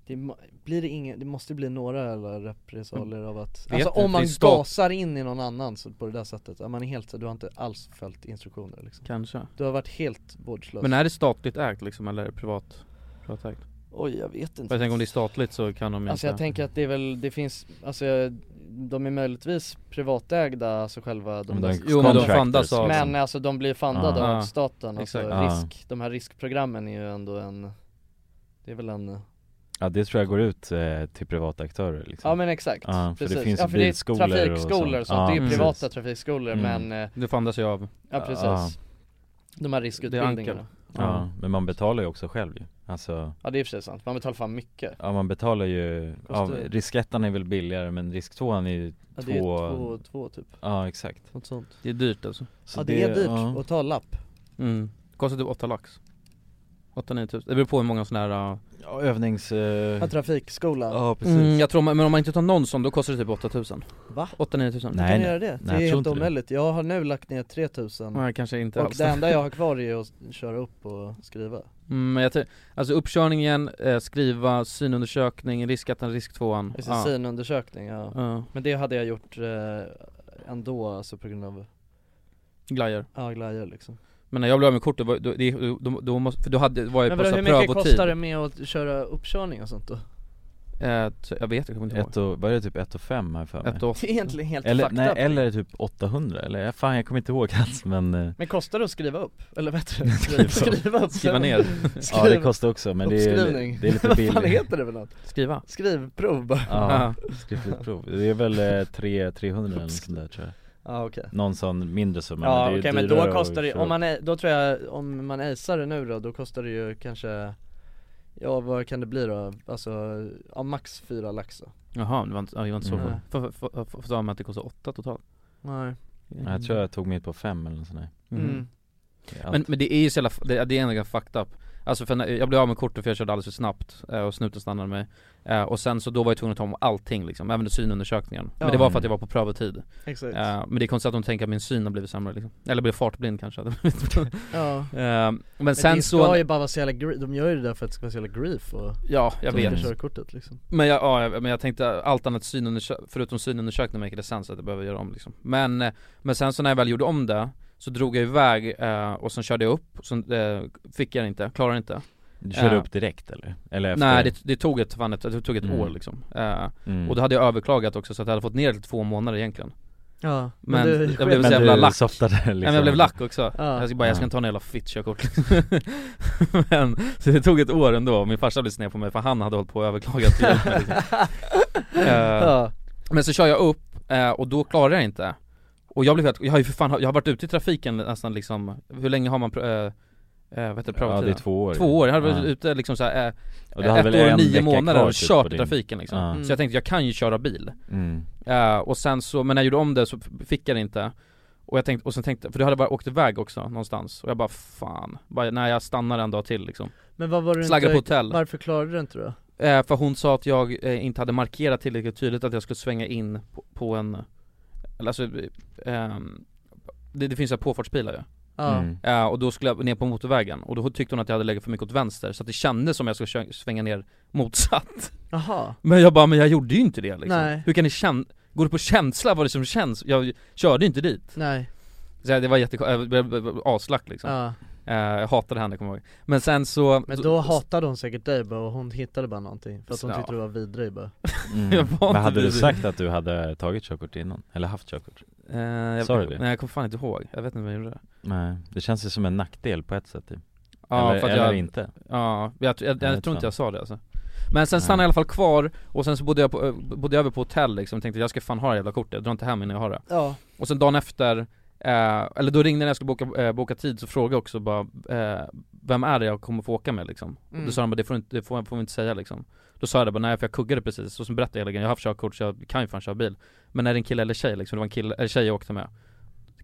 Speaker 2: det, må- blir det, ingen, det måste bli några eller repressalier av att
Speaker 1: Mm. Vet
Speaker 2: Alltså
Speaker 1: inte,
Speaker 2: om man
Speaker 1: det är stat-
Speaker 2: gasar in i någon annan så, på det där sättet, att man är helt, du har inte alls följt instruktioner liksom
Speaker 1: Kanske
Speaker 2: Du har varit helt vårdslös
Speaker 1: Men är det statligt ägt liksom eller är det privat? Privatägt?
Speaker 2: Oj jag vet inte
Speaker 1: För jag tänker om det är statligt så kan de ju
Speaker 2: Alltså jag tänker att det är väl, det finns, alltså jag- de är möjligtvis privatägda, alltså själva de
Speaker 1: Men de
Speaker 2: där
Speaker 1: är Jo, men de fundas av-
Speaker 3: liksom-
Speaker 2: Men alltså de blir fundade
Speaker 1: Ja.
Speaker 2: av staten, alltså
Speaker 1: Exakt.
Speaker 3: Ja.
Speaker 2: risk, de här riskprogrammen är ju ändå en Det är väl en
Speaker 3: Ja det tror jag går ut eh, till privata aktörer liksom
Speaker 2: Ja men exakt,
Speaker 3: ja, för det
Speaker 2: precis.
Speaker 3: finns
Speaker 2: ja,
Speaker 3: ju
Speaker 2: för det är
Speaker 3: bilskolor och
Speaker 2: trafikskolor och sånt, det är ju
Speaker 3: precis.
Speaker 2: privata trafikskolor
Speaker 3: Mm.
Speaker 2: men, eh,
Speaker 1: Det fandas ju av
Speaker 2: ja precis
Speaker 3: Ja.
Speaker 2: De här riskutbildningarna
Speaker 3: ja. men man betalar ju också själv ju Alltså,
Speaker 2: Ja det är i och för sig sant, man betalar fan mycket
Speaker 3: ja man betalar ju, ja,
Speaker 2: Kostar-
Speaker 3: risk ettan är väl billigare men risk tvåan är ju
Speaker 2: Ja, det är
Speaker 3: två,
Speaker 2: två, två typ
Speaker 3: Ja exakt
Speaker 2: Något sånt
Speaker 1: Det är dyrt alltså
Speaker 3: Så
Speaker 2: Ja det, är dyrt,
Speaker 3: ja.
Speaker 2: att ta lapp
Speaker 1: Mm, kostar typ 8 lax 8-9 tusen, det beror på hur många sådana här uh,
Speaker 3: Ja, övnings... eh,
Speaker 2: Ja, trafikskola.
Speaker 3: Ja,
Speaker 1: Mm, jag tror, men om man inte tar någon sån, då kostar det typ 8000
Speaker 2: Va?
Speaker 1: 8-9 tusen
Speaker 2: Nej, kan göra det? det är helt omöjligt. Jag har nu lagt ner 3000
Speaker 1: Nej, kanske inte
Speaker 2: Och
Speaker 1: alls.
Speaker 2: det enda jag har kvar är att köra upp och skriva
Speaker 1: Mm, men jag tror, alltså uppkörningen, eh, skriva, synundersökning, riskettan, risktvåan
Speaker 2: Just ja. synundersökning, ja.
Speaker 1: Ja.
Speaker 2: Men det hade jag gjort eh, ändå alltså på grund av
Speaker 1: Glajer
Speaker 2: ja, glajjor liksom
Speaker 1: Men när jag blev av med kortet, var- då, det- då, då, då måste, för då hade, var jag
Speaker 2: Men
Speaker 1: på
Speaker 2: vadå,
Speaker 1: så
Speaker 2: hur
Speaker 1: här
Speaker 2: mycket
Speaker 1: prövotid
Speaker 2: kostar det med att köra uppkörning och sånt då?
Speaker 1: Eh, t- Jag vet, jag kommer inte ihåg
Speaker 3: Ett och, vad är det typ 1 och 5 här för mig?
Speaker 1: Ett och
Speaker 2: Det är egentligen helt
Speaker 3: eller,
Speaker 2: fucked
Speaker 3: nej,
Speaker 2: up.
Speaker 3: eller typ 800 eller, ja, fan jag kommer inte ihåg alls men eh,
Speaker 2: Men kostar det att skriva upp? Eller vad heter det? Skriva, skriva upp?
Speaker 3: Skriva ner. Ja, det kostar också, men det är-
Speaker 2: Uppskrivning.
Speaker 3: det är lite
Speaker 2: Vad fan
Speaker 3: billigt.
Speaker 2: heter det för något?
Speaker 1: Skriva
Speaker 2: Skrivprov bara
Speaker 3: Ja, skriftligt prov. Det är väl eh, tre- 300 eller något sånt där tror jag
Speaker 2: Ja, okej.
Speaker 3: Någon sån mindre summa
Speaker 2: Ja
Speaker 3: det är
Speaker 2: okej
Speaker 3: ju
Speaker 2: men
Speaker 3: dyrare
Speaker 2: då
Speaker 3: att
Speaker 2: kostar det,
Speaker 3: köra.
Speaker 2: om man, är- då tror jag, om man acear det nu då, då kostar det ju kanske Ja vad kan det bli då? Alltså, ja max fyra lax då.
Speaker 1: Jaha, det var inte, ja, det var inte så
Speaker 2: Mm.
Speaker 1: mm. För för- för- för- för mig att det kostar 8 totalt
Speaker 2: Nej
Speaker 3: Ja, Jag tror jag tog mitt på 5 eller något sånt där
Speaker 1: Mm.
Speaker 3: Det är allt.
Speaker 1: Men, men det är ju så jävla, det, det är ändå ganska fucked up Alltså för när, jag blev av med kortet för jag körde alldeles för snabbt eh, och snuten stannade mig Eh, Och sen så då var jag tvungen att ta om allting liksom, även synundersökningen
Speaker 2: Ja.
Speaker 1: Men det var för att
Speaker 2: Mm.
Speaker 1: jag var på prövotid
Speaker 2: Exakt.
Speaker 1: Eh, Men det är konstigt att de tänker att min syn har blivit sämre liksom Eller blev fartblind kanske
Speaker 2: Ja.
Speaker 1: Eh, Men, sen
Speaker 2: det
Speaker 1: så
Speaker 2: ska ju bara vara så jävla gre- de gör ju det där för att det ska vara så jävla grief och
Speaker 1: Ja, jag
Speaker 2: ta
Speaker 1: vet.
Speaker 2: bort körkortet liksom
Speaker 1: Men jag, ja, jag- men jag tänkte allt annat synundersö- förutom synundersökning make det sens att jag behöver göra om liksom. Men, eh, men sen så när jag väl gjorde om det så drog jag iväg eh, och sen körde jag upp, och sen eh, fick jag det inte, klarade det inte
Speaker 3: Du körde
Speaker 1: Eh,
Speaker 3: upp direkt eller? Eller efter?
Speaker 1: Nej det, det tog ett, fan, ett, det tog ett
Speaker 3: Mm.
Speaker 1: år liksom eh,
Speaker 3: Mm. Liksom
Speaker 1: Och då hade jag överklagat också så att jag hade fått ner det till två månader egentligen
Speaker 2: Ja, men
Speaker 1: Men,
Speaker 2: du-
Speaker 1: jag blev
Speaker 3: Men
Speaker 1: så jävla
Speaker 3: du
Speaker 1: lack
Speaker 3: softade
Speaker 1: Nej, men
Speaker 3: liksom.
Speaker 1: jag blev lack också
Speaker 2: Ja.
Speaker 1: Jag ska bara, jag ska
Speaker 2: Ja.
Speaker 1: inte ha några jävla fitt-körkort Men, så det tog ett år ändå, min farsa blev sned på mig för han hade hållit på och överklagat till hjälp mig, liksom. Eh,
Speaker 2: Ja.
Speaker 1: Men så kör jag upp eh, och då klarar jag inte Och jag blev helt, jag har ju för fan, jag har varit ute i trafiken nästan liksom Hur länge har man pr- eh, Eh, vad heter det,
Speaker 3: Ja, det är
Speaker 1: prövotiden?
Speaker 3: två år.
Speaker 1: Två år, jag hade varit
Speaker 3: Ja.
Speaker 1: ute liksom såhär, eh,
Speaker 3: Och du hade
Speaker 1: ett
Speaker 3: väl
Speaker 1: år
Speaker 3: en
Speaker 1: och nio
Speaker 3: vecka
Speaker 1: månader
Speaker 3: kvar
Speaker 1: och
Speaker 3: typ
Speaker 1: kört
Speaker 3: på
Speaker 1: i
Speaker 3: din-
Speaker 1: trafiken liksom.
Speaker 3: Ja.
Speaker 2: Mm.
Speaker 1: Så jag tänkte, jag kan ju köra bil
Speaker 3: Mm.
Speaker 1: Eh, Och sen så, men när jag gjorde om det så f- fick jag det inte och jag tänkte, och sen tänkte, för du hade jag bara åkt iväg också någonstans och jag bara fan, bara, nej jag stannar en dag till liksom
Speaker 2: Men vad var du
Speaker 1: Slaggade
Speaker 2: inte,
Speaker 1: på hotell
Speaker 2: varför klarade du inte då?
Speaker 1: Eh, för hon sa att jag eh, inte hade markerat tillräckligt tydligt att jag skulle svänga in på, på en, eller alltså, ehm, det, det finns ju påfartspilar ju
Speaker 2: Ja. Mm.
Speaker 1: eh, Och då skulle jag ner på motorvägen och då tyckte hon att jag hade legat för mycket åt vänster så att det kändes som jag skulle kö- svänga ner motsatt
Speaker 2: Jaha.
Speaker 1: Men jag bara, men jag gjorde ju inte det liksom
Speaker 2: Nej.
Speaker 1: Hur kan det känna, går det på känsla vad det som känns? Jag körde ju inte dit
Speaker 2: Nej
Speaker 1: så det var jättekonstigt, jag blev aslack liksom
Speaker 2: Ja.
Speaker 1: eh, Jag hatade henne kommer jag ihåg Men sen så
Speaker 2: Men då hatade hon säkert dig bara och hon hittade bara någonting för att hon
Speaker 1: Ja.
Speaker 2: tyckte du var vidrig bara
Speaker 3: Mm.
Speaker 1: Jag var
Speaker 3: Men
Speaker 1: inte
Speaker 3: hade du
Speaker 1: vidrig.
Speaker 3: sagt att du hade tagit körkort innan? Eller haft körkort?
Speaker 1: Eh, jag,
Speaker 3: Sa du det?
Speaker 1: Nej jag kommer fan inte ihåg, jag vet inte vad jag gjorde
Speaker 3: Nej, det känns ju som en nackdel på ett sätt typ.
Speaker 1: Ja,
Speaker 3: eller,
Speaker 1: för att
Speaker 3: eller
Speaker 1: jag,
Speaker 3: inte
Speaker 1: Ja, jag, jag, jag,
Speaker 3: Jag vet
Speaker 1: tror inte
Speaker 3: fan.
Speaker 1: jag sa det alltså Men sen stannade jag i alla fall kvar, och sen så bodde jag, på, eh, bodde jag över på hotell liksom, tänkte jag ska fan ha det jävla kortet, jag drar inte hem innan jag har det
Speaker 2: Ja.
Speaker 1: Och sen dagen efter, eh, eller då ringde jag när jag skulle boka, eh, boka tid, så frågade jag också bara eh, Vem är det jag kommer få åka med liksom? Och
Speaker 2: Mm.
Speaker 1: då sa de bara det får, du inte, det får, får vi inte säga liksom Då sa jag det bara nej för jag kuggade precis, och sen berättade jag hela grejen, jag har haft körkort så jag kan ju fan köra bil Men är det en kille eller tjej liksom? Det var en kille, eller tjej jag åkte med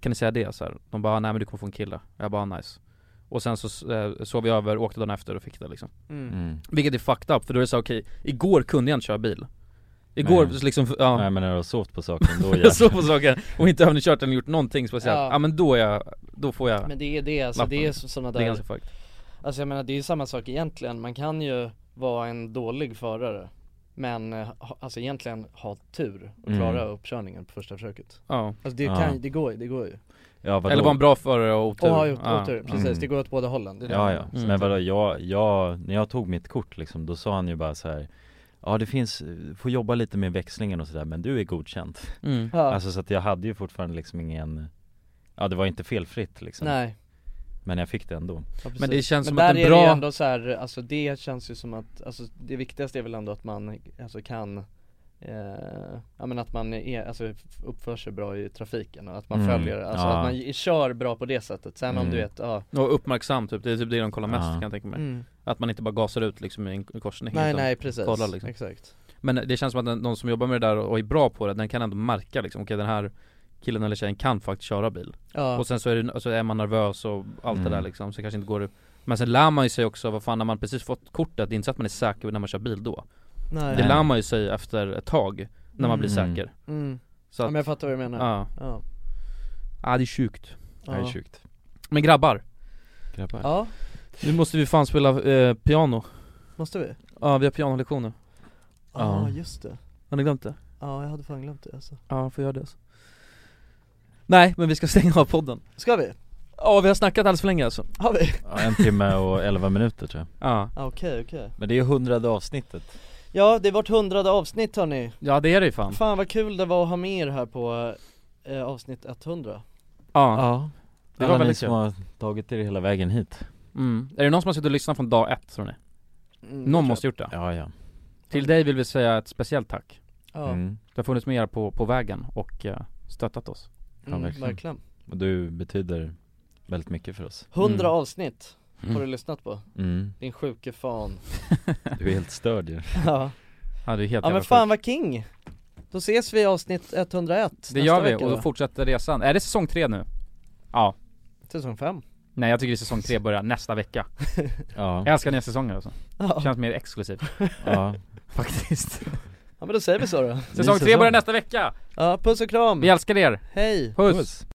Speaker 1: Kan ni säga det så här? De bara nej men du kommer få en kille, jag bara nice Och sen så eh, sov vi över, åkte dagen efter och fick det liksom
Speaker 2: Mm.
Speaker 3: Mm.
Speaker 1: Vilket är fucked up, för då är det så här, okej, igår kunde jag inte köra bil Igår
Speaker 3: Nej.
Speaker 1: liksom, ja
Speaker 3: Nej men när du har sovt på saken då jävlar.
Speaker 1: jag såg på saken och inte övningskört eller gjort någonting speciellt,
Speaker 2: Ja.
Speaker 1: ja. men då är jag, då får jag
Speaker 2: Men det är det, alltså
Speaker 1: lappen.
Speaker 2: det är så- såna där
Speaker 1: Det är ganska fucked
Speaker 2: Alltså jag menar det är ju samma sak egentligen, man kan ju vara en dålig förare Men eh, ha, alltså egentligen ha tur och
Speaker 1: Mm.
Speaker 2: klara uppkörningen på första försöket
Speaker 1: Ja.
Speaker 2: Alltså det,
Speaker 1: Ja.
Speaker 2: kan, det, går, det går ju
Speaker 3: Ja, vadå?
Speaker 1: Eller vara en bra förare och otur
Speaker 2: Och ha gjort
Speaker 1: Ja.
Speaker 2: otur, precis, det går åt båda hållen det är det
Speaker 3: Ja
Speaker 2: jag
Speaker 3: ja,
Speaker 2: menar.
Speaker 1: Mm.
Speaker 3: men vadå jag, jag, när jag tog mitt kort liksom, då sa han ju bara så här Ja det finns, eh, får jobba lite med växlingen och sådär men du är godkänd
Speaker 1: Mm.
Speaker 2: Ja.
Speaker 3: Alltså så att jag hade ju fortfarande liksom ingen Ja det var inte felfritt liksom
Speaker 2: Nej.
Speaker 3: Men jag fick det ändå
Speaker 2: Ja, precis.
Speaker 1: Men det känns
Speaker 2: men
Speaker 1: som
Speaker 2: där
Speaker 1: att en
Speaker 2: är det
Speaker 1: bra-
Speaker 2: ju ändå så här, alltså det känns ju som att, alltså det viktigaste är väl ändå att man alltså kan eh, Ja men att man är, alltså uppför sig bra i trafiken och att man
Speaker 1: Mm,
Speaker 2: följer, alltså
Speaker 1: ja.
Speaker 2: att man i- kör bra på det sättet Sen om
Speaker 1: Mm.
Speaker 2: du vet, ja
Speaker 1: Och uppmärksam typ, det är typ det de kollar mest
Speaker 2: Ja.
Speaker 1: kan jag tänka mig
Speaker 2: Mm.
Speaker 1: Att man inte bara gasar ut liksom i en korsning
Speaker 2: Nej,
Speaker 1: utan
Speaker 2: nej, precis.
Speaker 1: kollar, liksom.
Speaker 2: Exakt.
Speaker 1: Men det känns som att den, de som jobbar med det där och är bra på det, den kan ändå märka liksom, okej den här killen eller tjejen kan faktiskt köra bil
Speaker 2: Ja.
Speaker 1: Och sen så alltså, är, det, så är man nervös och allt
Speaker 3: Mm.
Speaker 1: det där liksom, så kanske inte går det Men sen lär man ju sig också, vad fan när man precis fått kortet, det är inte så att man är säker när man kör bil då
Speaker 2: Nej.
Speaker 1: Det lär man ju sig efter ett tag, när man blir
Speaker 2: Mm.
Speaker 1: säker
Speaker 2: Mm.
Speaker 1: Så
Speaker 2: Ja,
Speaker 1: att-
Speaker 2: men jag fattar vad du menar.
Speaker 1: Ja,
Speaker 2: Ja.
Speaker 1: ja det är sjukt
Speaker 2: Ja, det är
Speaker 1: sjukt Men grabbar
Speaker 3: Grabbar
Speaker 2: Ja.
Speaker 1: Nu måste vi fan spela eh, piano
Speaker 2: Måste vi?
Speaker 1: Ja, vi har pianolektioner
Speaker 2: Ja, ah, just det.
Speaker 1: Har ni glömt det?
Speaker 2: Ja, jag hade fan glömt det alltså.
Speaker 1: Ja, får göra det alltså. Nej, men vi ska stänga av podden
Speaker 2: Ska vi?
Speaker 1: Ja, vi har snackat alldeles för länge alltså
Speaker 2: Har vi?
Speaker 3: Ja, en timme och elva minuter tror jag
Speaker 1: Ja
Speaker 2: Ja, Okej, okej.
Speaker 3: Men det är ju hundrade avsnittet
Speaker 2: Ja, det är vårt hundrade avsnitt hörni.
Speaker 1: Ja det är det ju fan
Speaker 2: Fan vad kul det var att ha med er här på eh, avsnitt 100.
Speaker 1: Ja,
Speaker 3: Det
Speaker 1: Det
Speaker 3: Alla
Speaker 1: var
Speaker 3: ni
Speaker 1: väldigt
Speaker 3: som
Speaker 1: kul
Speaker 3: har tagit er hela vägen hit
Speaker 1: mm. Är det någon som har suttit och lyssnat från dag ett tror ni?
Speaker 2: Mm,
Speaker 1: Någon måste gjort det
Speaker 3: Ja ja
Speaker 1: Till dig vill vi säga ett speciellt tack
Speaker 2: Ja,
Speaker 3: Mm.
Speaker 1: Du har funnits med er på, på vägen och eh, stöttat oss
Speaker 2: mm, verkligen.
Speaker 3: Och du betyder väldigt mycket för oss
Speaker 2: 100 avsnitt har du
Speaker 3: Mm.
Speaker 2: lyssnat på.
Speaker 3: Mm.
Speaker 2: Din sjuke fan.
Speaker 3: Du är helt störd ju
Speaker 2: ja.
Speaker 1: Ja du är helt
Speaker 2: ja
Speaker 1: jävla
Speaker 2: men
Speaker 1: sjuk.
Speaker 2: fan vad king. Då ses vi i avsnitt 101
Speaker 1: Det
Speaker 2: nästa
Speaker 1: gör vi
Speaker 2: vecka,
Speaker 1: och då
Speaker 2: va?
Speaker 1: fortsätter resan. Är det säsong tre nu? Ja
Speaker 2: Säsong 5.
Speaker 1: Nej jag tycker det är säsong tre börjar nästa vecka
Speaker 3: Ja.
Speaker 1: Jag älskar nya säsonger alltså
Speaker 2: Ja.
Speaker 1: Känns mer exklusivt
Speaker 3: Ja.
Speaker 1: Faktiskt
Speaker 2: Ja men då säger vi så då.
Speaker 1: Säsong tre börjar nästa vecka!
Speaker 2: Ja, puss och kram.
Speaker 1: Vi älskar er!
Speaker 2: Hej.
Speaker 1: Puss.